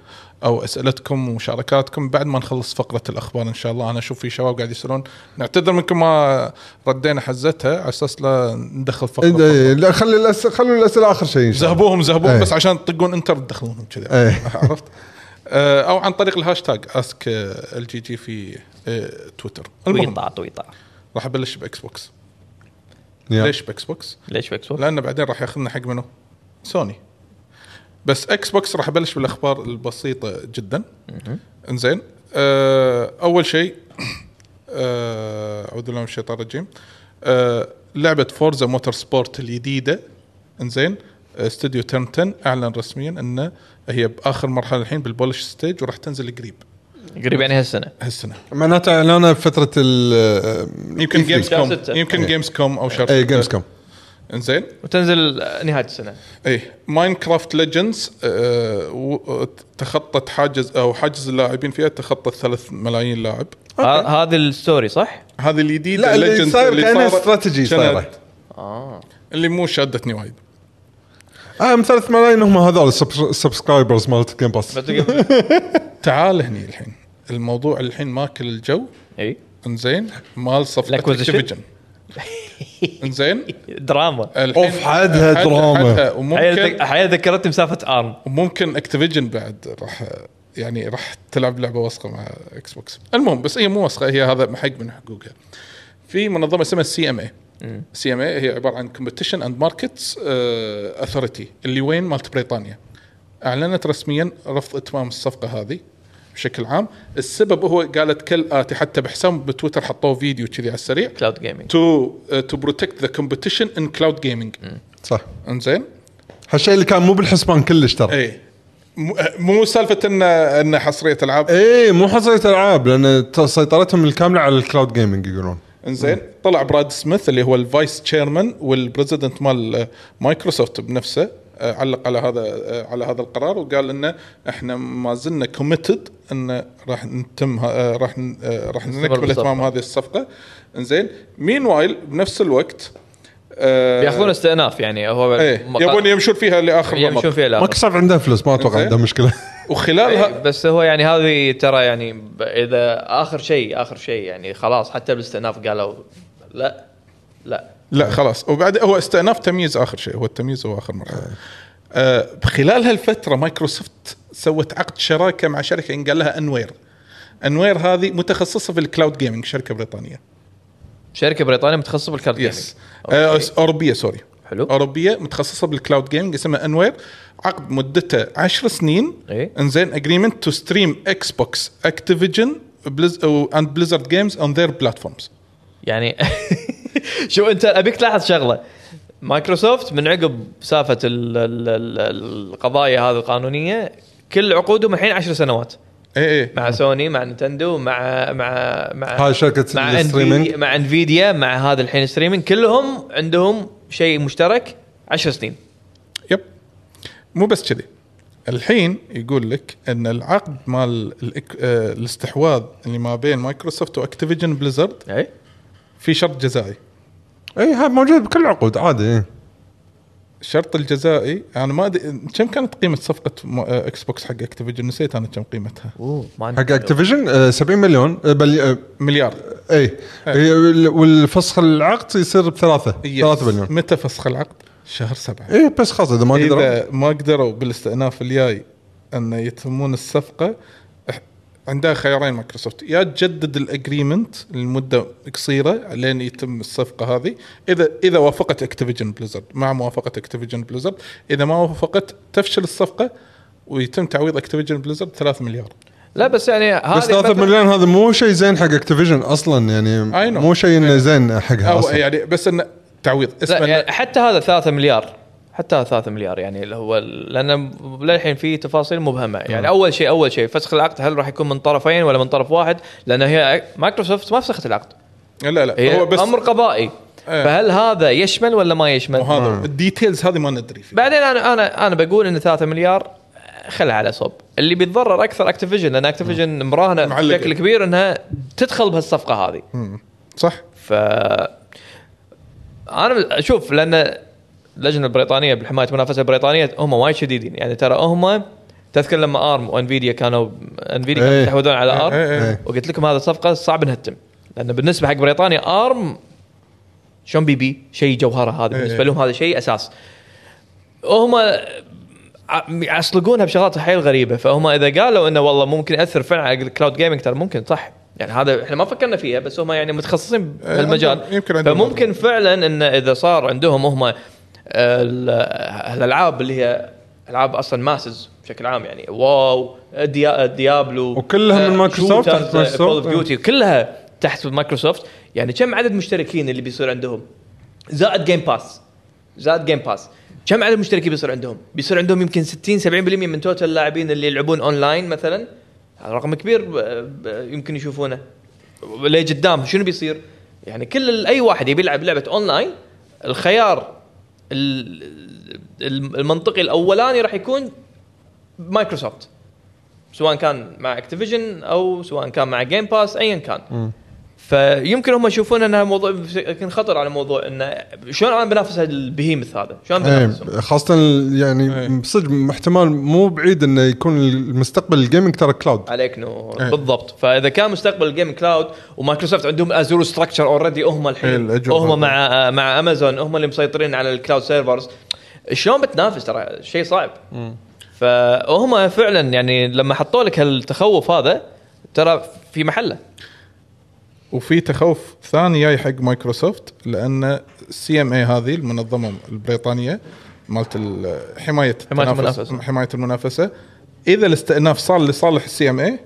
او اسئلتكم ومشاركاتكم بعد ما نخلص فقره الاخبار ان شاء الله انا اشوف في شباب قاعد يسالون نعتذر منكم ما ردينا حزتها على اساس لا ندخل فقره إيه، إيه، لا خلي الأس... خلوا الاسئله اخر شيء ان شاء الله زهبوهم زهبوهم إيه. بس عشان تطقون انتر تدخلونهم كذي إيه. عرفت آه، او عن طريق الهاشتاج اسك ال جي جي في آه، تويتر المهم تويطع تويطع راح ابلش باكس بوكس يلا. ليش باكس بوكس؟ ليش بيكس بوكس؟ لان بعدين راح ياخذنا حق منو؟ سوني بس اكس بوكس راح ابلش بالاخبار البسيطه جدا انزين آه، اول شيء آه، اعوذ بالله من الشيطان الرجيم آه، لعبه فورزا موتور سبورت الجديده انزين آه، استوديو تيرن 10 اعلن رسميا انه هي باخر مرحله الحين بالبولش ستيج وراح تنزل قريب قريب يعني هالسنه هالسنه معناته اعلانها بفتره ال E إيه، يمكن جيمز شهر كوم ستة. يمكن جيمز كوم او شهر اي ستة. جيمز كوم انزين وتنزل آه، نهايه السنه ايه ماينكرافت ليجندز آه، تخطت حاجز او حاجز اللاعبين فيها تخطت 3 ملايين لاعب ه- هذه الستوري صح؟ هذه الجديده لا، اللي Legends صاير كأنها صارت- استراتيجي كانت- صايرة. اه اللي مو شادتني وايد اه مثل 8 ملايين هم هذول السبس- السبسكرايبرز مالت الجيم باس بس تقول- تعال هني الحين الموضوع الحين ماكل الجو اي انزين مال صفقه L'acquisition؟ اكتيفيجن انزين دراما الحين- أوف، حدها حد- دراما. حدها، حيل وممكن حيل ذكرتني مسافه ارم وممكن اكتيفيجن بعد راح يعني راح تلعب لعبه واثقه مع اكس بوكس المهم بس هي مو واثقه هي هذا حق من حقوقها في منظمه اسمها السي ام اي سي ام اي هي عباره عن كومبتيشن اند ماركتس اثوريتي آه، اللي وين مالت بريطانيا اعلنت رسميا رفض اتمام الصفقه هذه بشكل عام السبب هو قالت كالاتي حتى بحساب بتويتر حطوه فيديو كذي على السريع آه، كلاود جيمنج تو تو بروتكت ذا كومبتيشن ان كلاود جيمنج صح انزين هالشيء اللي كان مو بالحسبان كلش ترى اي إيه. مو- أه، مو سالفه ان ان حصريه العاب اي إيه، مو حصريه العاب لان ت- سيطرتهم الكامله على الكلاود جيمنج يقولون انزين طلع براد سميث اللي هو الفايس تشيرمان والبريزيدنت مال آه، مايكروسوفت بنفسه آه، علق على هذا آه، على هذا القرار وقال انه احنا ما زلنا كوميتد ان راح نتم ه- آه، راح ن- آه، راح نكمل بالصفقة. اتمام هذه الصفقه انزين مين وايل بنفس الوقت آه، ياخذون استئناف يعني هو ايه مقا- يبون يمشون فيها لاخر يمشون رمق فيها لا مايكروسوفت عندها فلوس ما اتوقع إنزين. عندها مشكله وخلال طيب، إيه، ه- بس هو يعني هذه ترى يعني ب- اذا اخر شيء اخر شيء يعني خلاص حتى بالاستئناف قالوا لا لا لا خلاص وبعد هو استئناف تمييز اخر شيء هو التمييز هو اخر مرحله آه خلال هالفتره مايكروسوفت سوت عقد شراكه مع شركه إن قال لها انوير انوير هذه متخصصه في الكلاود جيمنج شركه بريطانيه شركه بريطانيه متخصصه بالكارت يس Uh, آه جيمنج اوروبيه سوري حلو. اوروبيه متخصصه بالكلاود جيمنج اسمها انوير عقد مدته 10 سنين إيه. انزين اجريمنت تو ستريم اكس بوكس اكتيفيجن اند بليزرد جيمز اون ذير بلاتفورمز يعني شو انت ابيك تلاحظ شغله مايكروسوفت من عقب سافه ال- ال- ال- القضايا هذه القانونيه كل عقودهم الحين عشر سنوات اي اي مع سوني مع نينتندو مع مع مع هاي شركة مع الستريمينج. NVIDIA مع انفيديا مع هذا الحين ستريمينج كلهم عندهم شيء مشترك 10 سنين يب مو بس كذي الحين يقول لك ان العقد مال الإك- آه، الاستحواذ اللي ما بين مايكروسوفت واكتيفيجن بليزرد اي في شرط جزائي اي إيه، هاي موجود بكل العقود عادي إيه. الشرط الجزائي انا ما ادري كم كانت قيمه صفقه م- آه، اكس بوكس حق اكتيفيجن نسيت انا كم قيمتها اوه ما عندي حق اكتيفيجن آه، 70 مليون آه، بل آه، مليار اي هي وال- والفسخ العقد يصير بثلاثه 3 يس. مليون متى فسخ العقد؟ شهر سبعه اي بس خلاص اذا ما قدروا اذا إيه ما قدروا بالاستئناف الجاي ان يتمون الصفقه إح- عندها خيارين مايكروسوفت يا تجدد الاجريمنت لمده قصيره لين يتم الصفقه هذه اذا اذا وافقت اكتيفيجن بليزرد مع موافقه اكتيفيجن بليزرد اذا ما وافقت تفشل الصفقه ويتم تعويض اكتيفيجن بليزرد 3 مليار لا بس يعني هذا بس 3 مليون هذا مو شيء زين حق اكتيفيجن اصلا يعني I know. مو شيء انه زين حقها او اصلا يعني بس انه تعويض لا اسمه يعني حتى هذا 3 مليار حتى هذا 3 مليار يعني اللي هو لان للحين في تفاصيل مبهمه يعني اول شيء اول شيء فسخ العقد هل راح يكون من طرفين ولا من طرف واحد؟ لان هي مايكروسوفت ما فسخت العقد لا لا هي هو بس امر قضائي إيه. فهل هذا يشمل ولا ما يشمل؟ وهذا الديتيلز هذه ما ندري فيها بعدين انا انا انا بقول ان 3 مليار خلها على صوب اللي بيتضرر اكثر اكتيفيجن لان اكتيفيجن مراهنه معلقة. بشكل كبير انها تدخل بهالصفقه هذه صح ف انا اشوف لان اللجنه البريطانيه بالحمايه المنافسه البريطانيه هم وايد شديدين يعني ترى هم تذكر لما ارم وانفيديا كانوا انفيديا كانوا إيه. يستحوذون على ارم إيه، إيه، إيه. وقلت لكم هذا صفقه صعب انها تتم لان بالنسبه حق بريطانيا ارم شلون بي بي شيء جوهره هذا بالنسبه إيه. لهم هذا شيء اساس وهم ع- يعصلقونها بشغلات حيل غريبه فهم اذا قالوا انه والله ممكن ياثر فعلا على الكلاود جيمنج ترى ممكن صح يعني هذا احنا ما فكرنا فيها بس هم يعني متخصصين إيه، بهالمجال عندهم- يمكن عندهم فممكن فعلا انه اذا صار عندهم هم آه، ال- الالعاب اللي هي العاب اصلا ماسز بشكل عام يعني واو ديا ديابلو وكلها آه، من مايكروسوفت، تحت مايكروسوفت. إيه. كول اوف ديوتي كلها تحت مايكروسوفت يعني كم عدد مشتركين اللي بيصير عندهم زائد جيم باس زائد جيم باس كم عدد مشتركين بيصير عندهم؟ بيصير عندهم يمكن 60 70% من توتال اللاعبين اللي يلعبون اونلاين مثلا هذا رقم كبير ب- ب- يمكن يشوفونه ليه قدام شنو بيصير؟ يعني كل ال- اي واحد يبي يلعب لعبه اونلاين الخيار ال- ال- المنطقي الاولاني راح يكون مايكروسوفت سواء كان مع اكتيفيجن او سواء كان مع جيم باس ايا كان فيمكن هم يشوفون انها موضوع يمكن خطر على موضوع انه شلون انا بنافس البهيمث هذا؟ شلون بنافسهم؟ ايه خاصه ال- إيه. يعني صدق احتمال مو بعيد انه يكون المستقبل الجيمنج ترى كلاود عليك نور إيه. بالضبط فاذا كان مستقبل الجيم كلاود ومايكروسوفت عندهم ازور ستراكشر اوريدي هم حيل، الحين أجرهم. هم مع مع امازون هم اللي مسيطرين على الكلاود سيرفرز شلون بتنافس ترى شيء صعب فهم فعلا يعني لما حطوا لك هالتخوف هذا ترى في محله وفي تخوف ثاني جاي حق مايكروسوفت لان السي ام اي هذه المنظمه البريطانيه مالت ال- حمايه المنافسة. حمايه المنافسه اذا الاستئناف صار لصالح السي ام اي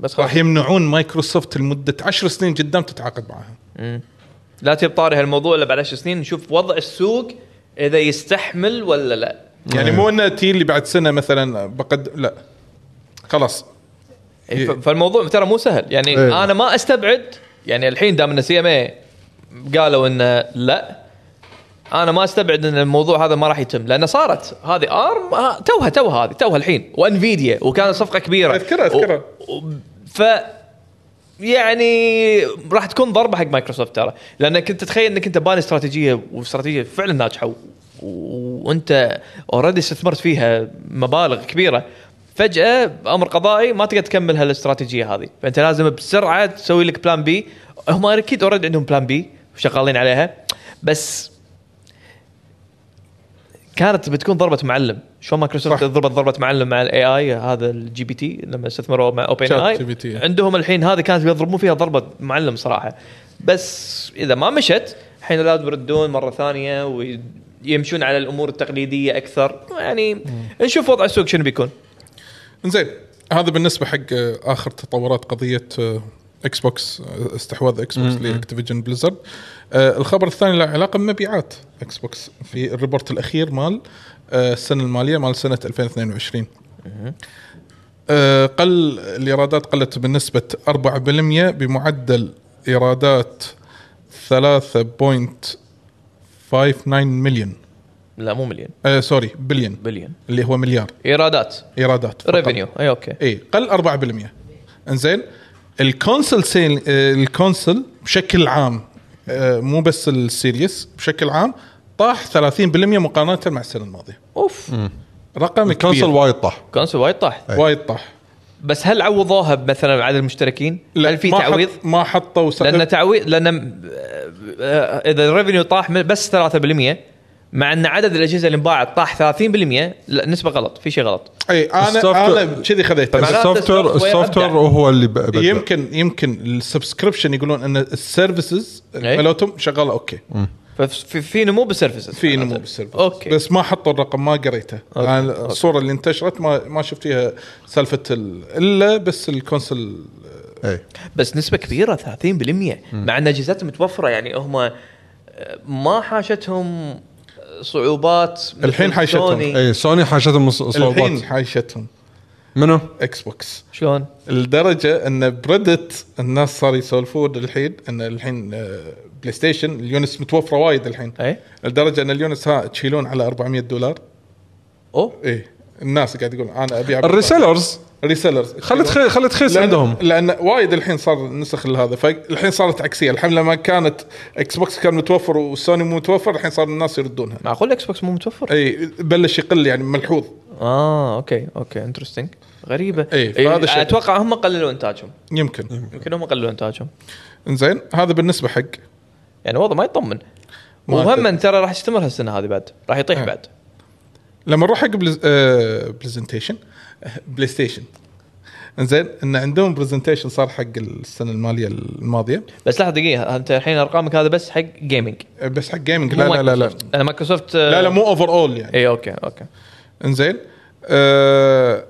بس خلاص راح يمنعون مايكروسوفت لمده 10 سنين قدام تتعاقد معاها لا تجيب طاري هالموضوع الا بعد 10 سنين نشوف وضع السوق اذا يستحمل ولا لا يعني نعم. مو انه تي اللي بعد سنه مثلا بقد لا خلاص ف- فالموضوع ترى مو سهل يعني إيه. انا ما استبعد يعني الحين دام ان سي ام اي قالوا انه لا انا ما استبعد ان الموضوع هذا ما راح يتم لانه صارت هذه ارم توها توها هذه توها الحين وانفيديا وكانت صفقه كبيره أذكرها- أذكرها. و- و- ف يعني راح تكون ضربه حق مايكروسوفت ترى لان كنت تتخيل انك انت باني استراتيجيه واستراتيجيه فعلا ناجحه و- وانت اوريدي استثمرت فيها مبالغ كبيره فجاه امر قضائي ما تقدر تكمل هالاستراتيجيه هذه فانت لازم بسرعه تسوي لك بلان بي هم اكيد اوريدي عندهم بلان بي وشغالين عليها بس كانت بتكون ضربه معلم شلون مايكروسوفت صح. ضربت ضربه معلم مع الاي اي هذا الجي بي تي لما استثمروا مع اوبن شات اي جي بي تي. عندهم الحين هذه كانت بيضربون فيها ضربه معلم صراحه بس اذا ما مشت الحين لازم يردون مره ثانيه ويمشون على الامور التقليديه اكثر يعني نشوف وضع السوق شنو بيكون زين هذا بالنسبه حق آه، اخر تطورات قضيه آه، اكس بوكس آه، استحواذ اكس بوكس لاكتيفيجن بليزرد آه، الخبر الثاني له علاقه بمبيعات اكس بوكس في الريبورت الاخير مال آه، السنه الماليه مال سنه 2022 آه، قل الايرادات قلت بنسبه 4% بمعدل ايرادات 3.59 مليون لا مو مليون آه، سوري بليون بليون اللي هو مليار ايرادات ايرادات فقط. ريفينيو اي اوكي اي إيه، قل 4% انزين الكونسل سيل آه، الكونسل بشكل عام آه، مو بس السيريس بشكل عام طاح 30% مقارنه مع السنه الماضيه اوف رقم كونسل كبير وايد طاح كونسول وايد طاح وايد طاح بس هل عوضوها مثلا بعدد المشتركين؟ لا، هل في ما حط- تعويض؟ ما حطوا سقف. لان تعويض لان آه، اذا الريفنيو طاح من- بس 3% مع ان عدد الاجهزه اللي انباعت طاح 30% لا نسبه غلط في شيء غلط اي السوفت- انا انا إيه، كذي خذيت معناته السوفت وير السوفت وير السوفت وير أبدع. هو اللي ب- بدأ. يمكن يمكن السبسكريبشن يقولون ان السيرفيسز إي. مالتهم شغاله اوكي ففي في نمو بالسيرفيسز في نمو بالسيرفر اوكي بس بس ما حطوا الرقم ما قريته أوكي. أنا الصوره اللي انتشرت ما ما شفت فيها سالفه ال- الا بس الكونسل إيه. بس نسبه كبيره 30% مع ان اجهزتهم متوفره يعني هم آه، ما حاشتهم صعوبات مثل الحين حاشتهم. إيه. سوني. اي سوني حاشتهم ص- الحين صعوبات حايشتهم منو؟ اكس بوكس شلون؟ لدرجه ان بريدت الناس صار يسولفون الحين ان الحين آه، بلاي ستيشن اليونس متوفره وايد الحين اي لدرجه ان اليونس ها تشيلون على 400 دولار اوه ايه الناس قاعد يقول انا ابيع الريسيلرز الريسيلرز خلت خي... خلت خيس عندهم لان وايد الحين صار نسخ لهذا فالحين صارت عكسيه الحمله ما كانت اكس بوكس كان متوفر وسوني مو متوفر الحين صار الناس يردونها معقول الاكس بوكس مو متوفر؟ اي بلش يقل يعني ملحوظ اه اوكي اوكي انترستنج غريبه إيه، فهذا الشيء. اتوقع هم قللوا انتاجهم يمكن يمكن هم قللوا انتاجهم انزين هذا بالنسبه حق يعني الوضع ما يطمن ما وهم أدري. إن ترى راح يستمر هالسنه هذه بعد راح يطيح إيه. بعد لما نروح حق بلز... آه... بلزنتيشن بلاي ستيشن انزين ان عندهم برزنتيشن صار حق السنه الماليه الماضيه بس لحظه دقيقه انت الحين ارقامك هذا بس حق جيمنج آه، بس حق جيمنج لا لا لا لا انا مايكروسوفت لا لا مو اوفر اول يعني اي اوكي اوكي انزين آه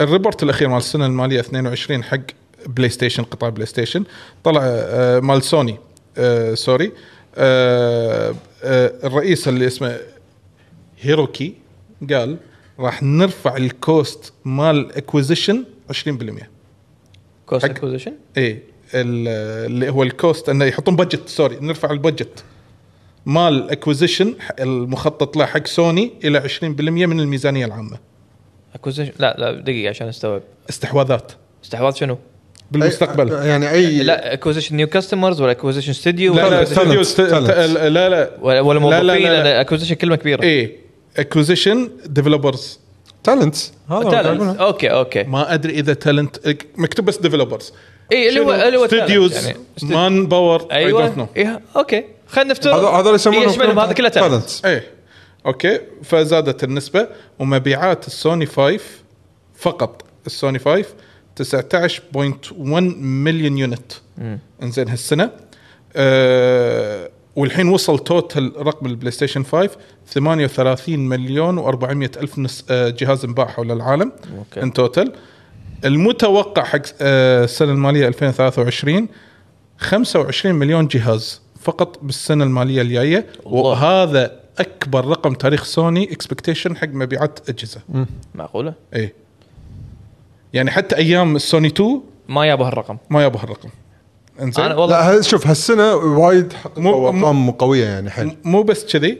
الريبورت الاخير مال السنه الماليه 22 حق بلاي ستيشن قطاع بلاي ستيشن طلع آه مال سوني آه سوري آه آه الرئيس اللي اسمه هيروكي قال راح نرفع الكوست مال اكوزيشن 20% كوست حق- اكوزيشن اي إيه، ال- اللي هو الكوست انه يحطون بادجت سوري نرفع البادجت مال اكوزيشن المخطط له حق سوني الى 20% من الميزانيه العامه اكوزيشن لا لا دقيقه عشان استوعب استحواذات استحواذ شنو؟ إيه. بالمستقبل أي يعني اي لا اكوزيشن نيو كاستمرز ولا اكوزيشن ستوديو لا لا ولا استوديو است- talent. لا لا ولا ولا لا، لا، موظفين لا. اكوزيشن كلمه كبيره ايه اكوزيشن ديفلوبرز تالنتس هذا Talent. قاعد أقوله. اوكي اوكي ما ادري اذا تالنت مكتوب بس ديفلوبرز اي إيه، اللي هو اللي هو talent استوديوز يعني. مان باور اي دونت نو ايوه إيه، اوكي خلينا نفترض هذا هذا يسمونه يشملهم هذا كله talent. talents. ايه اوكي فزادت النسبه ومبيعات السوني 5 فقط السوني 5 19.1 مليون يونت انزين هالسنه أه والحين وصل توتال رقم البلاي ستيشن 5 38 مليون و400 الف نس آه، جهاز انباع حول العالم أوكي. ان توتال المتوقع حق آه، السنه الماليه 2023 25 مليون جهاز فقط بالسنه الماليه الجايه الله. وهذا اكبر رقم تاريخ سوني اكسبكتيشن حق مبيعات اجهزه معقوله اي يعني حتى ايام السوني 2 ما جابوا هالرقم ما يابو هالرقم انا انزين والله لا ه- شوف هالسنه وايد حققوا مو- مو- ارقام قويه يعني حيل مو بس كذي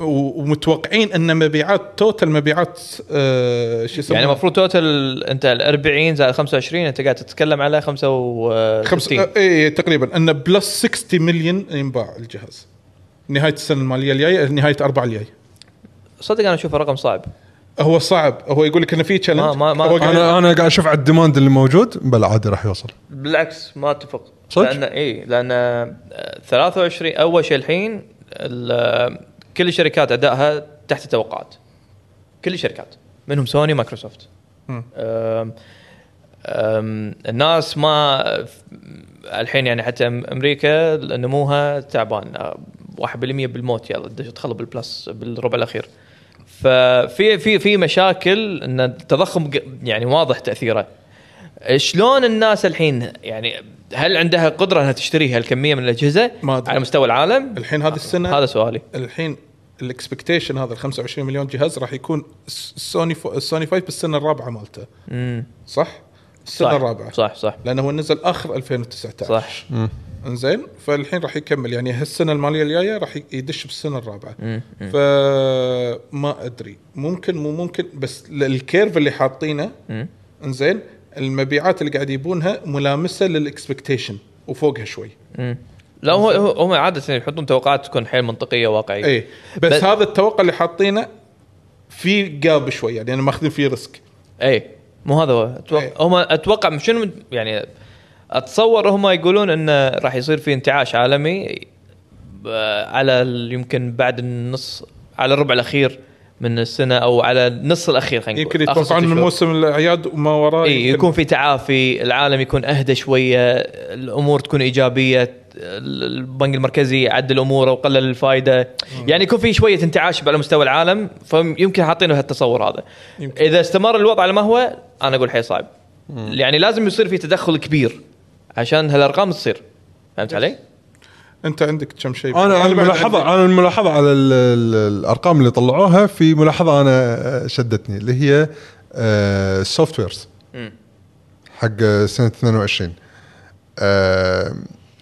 و- ومتوقعين ان مبيعات توتال مبيعات آه شو يعني يسمونه المفروض توتل انت ال 40 زائد 25 انت قاعد تتكلم على 65 خمس آه اي تقريبا ان بلس 60 مليون ينباع الجهاز نهايه السنه الماليه الجايه نهايه اربعه الجاي صدق انا اشوف الرقم صعب هو صعب هو يقول لك انه في تشالنج ما- ما- ما- يعني انا انا قاعد اشوف على الديماند اللي موجود بلا عادي راح يوصل بالعكس ما اتفق صدق؟ لان اي لان آه، 23 اول شيء الحين ال- آه، كل الشركات ادائها تحت التوقعات كل الشركات منهم سوني مايكروسوفت مم. أم أم الناس ما الحين يعني حتى أم- امريكا نموها تعبان أه، 1% بالموت يلا دش- دخلوا بالبلس بالربع الاخير ففي في في مشاكل ان التضخم ق- يعني واضح تاثيره شلون الناس الحين يعني هل عندها قدره انها تشتري هالكميه من الاجهزه ما أدري. على مستوى العالم الحين هذه السنه هذا سؤالي الحين الاكسبكتيشن هذا ال 25 مليون جهاز راح يكون س- سوني فو سوني 5 بالسنه الرابعه مالته امم صح؟ السنه صح. الرابعه صح صح لانه هو نزل اخر 2019 صح انزين فالحين راح يكمل يعني هالسنه الماليه الجايه راح يدش بالسنه الرابعه مم. مم. فما ادري ممكن مو ممكن بس ل- الكيرف اللي حاطينه مم. انزين المبيعات اللي قاعد يبونها ملامسه للاكسبكتيشن وفوقها شوي مم. لا هو هو- هم عاده يحطون توقعات تكون حيل منطقيه واقعيه اي إيه. بس, بس- بس هذا التوقع اللي حاطينه في جاب شوي يعني انا ماخذين فيه ريسك اي إيه، مو هذا هو اتوقع إيه. هم اتوقع شنو يعني اتصور هم يقولون انه راح يصير في انتعاش عالمي آه، على ال- يمكن بعد النص على الربع الاخير من السنه او على النص الاخير خلينا نقول يمكن آخر يتوقعون ست من شهور. موسم الاعياد وما وراه اي يمكن- إيه، يكون في تعافي العالم يكون اهدى شويه الامور تكون ايجابيه ال- البنك المركزي عدل اموره وقلل الفائده يعني يكون في شويه انتعاش على مستوى العالم فيمكن حاطينه هالتصور هذا يمكن. اذا استمر الوضع على ما هو انا اقول حيل صعب يعني لازم يصير في تدخل كبير عشان هالارقام تصير فهمت علي؟ انت عندك كم شيء يعني انا بعد الملاحظه انا الملاحظه على ال- ال- الارقام اللي طلعوها في ملاحظه انا شدتني اللي هي السوفت ويرز حق سنه 22 آه،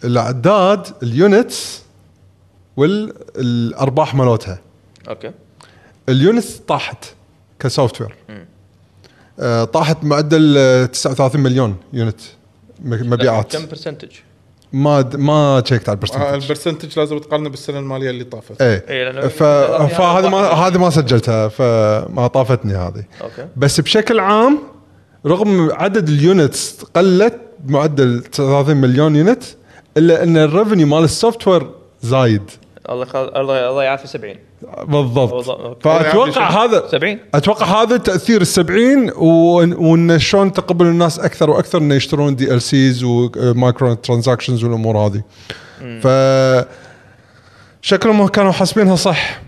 الاعداد اليونتس والارباح مالتها اوكي اليونتس طاحت كسوفت وير آه، طاحت معدل آه، 39 مليون يونت م- مبيعات كم برسنتج؟ ما د- ما تشيكت على آه، البرسنتج البرسنتج لازم تقارنه بالسنه الماليه اللي طافت إيه، لأنه- ايه ف... فهذه ما هذه ما سجلتها فما طافتني هذه اوكي بس بشكل عام رغم عدد اليونتس قلت بمعدل 39 مليون يونت الا ان الريفنيو مال السوفت وير زايد الله يخل... الله الله يعافي 70 بالضبط، بالضبط أوكي. فاتوقع هذا 70 اتوقع هذا تاثير ال 70 وإن- وان شلون تقبل الناس اكثر واكثر انه يشترون دي ال سيز ومايكرو ترانزاكشنز والامور آه، هذه ف شكلهم كانوا حاسبينها صح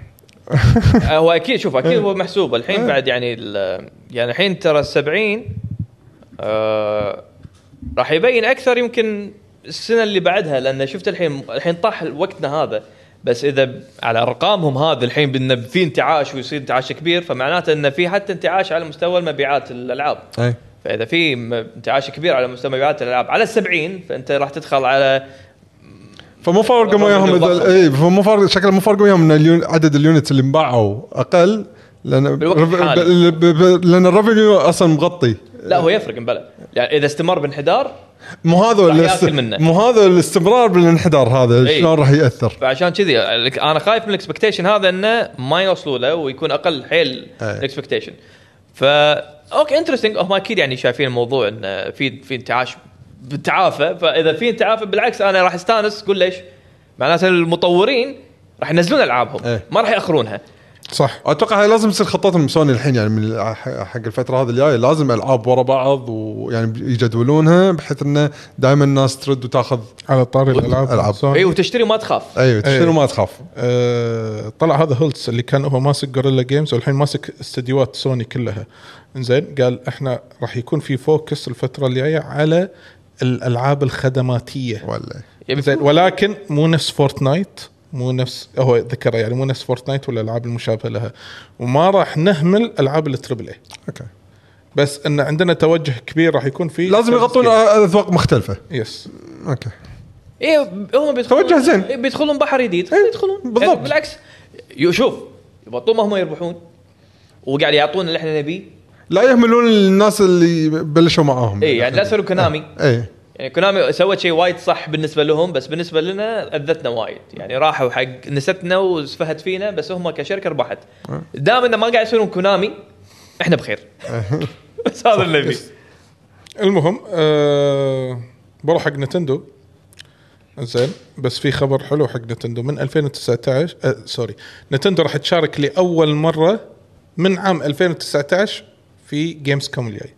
آه، هو اكيد شوف اكيد هو محسوب الحين بعد يعني ال- يعني الحين ترى ال 70 آه، راح يبين اكثر يمكن السنه اللي بعدها لان شفت الحين الحين طاح وقتنا هذا بس اذا ب- على ارقامهم هذا الحين بدنا في انتعاش ويصير انتعاش كبير فمعناته انه في حتى انتعاش على مستوى المبيعات الالعاب اي فاذا في م- انتعاش كبير على مستوى مبيعات الالعاب على ال 70 فانت راح تدخل على فمو فارقه وياهم اذا اي فمو فارق شكله مو فارقه وياهم ان اليون- عدد اليونتس اللي انباعوا اقل لان بالوقت رف- الحالي. ب- ب- ب- لان الرفنيو اصلا مغطي لا هو يفرق مبلا يعني اذا استمر بانحدار مو هذا راح الاست- ياكل منه. مو هذا الاستمرار بالانحدار هذا إي. شلون راح ياثر فعشان كذي لك- انا خايف من الاكسبكتيشن هذا انه ما يوصلوا له ويكون اقل حيل أي. الاكسبكتيشن فا اوكي انترستنج هم اكيد يعني شايفين الموضوع انه في في انتعاش بالتعافى فاذا في انتعافى بالعكس انا راح استانس قول ليش؟ معناته المطورين راح ينزلون العابهم أي. ما راح ياخرونها صح اتوقع هاي لازم تصير خطتهم سوني الحين يعني من الع- حق الفتره هذه الجايه لازم العاب ورا بعض ويعني يجدولونها بحيث انه دائما الناس ترد وتاخذ على طاري الالعاب ألعاب. سوني. اي إيه، وتشتري وما تخاف ايوه تشتري إي. وما تخاف آه، طلع هذا هولتس اللي كان هو ماسك جوريلا جيمز والحين ماسك استديوهات سوني كلها انزين قال احنا راح يكون في فوكس الفتره اللي جايه على الالعاب الخدماتيه ولا يبي زين ولكن مو نفس فورتنايت مو نفس هو ذكر يعني مو نفس فورتنايت والالعاب المشابهه لها وما راح نهمل العاب التربل اي اوكي بس ان عندنا توجه كبير راح يكون فيه لازم يغطون آه. اذواق مختلفه يس اوكي اي إيه، هم بيدخلون إيه، توجه زين. إيه، بيدخلون بحر جديد بيدخلون بالضبط. يعني بالعكس يو- شوف يبطون ما هم يربحون وقاعد يعطون اللي احنا نبيه لا يهملون الناس اللي بلشوا معاهم إيه. اي يعني لا يصيروا كونامي اي يعني كونامي سوت شيء وايد صح بالنسبه لهم بس بالنسبه لنا اذتنا وايد يعني راحوا حق نستنا وسفهت فينا بس هم كشركه ربحت دام انه ما قاعد يصيرون كونامي احنا بخير بس هذا اللي نبي المهم آه بروح حق نتندو زين بس في خبر حلو حق نتندو من 2019 آه سوري نتندو راح تشارك لاول مره من عام 2019 في جيمز كوم الجاي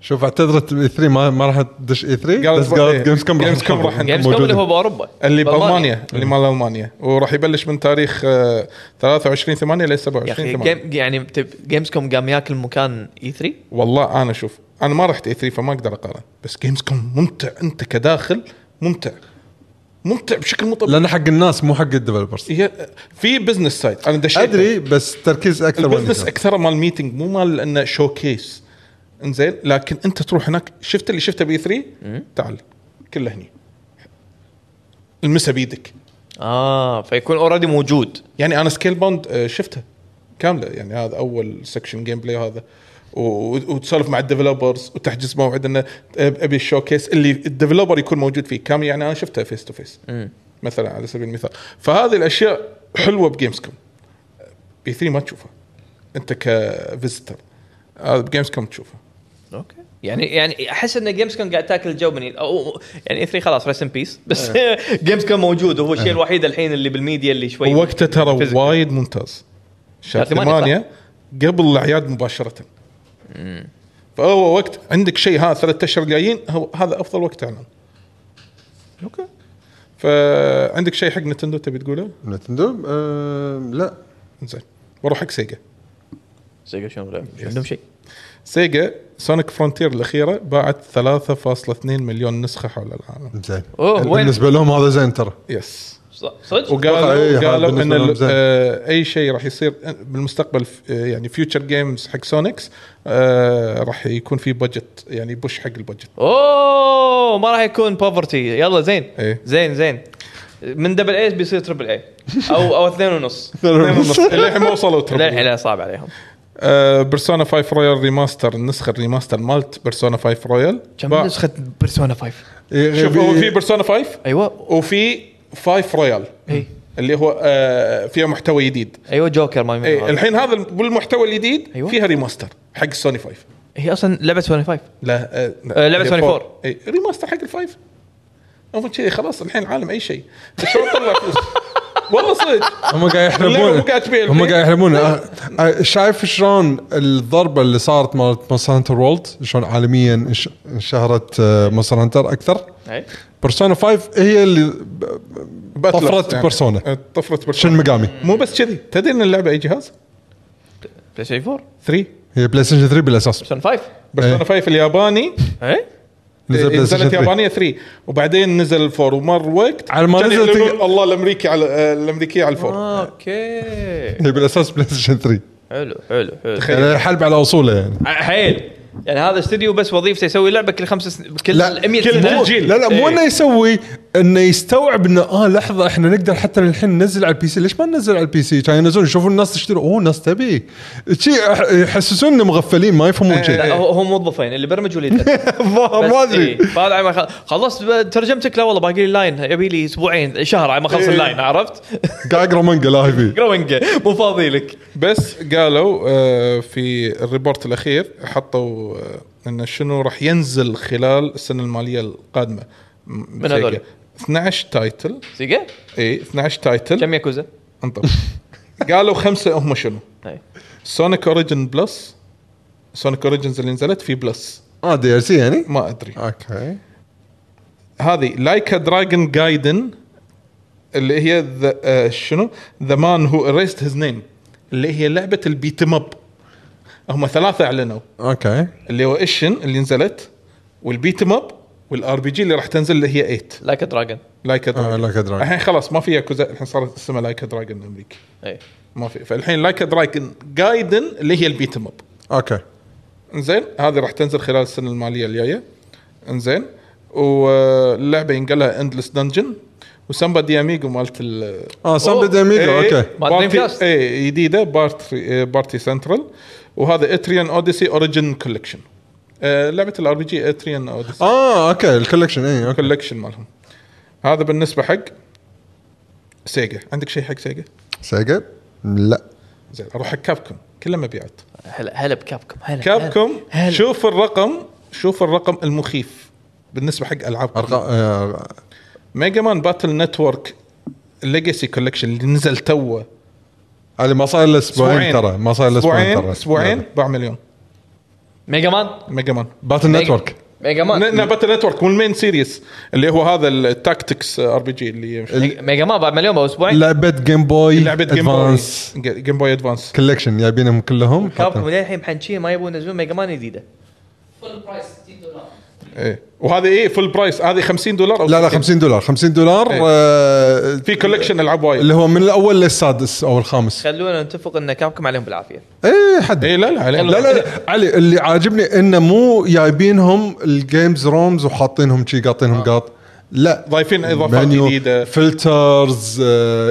شوف اعتذرت الاي 3 ما, ما راح تدش اي 3 قالت بس بقى إيه. قالت جيمز كوم Gamescom راح نكون جيمز كوم اللي هو باوروبا اللي بالمانيا اللي مال المانيا وراح يبلش من تاريخ آه 23 8 ل يا 27 اخي 8 جيم يعني جيمز كوم قام ياكل مكان E اي 3 والله انا شوف انا ما رحت اي 3 فما اقدر اقارن بس جيمز كوم ممتع انت كداخل ممتع ممتع بشكل مو طبيعي لان حق الناس مو حق الديفلوبرز هي- في بزنس سايد انا دشيت ادري بس تركيز اكثر وين إيه. البزنس يكون. اكثر مال ميتنج مو مال انه شو كيس انزين لكن انت تروح هناك شفت اللي شفته بي 3 تعال كله هني المسه بيدك اه فيكون اوريدي موجود يعني انا سكيل باوند شفته كامله يعني هذا اول سكشن جيم بلاي هذا و- وتسولف مع الديفلوبرز وتحجز موعد انه أب- ابي الشو كيس اللي الديفلوبر يكون موجود فيه كامل يعني انا شفتها فيس تو فيس مثلا على سبيل المثال فهذه الاشياء حلوه بجيمز كوم بي 3 ما تشوفها انت كفيزيتر هذا بجيمز كوم تشوفها اوكي يعني يعني احس ان جيمز كوم قاعد تاكل جو من أو يعني اي 3 خلاص ريست ان بيس بس جيمز كوم موجود وهو الشيء الوحيد الحين اللي بالميديا اللي شوي وقته ترى physical. وايد ممتاز شهر شهر طيب. ثمانية، 8 قبل الاعياد مباشره فهو وقت عندك شيء ها ثلاثة اشهر الجايين هو- هذا افضل وقت اعلان اوكي فعندك شيء حق نتندو تبي تقوله؟ نتندو أه لا زين واروح حق سيجا سيجا شلون لا، مش عندهم شيء سيجا سونيك فرونتير الاخيره باعت 3.2 مليون نسخه حول العالم زين أوه، وين؟ بالنسبه لهم هذا زين ترى يس ص- صدق والله إيه، وقالوا هذا قالوا ان بالنسبة لهم ال- زين. آه، اي شيء راح يصير بالمستقبل ف- آه، يعني فيوتشر جيمز حق سونيكس آه، راح يكون في بجت يعني بوش حق البجت اوه ما راح يكون بوفرتي يلا زين إيه. زين زين من دبل اي بيصير تربل اي او او اثنين ونص للحين ما وصلوا ترى. آه، للحين لا، صعب عليهم بيرسونا 5 رويال ريماستر النسخه الريماستر مالت بيرسونا 5 رويال كم باع. نسخه بيرسونا 5 شوف هو في بيرسونا 5 ايوه إيه، وفي 5 رويال اي اللي هو آه، فيها محتوى جديد ايوه جوكر ما إيه يمين الحين هذا بالمحتوى الجديد أيوة. فيها ريماستر حق سوني 5 هي اصلا لعبه سوني 5 لا آه، آه، لعبة هي Sony فور. 4. اي ريماستر حق الفايف هم كذي خلاص الحين العالم اي شيء شلون طلع فلوس والله صدق هم قاعد اللعبة يحلبون مو قاعد تبيع هم البيع. قاعد يحلبون أه، أه، شايف شلون الضربه اللي صارت مالت مونستر هانتر وولد شلون عالميا انش- انشهرت أه، مونستر هانتر اكثر اي بيرسونا 5 هي اللي باتلرز طفرة Persona. آه، طفره شن بيرسونا مقامي مو بس كذي تدري ان اللعبه اي جهاز؟ بلاي ستيشن 4 3 هي بلاي ستيشن 3 إيه، بالاساس بيرسونا 5 بيرسونا 5 الياباني إيه، اي إيه. نزل بلاي ستيشن نزلت 3 يابانيه 3 وبعدين نزل الفور ومر وقت على ما كان نزل يعلنون تق- الله الامريكي على آه، الامريكيه على الفور اوكي هي بالاساس بلاي ستيشن 3 حلو حلو حلو يعني حلب على اصوله يعني حيل يعني هذا استديو بس وظيفته يسوي لعبه كل خمس سنين كل إيه. لا 100 كل سنه مو- لا لا مو انه يسوي انه يستوعب انه اه لحظه احنا نقدر حتى الحين ننزل على البي سي ليش ما ننزل على البي سي كان ينزلون يشوفون الناس تشتري اوه الناس تبي شي يح- يحسسون انه مغفلين ما يفهمون شيء لا هو هو موظفين اللي برمج واللي يدرس. الظاهر بس ما ادري إيه، بعد عما خل- خلصت ب- ترجمتك لا والله باقي لي لاين يبي لي اسبوعين شهر على ما اخلص إيه. اللاين عرفت؟ قاعد اقرا مانجا لا هي جروينج مو فاضي لك بس قالوا آه، في الريبورت الاخير حطوا آه، انه شنو راح ينزل خلال السنه الماليه القادمه من هذول؟ 12 تايتل سيجا اي 12 تايتل كم ياكوزا؟ انطر قالوا خمسه هم شنو؟ سونيك اوريجن بلس سونيك اوريجنز اللي نزلت في بلس اه دي ار سي يعني ما ادري اوكي هذه لايكا دراجون جايدن اللي هي ذا آه، شنو؟ ذا مان هو اريست هيز نيم اللي هي لعبه البيتم اب هم ثلاثه اعلنوا اوكي اللي هو اشن اللي نزلت والبيتم اب والار بي جي اللي راح تنزل اللي هي 8 لايك دراجون لايك آه، دراجون Like a Dragon. الحين خلاص ما في ياكوزا الحين صارت اسمها لايك دراجون الامريكي اي ما في فالحين لايك دراجون جايدن اللي هي البيتم اب اوكي انزين هذه راح تنزل خلال السنه الماليه الجايه انزين واللعبه ينقالها اندلس دنجن وسامبا دي اميجو مالت ال اه سامبي داميجو Eh, إيه. اوكي مال Dreamcast. بارتي اي جديده بارتي بارتي سنترال وهذا اتريان اوديسي اوريجن كولكشن لعبه الار بي جي اتريان اوديسي اه اوكي الكولكشن اي اوكي كولكشن مالهم هذا بالنسبه حق سيجا عندك شيء حق سيجا سيجا لا زين اروح حق كابكم كلها مبيعات هلا هلا بكابكم هلا كابكم هلا. شوف الرقم شوف الرقم المخيف بالنسبه حق العاب ارقام آه، ميجا مان باتل نتورك ليجاسي كولكشن اللي نزل توه علي ما صاير له اسبوعين ترى ما صاير له اسبوعين اسبوعين ترى اسبوعين باع مليون ميجا مان ميجا مان باتل طيب. نتورك ميجا مان لا باتل نتورك والمين سيريس اللي هو هذا التاكتكس ار بي جي اللي ميجا مان بعد مليون بعد اسبوعين لعبه جيم بوي لعبه جيم بوي إيه، Advance. جيم بوي ادفانس كولكشن يابينهم كلهم كابكم للحين محنشين ما يبون ينزلون ميجا مان جديده فول برايس 60 دولار ايه وهذه ايه فول برايس هذه 50 دولار أو لا لا 60. 50 دولار 50 دولار إيه. آه، في كولكشن العاب وايد اللي هو من الاول للسادس او الخامس خلونا نتفق ان كابكم عليهم بالعافيه اي حد اي لا إيه، لا لا عليه لا, إيه. لا علي اللي عاجبني انه مو جايبينهم الجيمز رومز وحاطينهم شي قاطينهم قاط لا آه. ضايفين اضافات منيو، جديده فلترز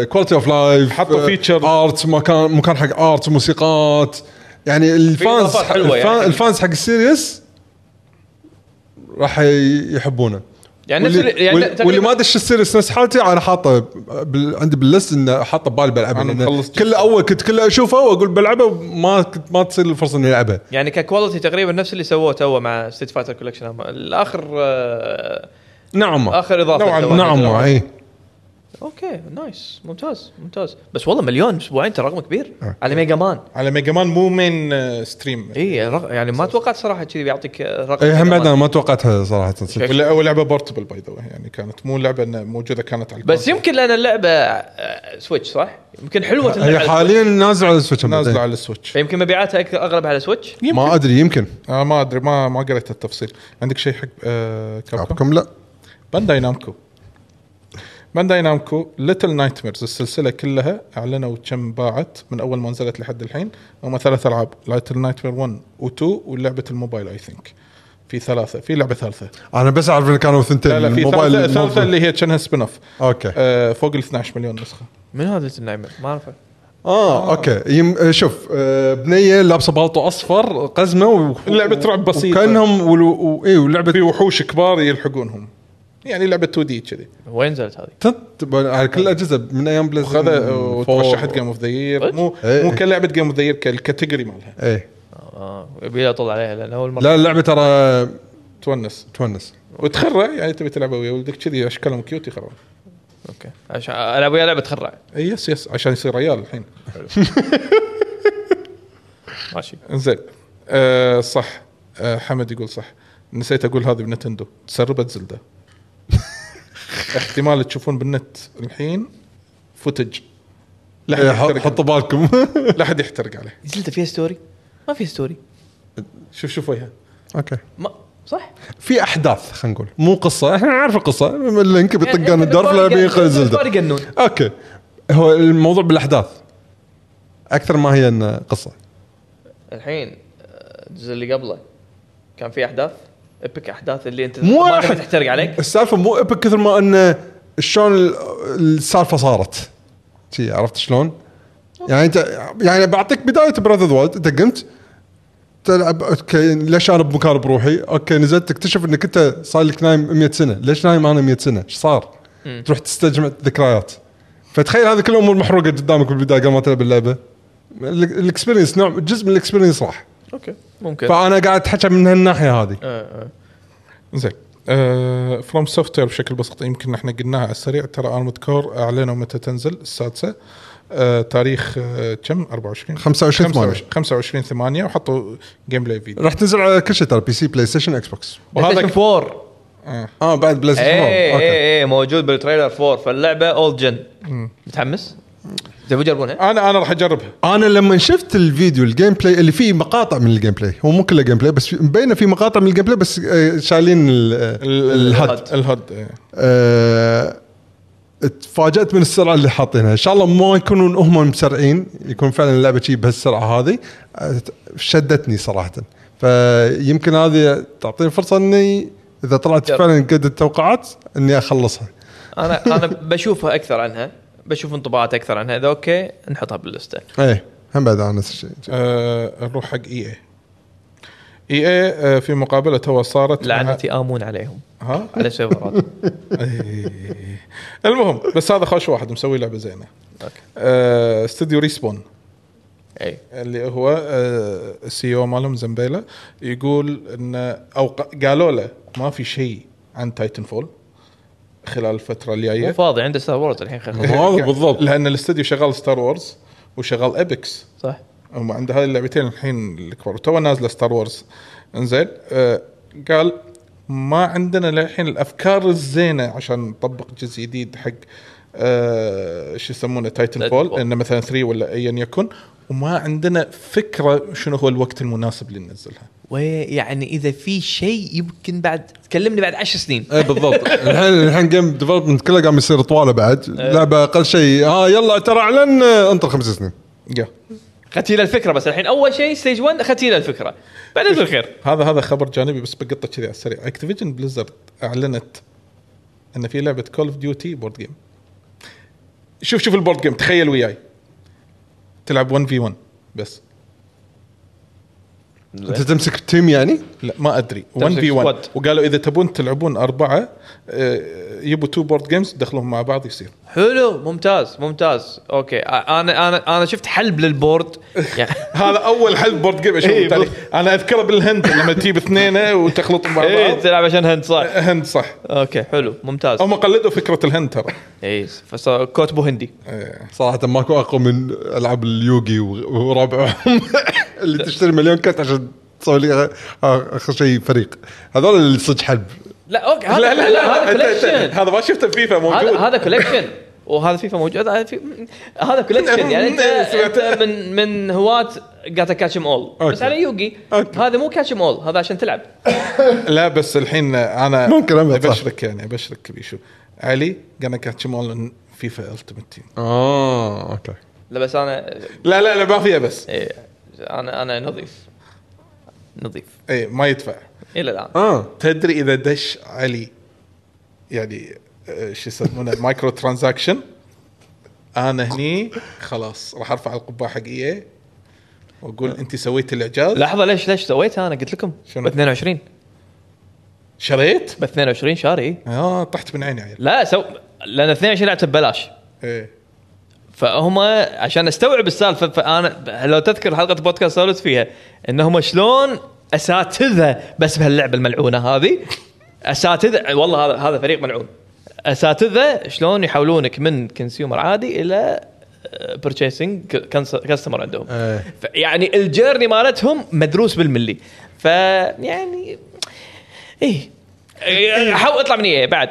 كواليتي اوف لايف حطوا features. ارت آه، مكان مكان حق ارت موسيقات يعني الفانز إضافات حلوة الفان- يعني. الفانز حق السيريس راح يحبونه يعني نفس ال- واللي, يعني واللي, تقريباً- واللي ما دش السيريس نفس حالتي انا حاطه بال... عندي باللست انه حاطه ببالي بلعبها أنا لأن مخلص جدا. كل اول كنت كله اشوفها واقول بلعبها ما كنت ما تصير الفرصه اني العبها يعني ككواليتي تقريبا نفس اللي سووه تو مع ستيت فايتر كولكشن الاخر آه، نعم اخر اضافه نوعاً سووها. نعم اي اوكي نايس ممتاز ممتاز بس والله مليون اسبوعين ترى رقم كبير آه. على ميجا مان على ميجا مان مو مين آه، ستريم اي رق- يعني ما توقعت صراحه كذي بيعطيك آه، رقم اي ميجا إيه، هم مان. بعد انا ما توقعتها صراحه صدق. ولا اول لعبه بورتبل باي ذا يعني كانت مو لعبه إنها موجوده كانت على بس الكونسول. يمكن لان اللعبه آه، سويتش صح؟ يمكن حلوه تنزل هي على حاليا نازله على السويتش نازله بعدين. على السويتش فيمكن مبيعاتها أك- اغلب على سويتش ما ادري يمكن آه ما ادري ما ما قريت التفصيل عندك شيء حق آه كابكم كابكم لا بانداي نامكو بانداي نامكو ليتل نايت ميرز السلسله كلها اعلنوا كم باعت من اول ما نزلت لحد الحين هم ثلاث العاب ليتل نايت مير 1 و2 ولعبه الموبايل اي ثينك في ثلاثه في لعبه ثالثه انا بس اعرف ان كانوا ثنتين لا لا في الموبايل ثالثه ثالثه الموبايل. اللي هي كانها سبين اوف اوكي آه فوق ال 12 مليون نسخه من هذا النايمر ما اعرفه اه اوكي يم... آه، شوف آه، بنيه لابسه بالطو اصفر قزمه و... لعبة رعب بسيطة. كانهم ولو... و... إيه، اي ولعبه في وحوش كبار يلحقونهم يعني لعبه 2 دي كذي وين نزلت هذه؟ تت... على كل الاجهزه من ايام بلاي وخذ وترشحت جيم اوف ذا يير مو إيه. مو كلعبه جيم اوف ذا يير كالكاتيجوري مالها ايه اه يبي لي اطل عليها لان اول مره لا اللعبه ترى تونس تونس وتخرع يعني تبي تلعبها ويا ولدك كذي اشكالهم كيوت يخرع اوكي عشان العب ويا لعبه تخرع اي يس يس إيه، عشان يصير عيال الحين ماشي زين أه صح أه حمد يقول صح نسيت اقول هذه بنتندو تسربت زلده احتمال تشوفون بالنت الحين فوتج لا إيه، حد ح- يحترق حطوا بالكم لا حد يحترق عليه زلده فيها ستوري؟ ما فيها ستوري شوف شوف وجهها اوكي ما صح؟ في احداث خلينا نقول مو قصه احنا نعرف القصه اللينك بيطقان يعني الدور بالفار فلا يقن- بينقذ بالفار زلده يقنون اوكي هو الموضوع بالاحداث اكثر ما هي انه قصه الحين آه، الجزء اللي قبله كان في احداث ابك احداث اللي انت مو ما أحد. تبي تحترق عليك السالفه مو ايبك كثر ما انه شلون ال- السالفه صارت شي عرفت شلون؟ يعني انت يعني بعطيك بدايه براذر وايد انت قمت تلعب اوكي ليش انا بمكان بروحي؟ اوكي نزلت تكتشف انك انت صار لك نايم 100 سنه، ليش نايم انا 100 سنه؟ ايش صار؟ تروح تستجمع ذكريات فتخيل هذه كل الامور محروقه قدامك بالبدايه قبل ما تلعب اللعبه الاكسبيرينس نوع جزء من الاكسبيرينس راح اوكي ممكن فانا قاعد اتحكى من هالناحيه هذه آه، آه. زين فروم سوفت وير آه، بشكل بسيط يمكن احنا قلناها على السريع ترى ارمد كور اعلنوا متى تنزل السادسه آه، تاريخ آه، كم 24 25 ثمانية. 25 8 وحطوا جيم بلاي فيديو راح تنزل على كل شيء ترى بي سي بلاي ستيشن اكس بوكس وهذا وهذا 4 اه بعد بلاي ستيشن اي أوكي. اي اي إيه، موجود بالتريلر 4 فاللعبه اولد جن متحمس؟ تبي تجربونها؟ انا انا راح اجربها انا لما شفت الفيديو الجيم بلاي اللي فيه مقاطع من الجيم بلاي هو مو كله جيم بلاي بس في- مبينه في مقاطع من الجيم بلاي بس آه، شايلين ال- آه، الهد الهد إيه. آه، تفاجات من السرعه اللي حاطينها ان شاء الله ما يكونون هم مسرعين يكون فعلا اللعبه شي بهالسرعه هذه آه، شدتني صراحه فيمكن هذه تعطيني فرصه اني اذا طلعت جرب. فعلا قد التوقعات اني اخلصها انا انا بشوفها اكثر عنها بشوف انطباعات اكثر عنها اذا اوكي نحطها باللسته ايه هم بعد انا نفس الشيء آه، نروح حق اي اي اي اي آه، في مقابله تو صارت مع- لعنتي امون عليهم ها على السيرفرات إيه. المهم بس هذا خوش واحد مسوي لعبه زينه اوكي آه، استوديو ريسبون اي اللي هو آه، السي او مالهم زمبيلا يقول ان او ق- قالوا له ما في شيء عن تايتن فول خلال الفتره مو الجايه فاضي عنده ستار وورز الحين خلينا نخلص. هذا بالضبط لان الاستوديو شغال ستار وورز وشغال ابيكس صح هم عند هذه اللعبتين الحين الكبار تو نازله ستار وورز انزين آه قال ما عندنا للحين الافكار الزينه عشان نطبق جزء جديد حق آه شو يسمونه تايتن Titanfall. فول انه مثلا 3 ولا ايا يكن وما عندنا فكره شنو هو الوقت المناسب لننزلها ويعني اذا يعني في شيء يمكن بعد تكلمني بعد عشر سنين اي إيه، بالضبط الحين الحين جيم ديفلوبمنت كله قام يصير طواله بعد لعبه اقل شيء ها يلا ترى اعلن آه، انطر خمس سنين يا ختينا الفكره بس الحين اول شيء ستيج 1 ختينا الفكره بعدين بالخير هذا هذا خبر جانبي بس بقطه كذي على السريع اكتيفيجن بليزرد اعلنت ان في لعبه كول اوف ديوتي بورد جيم شوف شوف البورد جيم تخيل وياي تلعب 1 في 1 بس انت تمسك تيم يعني لا ما ادري 1 في 1 squad. وقالوا اذا تبون تلعبون اربعه آه، يبوا تو بورد جيمز دخلهم مع بعض يصير حلو ممتاز ممتاز اوكي انا انا انا شفت حلب للبورد يعني هذا اول حل بورد جيم اشوفه إيه، بالتاريخ. انا اذكره بالهند لما تجيب اثنين آه، وتخلطهم مع ايه بعض تلعب عشان هند صح هند صح اوكي حلو ممتاز إيه، هم قلدوا فكره الهند ترى اي فصار كوتبو هندي صراحه ماكو اقوى من العاب اليوغي و- وربعهم اللي تشتري مليون كات عشان تسوي لي آه، اخر شيء فريق هذول اللي صدق حلب لا اوكي هذا لا لا لا هذا أنت- أنت- كولكشن هذا ما شفته بفيفا هذا موجود هذا كولكشن وهذا فيفا موجود هذا في- هذا كولكشن يعني انت سمعت. انت من من هواة جاتا كاتشم اول بس أوكي. على يوغي أوكي. هذا مو كاتشم اول هذا عشان تلعب لا بس الحين انا ممكن أبيض، صح. ابشرك يعني ابشرك بيشو علي قانا كاتش مول فيفا التيمت تيم اه اوكي لا بس انا لا لا لا ما فيها بس إيه انا انا نظيف نظيف اي إيه، ما يدفع الى الان اه تدري اذا دش علي يعني آه، شو يسمونه مايكرو ترانزاكشن انا هني خلاص راح ارفع القبعه حق اي واقول انت سويت الاعجاز لحظه ليش ليش سويتها انا قلت لكم شنو؟ ب 22 شريت ب 22 شاري إيه. اه طحت من عيني عيل لا سو لان 22 لعبت ببلاش ايه فهم عشان استوعب السالفه فانا لو تذكر حلقه بودكاست سولت فيها انهم شلون اساتذه بس بهاللعبه الملعونه هذه اساتذه والله هذا هذا فريق ملعون اساتذه شلون يحولونك من كونسيومر عادي آه، الى برتشيسنج كاستمر عندهم إيه. ف- يعني الجيرني مالتهم مدروس بالملي فيعني ايه إيه، حاول اطلع من ايه بعد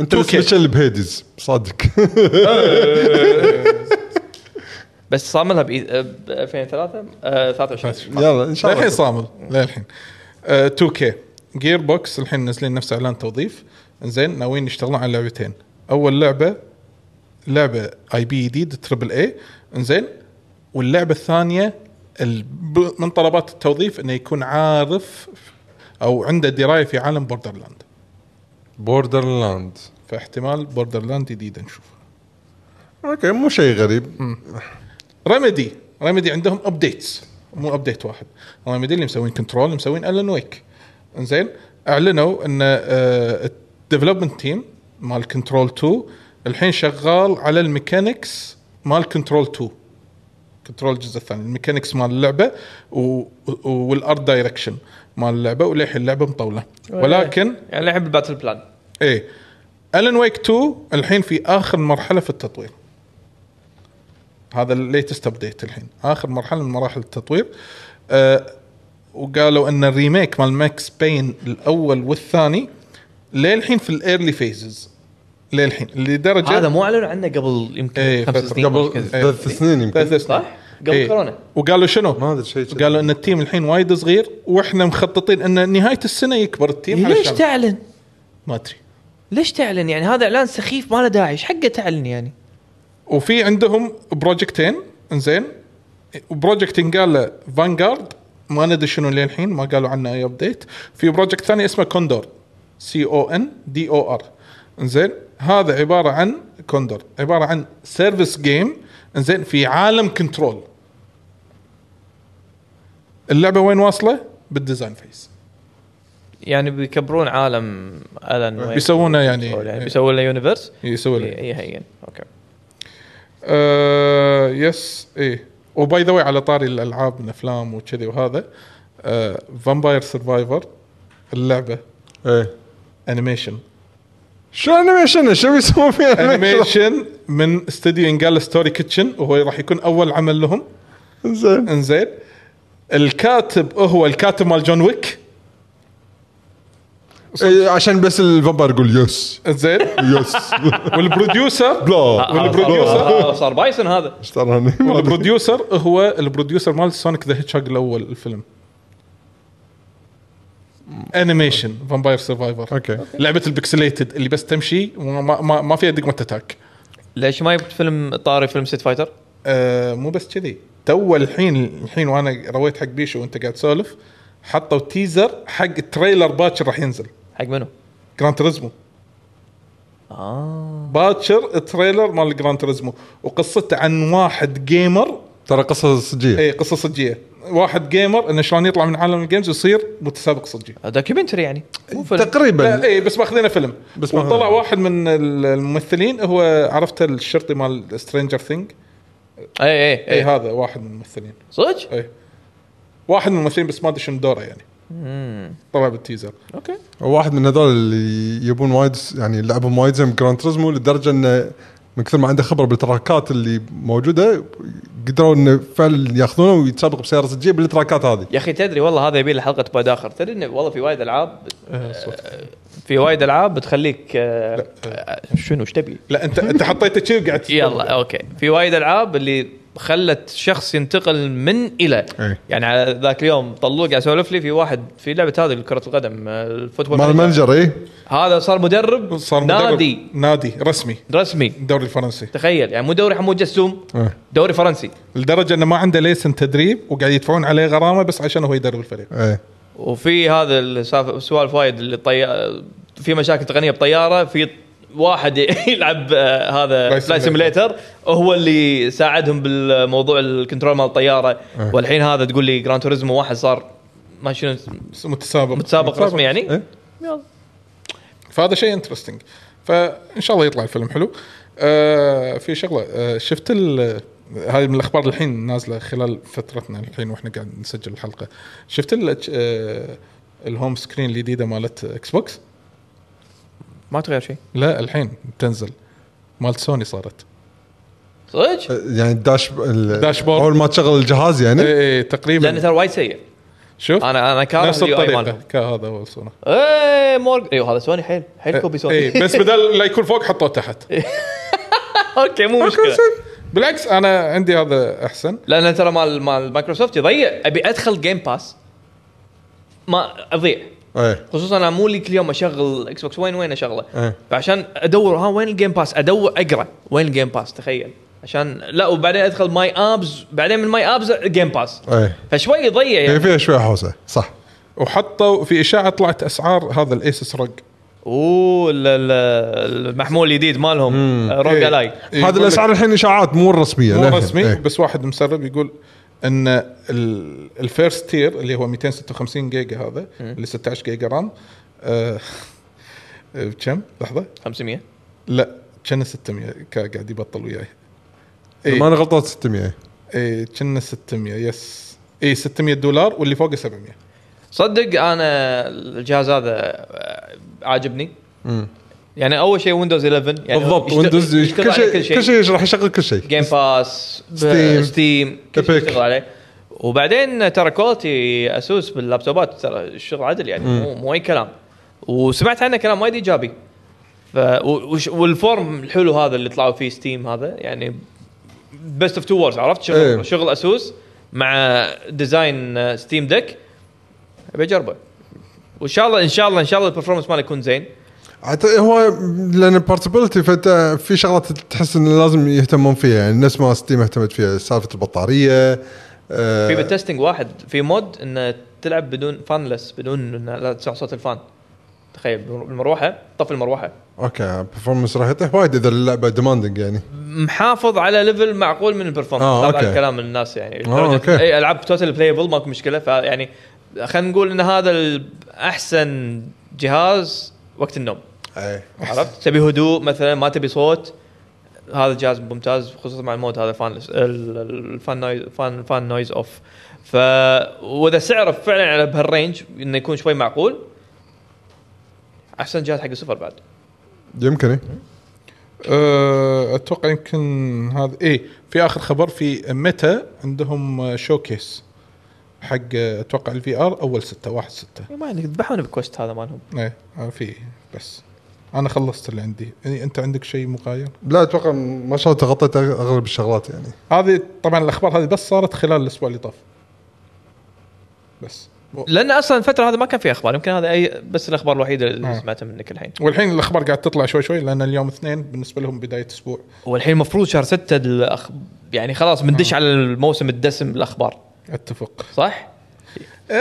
انت السبيشل بهيدز صادق بس صاملها آه، ب 2003 آه، 23 يلا ان شاء للحين الله صامل للحين 2 كي جير بوكس الحين نازلين نفس اعلان توظيف زين ناويين يشتغلون على لعبتين اول لعبه لعبه اي بي جديد تربل اي انزين واللعبه الثانيه الب- من طلبات التوظيف انه يكون عارف او عنده درايه في عالم بوردرلاند بوردر لاند فاحتمال بوردرلاند جديد نشوف اوكي مو شيء غريب ريميدي ريميدي عندهم ابديتس مو ابديت واحد ريميدي اللي مسوين كنترول اللي مسوين الن ويك انزين اعلنوا ان الديفلوبمنت تيم آه، مال كنترول 2 الحين شغال على الميكانكس مال كنترول 2 كنترول الجزء الثاني الميكانكس مال اللعبه و... والارت دايركشن مال اللعبه وللحين اللعبه مطوله ولكن يعني لعب الباتل بلان ايه الن ويك 2 الحين في اخر مرحله في التطوير هذا الليتست ابديت الحين اخر مرحله من مراحل التطوير آه وقالوا ان الريميك مال ماكس بين الاول والثاني للحين في الايرلي فيزز للحين لدرجه هذا مو اعلنوا عنه قبل يمكن إيه، خمس فترة. سنين قبل- أو شي كذا. إيه. ثلاث سنين يمكن ثلاث سنين. إيه. صح؟ قبل كورونا. وقالوا شنو؟ ما أدري شيء كذي. قالوا ان التيم الحين وايد صغير واحنا مخططين ان نهايه السنه يكبر التيم ليش علشان- تعلن؟ ما ادري ليش تعلن يعني هذا اعلان سخيف ما له داعي ايش حقه تعلن يعني وفي عندهم بروجكتين انزين بروجكت قال له فانجارد ما ندري شنو للحين ما قالوا عنه اي ابديت في بروجكت ثاني اسمه كوندور سي او ان دي او ار انزين هذا عباره عن كوندور عباره عن سيرفيس جيم انزين في عالم كنترول اللعبه وين واصله؟ بالديزاين فيس يعني بيكبرون عالم الن بيسوونه يعني طيب. يعني بيسوون له إيه، يونيفرس يسوي له يهين اوكي آه يس ايه وباي ذا على طاري الالعاب من افلام وكذي وهذا آه فامباير سرفايفر اللعبه ايه انيميشن شو انيميشن شو بيسوون فيه انيميشن انيميشن من استوديو ينقال ستوري كيتشن وهو راح يكون اول عمل لهم زين انزين الكاتب هو الكاتب مال جون ويك إيه، عشان بس الفامباير يقول يس انزين يس والبروديوسر بلا والبروديوسر آه، صار بايسون هذا اشتراني والبروديوسر هو البروديوسر مال سونيك ذا هيتشهاج الاول الفيلم انيميشن فامباير سرفايفر اوكي لعبه البكسليتد اللي بس تمشي وما ما, ما, ما فيها دقمه اتاك ليش ما يبت فيلم طاري فيلم سيت فايتر؟ آه مو بس كذي تو الحين الحين وانا رويت حق بيشو وانت قاعد تسولف حطوا تيزر حق تريلر باكر راح ينزل حق منو؟ جراند تريزمو اه باكر تريلر مال جراند تريزمو وقصته عن واحد جيمر ترى قصه صجيه إيه. اي قصه صجيه واحد جيمر انه شلون يطلع من عالم الجيمز ويصير متسابق صجي دوكيومنتري يعني مو فيلم تقريبا لا إيه. اي بس ماخذينه فيلم بس بس ماخذينه. وطلع واحد من الممثلين هو عرفت الشرطي مال سترينجر ثينج إيه. اي اي اي اي هذا واحد من الممثلين إيه، صدق؟ اي واحد من الممثلين بس ما ادري شنو دوره يعني طلع بالتيزر اوكي واحد من هذول اللي يبون وايد يعني لعبهم وايد زين جراند تريزمو لدرجه انه من كثر ما عنده خبره بالتراكات اللي موجوده قدروا انه فعلا ياخذونه ويتسابق بسياره صجيه بالتراكات هذه يا اخي تدري والله هذا يبي له حلقه بعد اخر تدري انه والله في وايد العاب في وايد العاب بتخليك آه، آه، شنو ايش تبي؟ لا انت انت حطيته كذي وقاعد تتفرج. يلا اوكي في وايد العاب اللي خلت شخص ينتقل من الى إيه. يعني على ذاك اليوم طلوق قاعد اسولف لي في واحد في لعبه هذه كره القدم آه، الفوتبول مال مانجر. المانجر إيه؟ اي هذا صار مدرب صار مدرب. نادي نادي رسمي رسمي الدوري الفرنسي تخيل يعني مو دوري حمود جسوم إيه. دوري فرنسي لدرجه انه ما عنده ليسن تدريب وقاعد يدفعون عليه غرامه بس عشان هو يدرب الفريق ايه وفي هذا السالفة- السوالف وايد اللي طي... في مشاكل تقنيه بطياره في واحد يلعب آه، هذا Flight فلاي سيميليتر هو اللي ساعدهم بالموضوع الكنترول مال الطياره أه. والحين هذا تقول لي جران توريزمو واحد صار ما شنو متسابق متسابق رسمي يعني إيه؟ فهذا شيء انترستنج فان شاء الله يطلع الفيلم حلو آه في شغله آه شفت ال- هاي من الاخبار الحين نازله خلال فترتنا الحين واحنا قاعد نسجل الحلقه شفت ال آه الهوم سكرين الجديده مالت اكس بوكس ما تغير شيء لا الحين بتنزل مالت سوني صارت أه. صدق؟ يعني الداش ال- داشبورد. اول ما تشغل الجهاز إيه. يعني اي اي لانه تقريبا ترى وايد سيء إيه، شوف انا انا كاره نفس ال UI الطريقه مالهم. كهذا هو صورة ايه مورج ايوه هذا سوني حيل حيل كوبي سوني اي أه. إيه، بس بدل لا يكون فوق حطوه تحت اوكي مو مشكله بالعكس انا عندي هذا احسن لان ترى مال مال مايكروسوفت يضيع ابي ادخل جيم باس ما اضيع ايه خصوصا انا مو لي كل يوم اشغل اكس بوكس وين وين اشغله إيه. فعشان ادور ها وين الجيم باس ادور اقرا وين الجيم باس تخيل عشان لا وبعدين ادخل ماي ابز بعدين من ماي ابز جيم باس ايه فشوي يضيع هي يعني فيها شويه حوسه صح وحطوا في اشاعه طلعت اسعار هذا الايسس روج اوه ال- ال- المحمول الجديد مالهم روج إيه. الاي إيه، هذا يقول لك- الاسعار الحين اشاعات مو الرسميه مو للحين. رسمي إيه. بس واحد مسرب يقول ان ال- الفيرست تير اللي هو 256 جيجا هذا اللي 16 جيجا رام آه، بكم لحظه 500 لا كنا 600 كا- قاعد يبطل وياي إذا ما انا غلطت 600 اي كنا 600 يس اي 600 دولار واللي فوقه 700 صدق انا الجهاز هذا آه، عاجبني يعني اول شيء ويندوز 11 يعني بالضبط يشتغل- ويندوز يشتغل كل على شيء كل شيء راح يشغل كل شيء جيم باس ستيم. ستيم كل شيء إيبك. يشتغل عليه وبعدين ترى كواليتي اسوس باللابتوبات ترى الشغل عدل يعني مو مو اي كلام وسمعت عنه كلام وايد ايجابي ف و- وش- والفورم الحلو هذا اللي طلعوا فيه ستيم هذا يعني بيست اوف تو وورز عرفت شغل إيه. شغل اسوس مع ديزاين ستيم ديك ابي اجربه وان شاء الله ان شاء الله ان شاء الله البرفورمانس ماله يكون زين عت- هو لان البورتبيلتي فانت في شغلات تحس انه لازم يهتمون فيها يعني نفس ما ستيم اهتمت فيها سالفه البطاريه آه، في بالتستنج واحد في مود انه تلعب بدون فانلس بدون إنه لا تسمع صوت الفان تخيل بالمروحه طفي المروحه اوكي برفورمنس راح يطيح وايد اذا اللعبه ديماندنج يعني محافظ على ليفل معقول من البرفورمانس آه، هذا أوكي. كلام الناس يعني آه، لدرجة أوكي. اي العاب توتال بلايبل ماكو مشكله فيعني خلينا نقول ان هذا ال- احسن جهاز وقت النوم إيه. اي عرفت تبي هدوء مثلا ما تبي صوت هذا الجهاز ممتاز خصوصا مع المود هذا فان الفان نويز فان فان نويز اوف ف واذا سعره فعلا على بهالرينج انه يكون شوي معقول احسن جهاز حق السفر بعد يمكن إيه. أه، اتوقع يمكن هذا اي في اخر خبر في ميتا عندهم شوكيس حق اتوقع الفي ار اول ستة واحد ستة إيه، ما عندك ذبحونا بكوست هذا مالهم ايه آه، في بس انا خلصت اللي عندي يعني انت عندك شيء مغاير لا اتوقع ما شاء الله غطيت اغلب الشغلات يعني هذه طبعا الاخبار هذه بس صارت خلال الاسبوع اللي طاف بس و- لان اصلا الفتره هذا ما كان في اخبار يمكن هذا اي بس الاخبار الوحيده اللي آه. سمعتها منك الحين والحين الاخبار قاعد تطلع شوي شوي لان اليوم اثنين بالنسبه لهم بدايه اسبوع والحين المفروض شهر 6 الأخ... يعني خلاص آه. بندش على الموسم الدسم الاخبار اتفق صح؟ ايه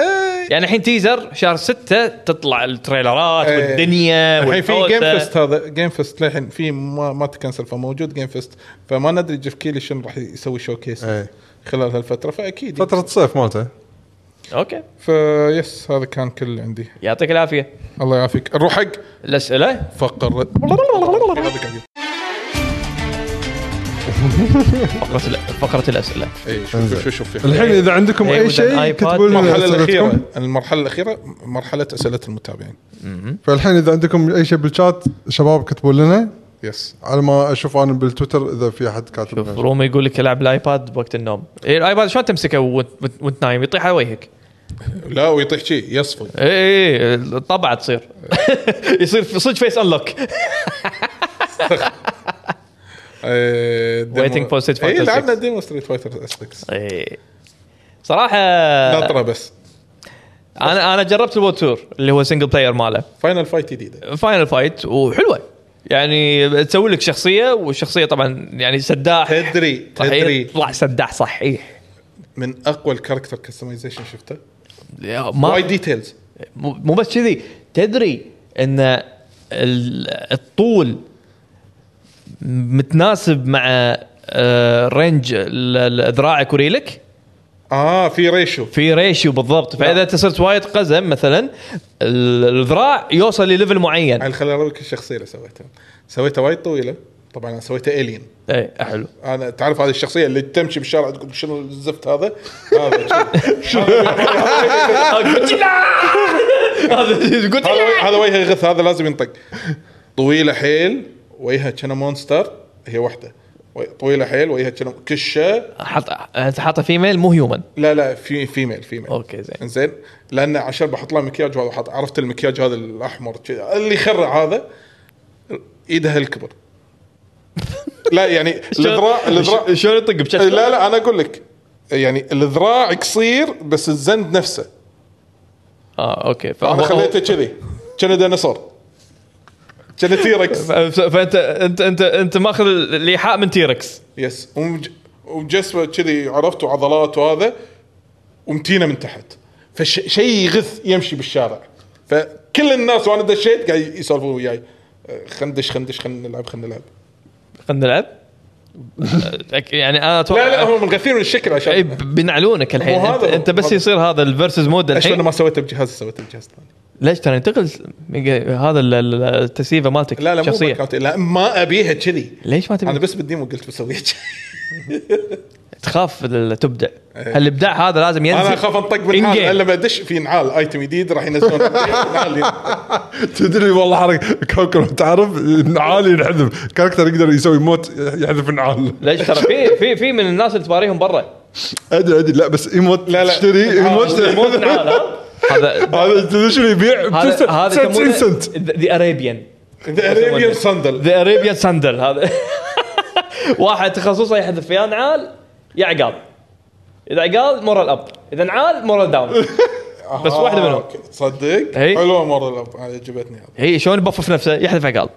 يعني الحين تيزر شهر 6 تطلع التريلرات إيه. والدنيا الحين في جيم والحوسة. فيست هذا جيم فيست للحين في ما, ما تكنسل فموجود جيم فيست فما ندري جيف كيلي شنو راح يسوي شو كيس إيه. خلال هالفتره فاكيد فتره الصيف مالته اوكي فيس هذا كان كل اللي عندي يعطيك العافيه الله يعافيك نروح حق الاسئله فقر فقره ال- فقره الاسئله اي إيه، شوف شوف شوف في الحين اذا عندكم إيه، اي وإذا شيء الآيباد كتبوا لنا المرحله الاخيره أسئلتكم. المرحله الاخيره مرحله اسئله المتابعين فالحين اذا عندكم اي شيء بالشات شباب كتبوا لنا يس على ما اشوف انا بالتويتر اذا في احد كاتب شوف لنا. رومي يقول لك العب الايباد وقت النوم إيه، الايباد شلون تمسكه وانت وأنت- وأنت نايم يطيح على وجهك إيه، لا ويطيح شيء يصفق اي اي الطبعه تصير يصير في- صدق فيس انلوك آه، ديمو- Waiting for Street Fighter اي لعبنا 6. ديمو ستريت فايتر 6 إيه. صراحه آه. ناطره بس انا انا جربت الووت تور اللي هو سنجل بلاير ماله فاينل فايت جديده فاينل فايت وحلوه يعني تسوي لك شخصيه والشخصيه طبعا يعني سداح تدري صحيح تدري طلع سداح صحيح من اقوى الكاركتر كستمايزيشن شفته يا وايد ما ديتيلز مو مو بس كذي تدري ان ال- الطول متناسب مع آه، رينج ال- ال- ذراعك وريلك اه في ريشو في ريشيو بالضبط نعم. فاذا انت صرت وايد قزم مثلا ال- الذراع يوصل لليفل معين يعني خليني ارويك الشخصيه اللي سويتها سويتها وايد طويله طبعا انا سويتها الين اي إيه، حلو انا تعرف هذه الشخصيه اللي تمشي بالشارع تقول شنو الزفت هذا؟ هذا هذا قلت هذا هذا وجهه يغث هذا لازم ينطق طويله حيل وجهها كنا مونستر هي واحده وي- طويله حيل وجهها كنا كشه حط انت حاطه فيميل مو هيومن لا لا في فيميل فيميل أوكي، زين. زين لان عشان بحط لها مكياج وهذا حط عرفت المكياج هذا الاحمر شي- اللي يخرع هذا ايدها الكبر لا يعني الذراع الذراع شلون- شلون يطق بشكل لا لا انا اقول لك يعني الذراع قصير بس الزند نفسه اه اوكي انا فهو خليته كذي كان ديناصور كان تيركس ف- فانت انت انت انت ماخذ الايحاء من تيركس يس ومج- وجسمه كذي عرفت وعضلات وهذا ومتينه من تحت فشيء يغث يمشي بالشارع فكل الناس وانا دشيت قاعد يسولفون وياي أه، خندش خندش خلينا نلعب خلينا نلعب خلينا نلعب أك- يعني انا اتوقع لا لا هم منغثين من الشكل إي، عشان ب- بينعلونك الحين مو انت, هذا هو، انت بس هذا. يصير هذا الفيرسز مود عشان الحين ما سويته بجهاز سويته بجهاز ثاني ليش ترى ينتقل هذا ال- ال- التسييفه مالتك لا لا مو شخصيه باك أوت، لا ما ابيها كذي ليش ما انا تبي بس بالديمو قلت بسويها كذي تخاف ال- تبدع الابداع هذا لازم ينزل انا اخاف انطق In game. بالنعال لأن لما ادش في نعال ايتم جديد راح ينزلون نعال تدري والله حركه كوكب تعرف نعال ينحذف كاركتر يقدر يسوي موت يحذف نعال ليش ترى في في في من الناس اللي تباريهم برا ادري ادري لا بس ايموت لا، لا. تشتري ايموت يموت نعال، ها؟ هذا هذا تدري شنو يبيع ب هذا هذا 99 سنت ذا اريبيان اريبيان صندل ذا اريبيان ساندل هذا واحد تخصصه يحذف يا نعال يا عقال اذا عقال مورال اب اذا نعال مورال داون بس واحدة منهم. آه، تصدق إي. حلوه مره الاب عجبتني هذا هي شلون يبفف نفسه يحذف عقال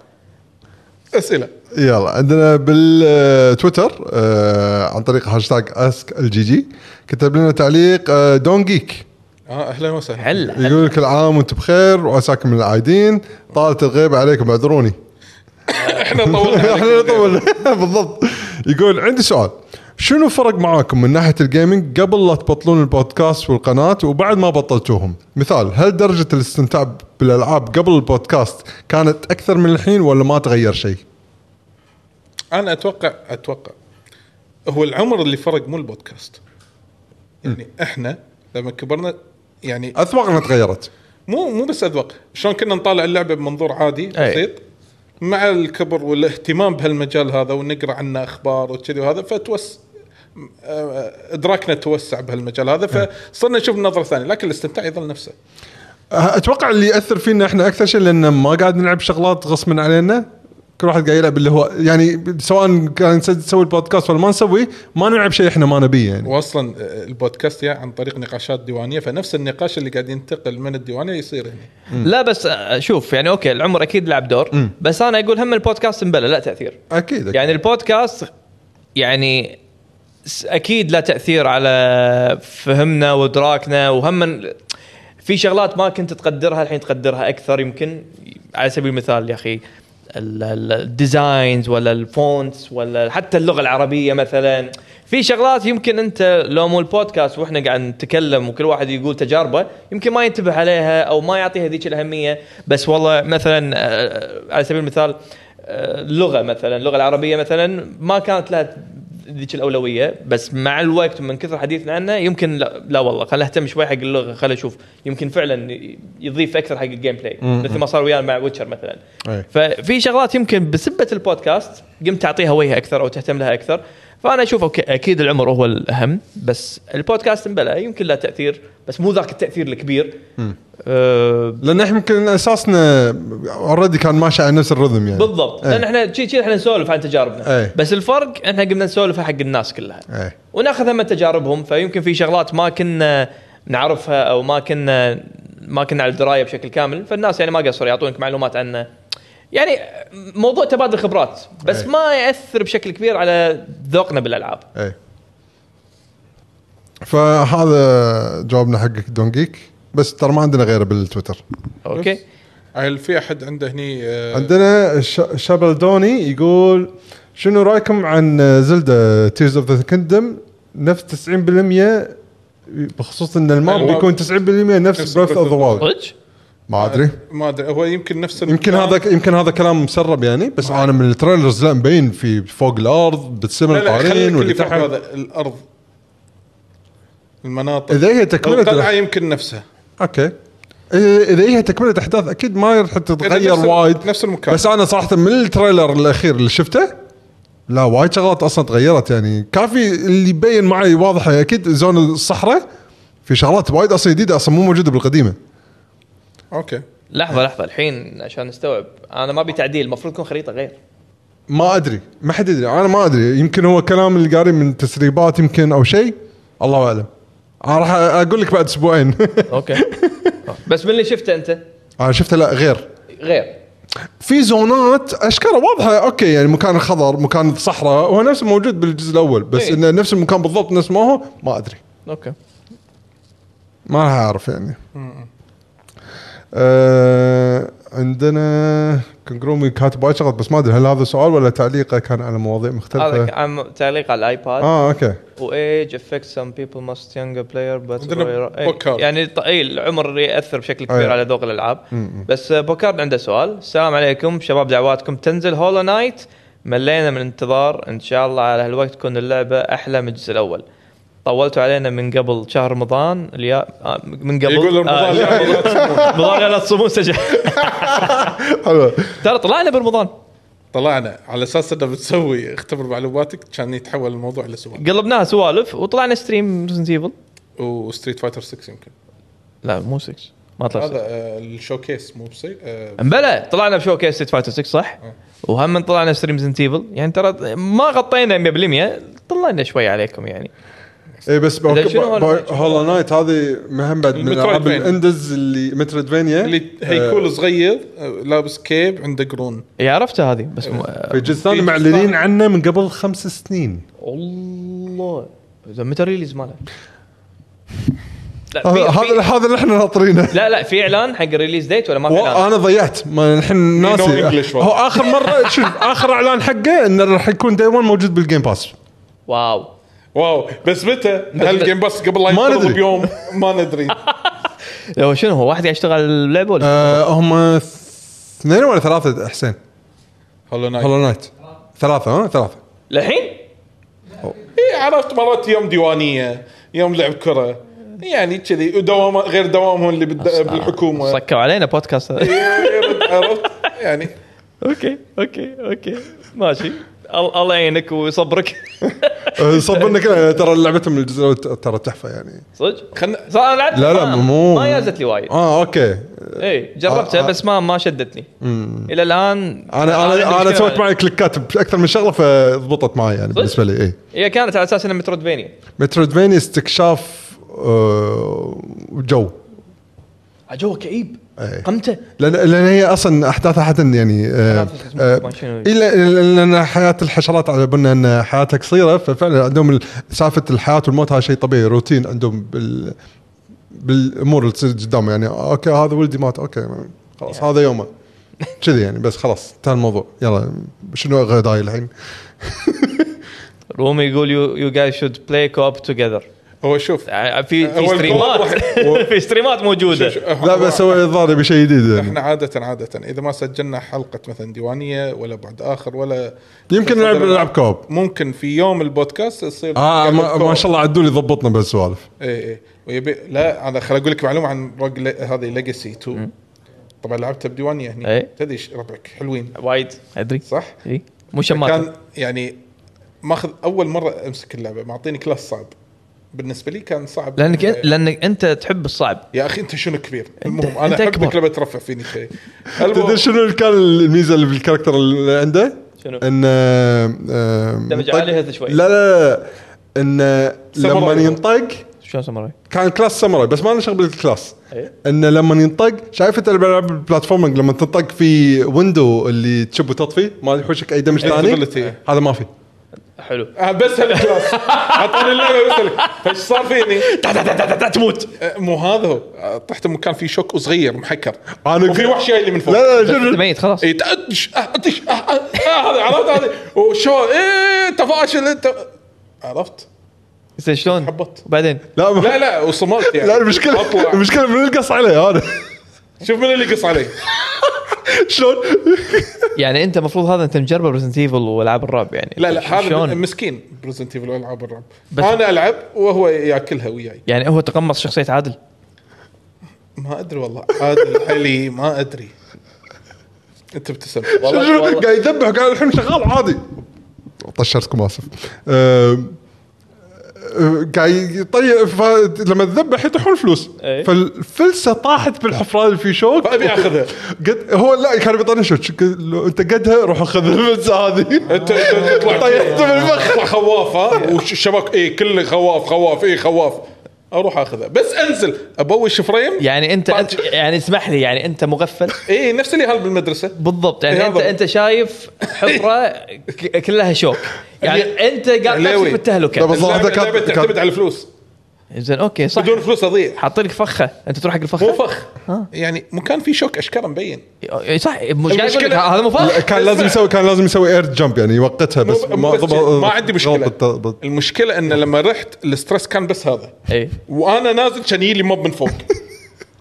اسئله يلا عندنا بالتويتر آه، عن طريق هاشتاج اسك الجي جي كتب لنا تعليق آه، دون جيك اه اهلا وسهلا هلا يقول كل عام وانتم بخير وعساكم من العايدين طالت الغيبه عليكم اعذروني احنا طولنا احنا عليك. نطول بالضبط يقول عندي سؤال شنو فرق معاكم من ناحيه الجيمنج قبل لا تبطلون البودكاست والقناه وبعد ما بطلتوهم مثال هل درجه الاستمتاع بالالعاب قبل البودكاست كانت اكثر من الحين ولا ما تغير شيء انا اتوقع اتوقع هو العمر اللي فرق مو البودكاست يعني احنا لما كبرنا يعني اذواقنا تغيرت مو مو بس اذواق شلون كنا نطالع اللعبه بمنظور عادي بسيط مع الكبر والاهتمام بهالمجال هذا ونقرا عنه اخبار وكذي وهذا فتوس م- آه، ادراكنا توسع بهالمجال هذا فصرنا نشوف نظره ثانيه لكن الاستمتاع يظل نفسه اتوقع أه، اللي ياثر فينا احنا اكثر شيء لان ما قاعد نلعب شغلات غصبا علينا كل واحد قاعد يلعب اللي هو يعني سواء كان نس- نسوي البودكاست ولا ما نسوي ما نلعب شيء احنا ما نبيه يعني واصلا آه، البودكاست يا عن طريق نقاشات ديوانيه فنفس النقاش اللي قاعد ينتقل من الديوانيه يصير هنا لا بس آه، شوف يعني اوكي العمر اكيد لعب دور بس انا اقول هم البودكاست مبلى لا تاثير اكيد, أكيد. يعني البودكاست يعني س- اكيد له تاثير على فهمنا وادراكنا وهم في شغلات ما كنت تقدرها الحين تقدرها اكثر يمكن على سبيل المثال يا اخي ال- ال- الديزاينز ولا الفونتس ولا حتى اللغه العربيه مثلا في شغلات يمكن انت لو مو البودكاست واحنا قاعد نتكلم وكل واحد يقول تجاربه يمكن ما ينتبه عليها او ما يعطيها ذيك الاهميه بس والله مثلا آه، على سبيل المثال آه، اللغه مثلا اللغه العربيه مثلا ما كانت لها ذيك الاولويه بس مع الوقت من كثر حديثنا عنها يمكن لا, لا والله خل اهتم شوي حق اللغه خل اشوف يمكن فعلا ي- يضيف اكثر حق الجيم بلاي مثل ما صار ويانا مع ويتشر مثلا أي. ففي شغلات يمكن بسبه البودكاست قمت تعطيها وجه اكثر او تهتم لها اكثر فانا اشوف أوكي اكيد العمر هو الاهم بس البودكاست مبلى يمكن له تاثير بس مو ذاك التاثير الكبير أه لان احنا يمكن اساسنا اوريدي كان ماشي على نفس الرذم يعني بالضبط لان احنا شي شي احنا نسولف عن تجاربنا إيه. بس الفرق احنا قمنا نسولف حق الناس كلها إيه. وناخذها من تجاربهم فيمكن في شغلات ما كنا نعرفها او ما كنا ما كنا على درايه بشكل كامل فالناس يعني ما قصروا يعطونك معلومات عنه يعني موضوع تبادل خبرات بس إيه. ما ياثر بشكل كبير على ذوقنا بالالعاب اي فهذا جوابنا حقك دونجيك بس ترى ما عندنا غيره بالتويتر اوكي هل في احد عنده هني آه، عندنا الش- شابلدوني يقول شنو رايكم عن زلدة تيرز اوف ذا كيندم نفس 90% بخصوص ان الماب الماب. بيكون 90% نفس نفس بريث Breath اوف of ذا the وايلد صدق؟ ما ادري ما ادري هو يمكن نفس ال- يمكن هذا يمكن هذا كلام مسرب يعني بس انا من التريلرز لا مبين في فوق الارض بتسمى لا لا خليك القارين اللي واللي فوق تحت هذا الارض المناطق اذا هي تكمله القلعه يمكن نفسها اوكي إذا- اذا هي تكمله احداث اكيد ما راح تتغير نفس ال- وايد نفس المكان. بس انا صراحه من التريلر الاخير اللي شفته لا وايد شغلات اصلا تغيرت يعني كافي اللي يبين معي واضحه اكيد زون الصحراء في شغلات وايد اصلا جديده اصلا مو موجوده بالقديمه اوكي لحظه لحظه الحين عشان نستوعب انا ما ابي تعديل المفروض تكون خريطه غير ما ادري ما حد يدري انا ما ادري يمكن هو كلام اللي قاري من تسريبات يمكن او شيء الله اعلم انا راح اقول لك بعد اسبوعين اوكي بس من اللي شفته انت انا شفته لا غير غير في زونات اشكالها واضحه اوكي يعني مكان الخضر مكان الصحراء هو نفسه موجود بالجزء الاول بس إيه. انه نفس المكان بالضبط نفس ما هو ما ادري اوكي ما راح اعرف يعني آه عندنا كنجرومي كاتب وايد شغلات بس ما ادري هل هذا سؤال ولا تعليقه كان على مواضيع هذا مختلفه؟ عم- تعليق على الايباد اه اوكي وايج افكت سم بيبل ماست يونجر بلاير بس عندنا بوكارد. أيوة. يعني ط- اي العمر ياثر بشكل أي. كبير على ذوق الالعاب بس آه، بوكارد عنده سؤال السلام عليكم شباب دعواتكم تنزل هولو نايت ملينا من انتظار ان شاء الله على هالوقت تكون اللعبه احلى من الجزء الاول طولتوا علينا من قبل شهر رمضان اليا... آه، من قبل يقول آه، رمضان شهر لا، لا، رمضان لا تصومون سجل حلو ترى طلعنا برمضان طلعنا على اساس انه بتسوي اختبر معلوماتك كان يتحول الموضوع الى سؤال قلبناها سوالف وطلعنا ستريم ريزنت ايفل وستريت فايتر 6 يمكن لا مو 6 ما طلع هذا آه، الشوكيس مو بصير آه، امبلا طلعنا بشو كيس ستيت فايتر 6 صح؟ إيه. وهم طلعنا ستريم ريزنت ايفل يعني ترى ما غطينا 100% طلعنا شوي عليكم يعني اي إيه، بس بو- إذا شنو بو- هولو نايت؟ هولو نايت هذه مهم بعد من العاب المترويدفينيا. الاندز اللي مترودفينيا اللي هيكول صغير آه، لابس كيب عنده قرون إي، إيه، عرفتها هذه بس م... في جزء ثاني في جزء معلنين ثاني. عنه من قبل خمس سنين الله إذا متى ريليز ماله؟ لا في- هذا في- هذا- هذا اللي احنا ناطرينه لا لا في اعلان حق الريليز ديت ولا ما في اعلان؟ وانا ضيعت ما الحين English ناسي والله. هو اخر مره شوف اخر اعلان حقه انه راح يكون داي 1 موجود بالجيم باس واو واو بس متى هل جيم باس قبل لا ما ينقرض ندري. بيوم ما ندري لو شنو هو واحد قاعد يشتغل على اللعبه ولا آه هم اثنين ولا ثلاثه حسين هولو نايت هولو نايت ثلاثه ها ثلاثه للحين؟ إيه، عرفت مرات يوم ديوانيه يوم لعب كره يعني كذي ودوام غير دوامهم اللي بالد- بالحكومه سكوا علينا بودكاست هذا. عرفت يعني اوكي اوكي اوكي ماشي ال- الله يعينك ويصبرك آه، صبرنا كده ترى لعبتهم الجزء الأول ترى تحفه يعني صدق؟ خلنا صار أنا لعبت لا لا ما- مو آه، ما يازت لي وايد اه اوكي اي إيه، جربتها آه، آه. بس ما ما شدتني الى الان انا عندي انا انا مشكلة سويت معها. معي كليكات باكثر من شغله فضبطت معي يعني بالنسبه لي اي هي كانت على اساس انها مترودفينيا مترودفينيا استكشاف آه، جو جو آه، كئيب إيه. قمته لان لان هي اصلا احداثها حتى يعني آه، آه، ما شنو- الا إلا- لان حياه الحشرات على بالنا ان حياتها قصيره ففعلا عندهم ال- سالفه الحياه والموت هذا شيء طبيعي روتين عندهم بال بالامور اللي تصير قدامه يعني اوكي هذا ولدي مات اوكي خلاص هذا يومه كذي يعني بس خلاص انتهى الموضوع يلا شنو غداي الحين؟ رومي يقول يو يو جايز شود بلاي كوب توجذر هو شوف في آه، في هو الكوب ستريمات واحد. في ستريمات موجوده شوف- شوف، لا بس هو الظاهر يبي شيء جديد يعني احنا عادة عادة اذا ما سجلنا حلقة مثلا ديوانية ولا بعد اخر ولا يمكن نلعب نلعب كوب ممكن في يوم البودكاست يصير اه ما, كوب. ما شاء الله عدول يضبطنا بالسوالف اي اي إيه، ويبي لا انا خل اقول لك معلومة عن روج ل- هذه ليجاسي 2 طبعا لعبتها بديوانية هنا إي. تدري إيش ربعك حلوين وايد ادري صح؟ اي مو شمات كان يعني ماخذ اول مرة امسك اللعبة معطيني كلاس صعب بالنسبة لي كان صعب لانك إيه. لانك انت تحب الصعب يا اخي انت شنو كبير المهم انا أنت احبك أكبر. لما ترفع فيني شيء تدري شنو اللي كان الميزه اللي بالكاركتر اللي عنده؟ شنو؟ ان آم، آم، دمج طق- عليها شوي. لا لا لا ان لما ساموراي. ينطق شلون سمراي؟ كان كلاس ساموراي بس ما له شغل بالكلاس إيه. انه لما ينطق شايف انت الالعاب البلاتفورمينج لما تنطق في ويندو اللي تشب وتطفي ما يحوشك اي دمج ثاني Invisibility. هذا ما في حلو آه، بس هالكلاس اعطوني اللعبه بس هالك- فايش صار فيني؟ تا- تا- تا- تا- تا- تموت آه، مو هذا هو آه، طحت مكان فيه شوك وصغير محكر أنا وفي ك- وحش جاي لي من فوق لا لا شوف ميت خلاص اي تأدش آه، أدش، آه، آه، آه، هذا عرفت هذا وشو ايه تفاشل انت عرفت زين شلون؟ حبط. بعدين لا ما- لا لا وصملت يعني لا المشكله اطلع المشكله من القص علي انا شوف من اللي قص علي شلون يعني انت المفروض هذا انت مجربه ريزنت ايفل والعاب الرعب يعني لا لا هذا شلون؟ مسكين بريزنت ايفل والعاب الرعب بس- انا العب وهو ياكلها وياي يعني هو تقمص شخصيه عادل ما ادري والله عادل علي ما ادري انت ابتسم والله شوف- شوف، قاعد يذبح قاعد الحين شغال عادي طشرتكم اسف أم، أه، قاعد يطيح ف- لما تذبح يطيحون فلوس إيه. فالفلسه طاحت بالحفران اللي فيه شوك فأبي آخذها. قد هو لا كان بيطنش وجهك. لو انت قدها روح خذ الفلسه هذه انت أنت تطلع طيحت بالمخ تطلع خواف ها والشبك اي كله خواف خواف اي خواف اروح اخذها بس انزل ابوش فريم يعني انت انت يعني اسمح لي يعني انت مغفل اي إيه، نفس اللي هال بالمدرسه بالضبط يعني إيه، انت بالضبط. انت شايف حفره ك- كلها شوك يعني انت قاعد عليوي. تشوف لا، التهلكه بالضبط. والله اللعبة- هذا كان- اللعبة كان- تعتمد على الفلوس زين اوكي صح بدون فلوس اضيع حاطين لك فخه انت تروح حق الفخه مو فخ يعني مكان فيه شوك اشكره مبين إيه، صح مش قاعد اقول لك المشكلة- هذا مو لا، فخ كان لازم يسوي كان لازم يسوي اير جمب يعني يوقتها بس مو- مو بس ضبط- كذي. ما عندي مشكلة. ضبط- ضبط. المشكله ان لما رحت الستريس كان بس هذا اي وانا نازل كان يجي لي موب من فوق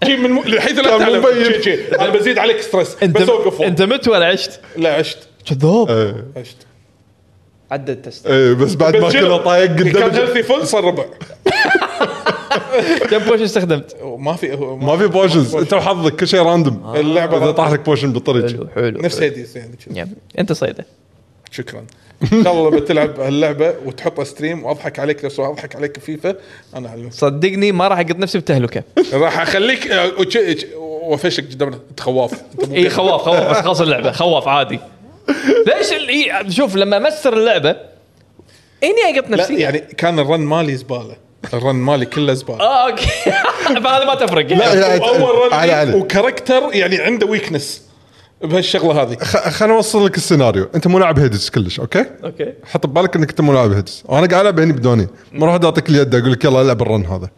جي من م- لحيث لا كان تعلم مبين. جي- جي. انا بزيد عليك ستريس انت بس اوقف فوق انت مت ولا عشت؟ لا عشت كذاب إيه. عشت عدى التست إيه، بس بعد ما بس شنو؟ كله طايق كان قدام هيلثي فل صار ربع كم بوش استخدمت؟ ما في هو ما في بوشنز انت انت وحظك كل شيء راندوم اللعبة اذا راندوم. طاح لك بوشن بالطريق حلو حلو نفس هيديس يعني كذا. يعني انت صيده شكرا ان شاء الله لما تلعب هاللعبه وتحط ستريم واضحك عليك نفس ما اضحك عليك فيفا انا اعلمك صدقني ما راح اقط نفسي بتهلكه راح اخليك أه، وش- وش- وافشك قدامنا انت خواف انت مو إيه، اي خواف خواف بس خلص اللعبه خواف عادي ليش ال- إي، شوف لما امسر اللعبه اني اقط لا نفسي يعني كان الرن مالي زباله الرن مالي كله زباله اه اوكي فهذا ما تفرق لا، لا. اول رن علي- علي. وكاركتر يعني عنده ويكنس بهالشغله هذه خ- خليني اوصل لك السيناريو انت مو لاعب هيدز كلش اوكي اوكي حط ببالك انك انت مو لاعب هيدز وانا قاعد العب هني بدوني ما راح اعطيك اليد اقول لك يلا العب الرن هذا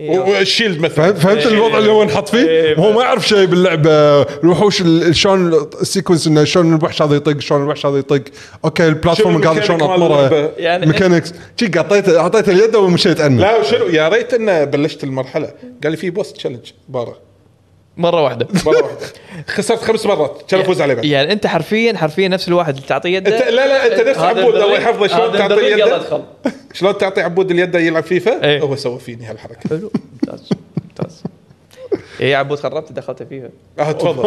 والشيلد مثلا فهمت فهمت الوضع اللي هو انحط فيه إيه، وهو ما يعرف شيء باللعبه الوحوش ال- شلون السيكونس انه شلون الوحش هذا يطق شلون الوحش هذا يطق اوكي البلاتفورم شنو قاعد شلون الميكانيك مال اطمره اللعبة؟ يعني- ميكانكس شي اعطيته اعطيته اليد ومشيت عنه لا وشنو يا ريت انه بلشت المرحله قال لي في بوس تشالنج برا مره واحده مره واحده خسرت خمس مرات كان افوز عليه بعد يعني انت حرفيا حرفيا نفس الواحد اللي تعطيه يده أنت- لا، لا، أنت نفس هذا عبود، الله الدقيق- يحفظه، شلون هذا تعطيه الدقيق يده؟ يلا ادخل شلون تعطي عبود اليد يلعب فيفا إيه. هو سوى فيني هالحركه حلو ممتاز ممتاز اي يا عبود خربت دخلت فيها اه تفضل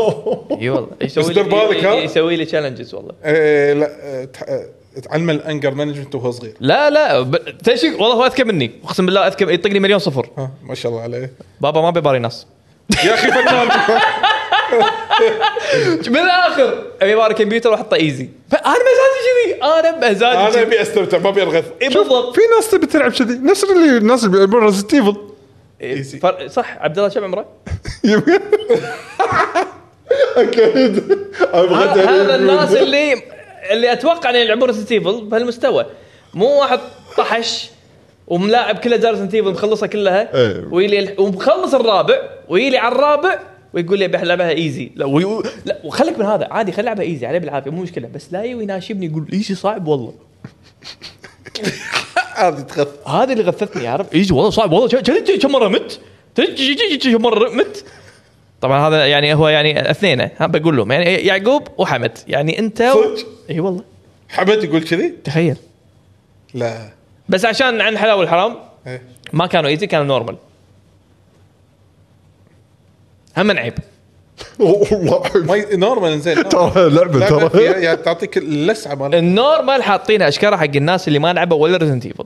اي والله يسوي دير بالك، ها؟ لي يسوي لي تشالنجز والله إيه، لا آه، تح- آه، تعلم الانجر مانجمنت وهو صغير لا لا ب... تشك والله هو اذكى مني اقسم بالله اذكى يطقني مليون صفر ها ما شاء الله عليه بابا ما بيباري ناس يا اخي فنان من الاخر ابي باري كمبيوتر واحطه ايزي فانا مزاجي كذي انا مزاجي انا كذي ابي استمتع ما ابي ارغث إي بالضبط في ناس تبي تلعب كذي نفس اللي الناس اللي يلعبون ريزنت ايفل إي، إيه، فرق- صح عبد الله شو عمره؟ اكيد ابغى هذا الناس اللي اللي اتوقع انه يلعبون ريزنت ايفل بهالمستوى مو واحد طحش وملاعب كله دارس ايفل مخلصها كلها إيه. ويلي ومخلص الرابع ويلي على الرابع ويقول لي بلعبها ايزي لا وي... لا وخلك من هذا عادي خلي العبها ايزي عليه بالعافيه مو مشكله بس لا يجي يناشبني يقول ايزي صعب والله هذه تخف هذا اللي غثتني عارف ايزي والله صعب والله ش- ش- ش- كم مره مت ش- ش- ش- كم مره مت طبعا هذا يعني هو يعني اثنين ها بقول لهم يعني يعقوب وحمد يعني انت و... صدق؟ اي والله حمد يقول كذي تخيل لا بس عشان عن الحلال والحرام إيه. ما كانوا ايزي كانوا نورمال هم عيب والله ما ي- نورمال زين ترى لعبه لعبة ترى فيها- يعني تعطيك اللسعه إيه. مالها النورمال حاطين اشكال حق الناس اللي ما لعبوا ولا ريزنت ايفل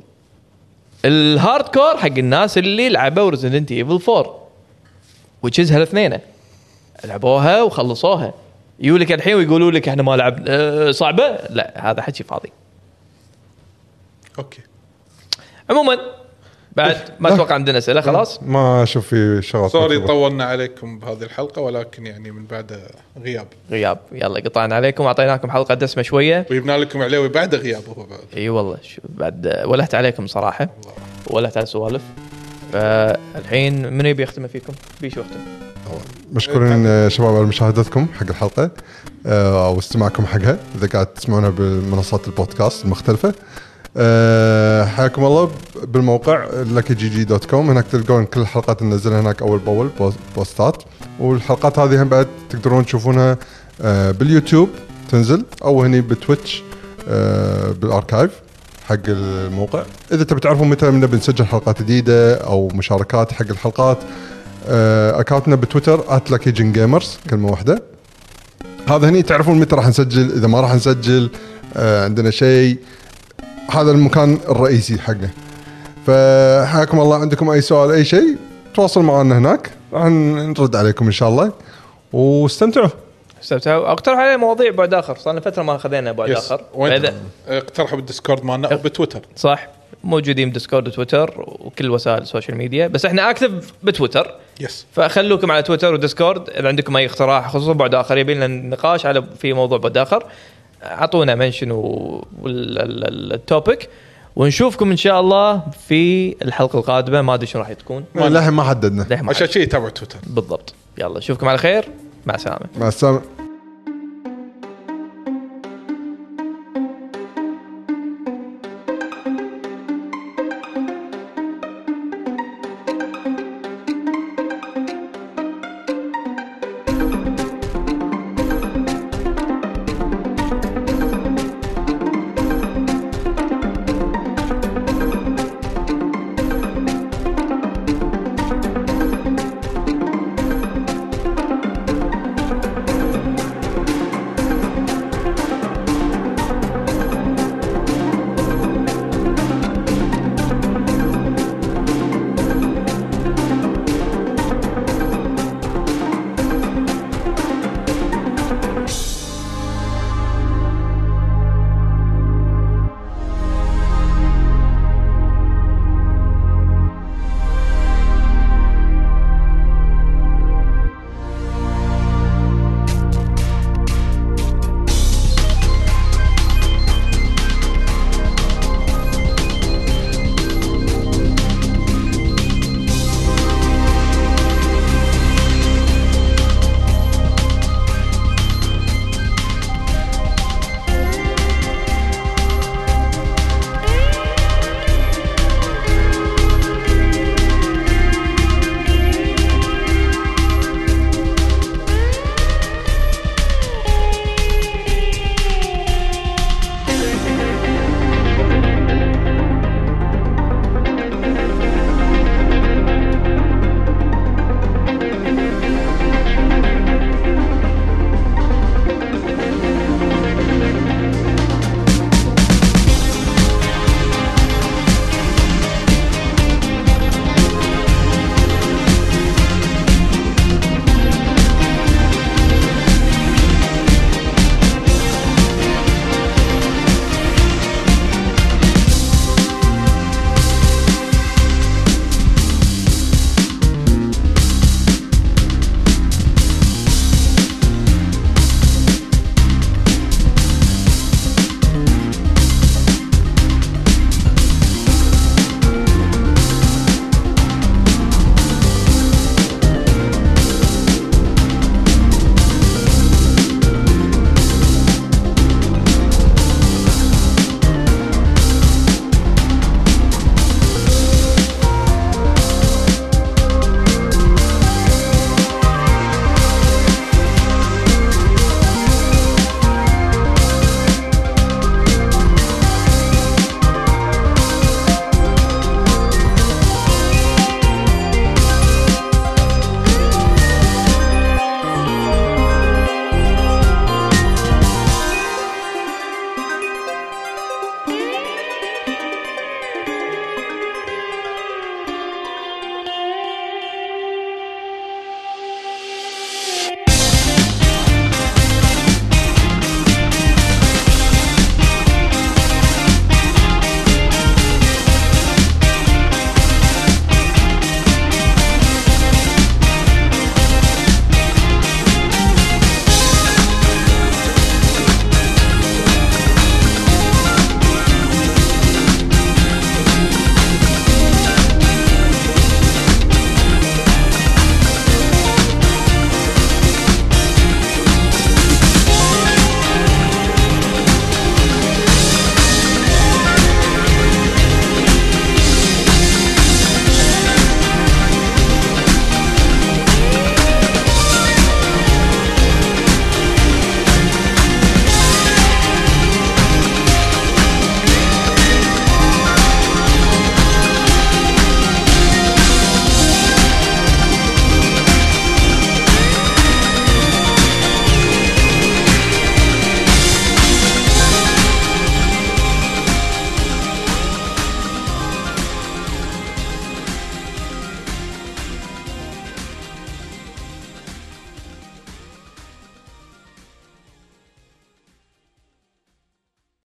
الهارد كور حق الناس اللي لعبوا ريزنت ايفل 4 وتشيز هالاثنين لعبوها وخلصوها يقولوا لك الحين ويقولوا لك احنا ما لعبنا أه صعبه لا هذا حكي فاضي اوكي عموما بعد ما اتوقع عندنا اسئله خلاص ما اشوف في شغلات سوري مكتوبة. طولنا عليكم بهذه الحلقه ولكن يعني من بعد غياب غياب يلا قطعنا عليكم اعطيناكم حلقه دسمه شويه وجبنا لكم عليه بعد غياب هو بعد اي والله شو- بعد آه، ولهت عليكم صراحه ولهت على السوالف فالحين منو يبي يختم فيكم؟ بيشو يختم مشكورين آه، شباب على مشاهدتكم حق الحلقه آه، او استماعكم حقها اذا قاعد تسمعونها بمنصات البودكاست المختلفه آه، حياكم الله ب- بالموقع luckyGG.com دوت كوم هناك تلقون كل الحلقات ننزلها هناك اول باول بوست- بوستات والحلقات هذه هم بعد تقدرون تشوفونها آه، باليوتيوب تنزل او هني بتويتش آه، بالاركايف حق الموقع اذا تبي تعرفون متى نبي نسجل حلقات جديده او مشاركات حق الحلقات آه، اكاونتنا بتويتر @luckygengamers جيمرز كلمه واحده هذا هني تعرفون متى راح نسجل اذا ما راح نسجل آه، عندنا شيء هذا المكان الرئيسي حقنا فحياكم الله عندكم اي سؤال اي شيء تواصل معنا هناك راح نرد عليكم ان شاء الله واستمتعوا استمتعوا اقترح علي مواضيع بعد اخر صار لنا فتره ما اخذنا بعد يس. اخر وين فإذا- اقترحوا بالديسكورد مالنا او بتويتر صح موجودين بديسكورد وتويتر وكل وسائل السوشيال ميديا بس احنا اكتف بتويتر يس فخلوكم على تويتر وديسكورد اذا عندكم اي اقتراح خصوصا بعد اخر يبي لنا نقاش على في موضوع بعد اخر اعطونا منشن والتوبيك ونشوفكم ان شاء الله في الحلقه القادمه ما ادري شنو راح تكون للحين ما حددنا للحين ما عشان شيء تابع تويتر بالضبط يلا نشوفكم على خير مع السلامه مع السلامه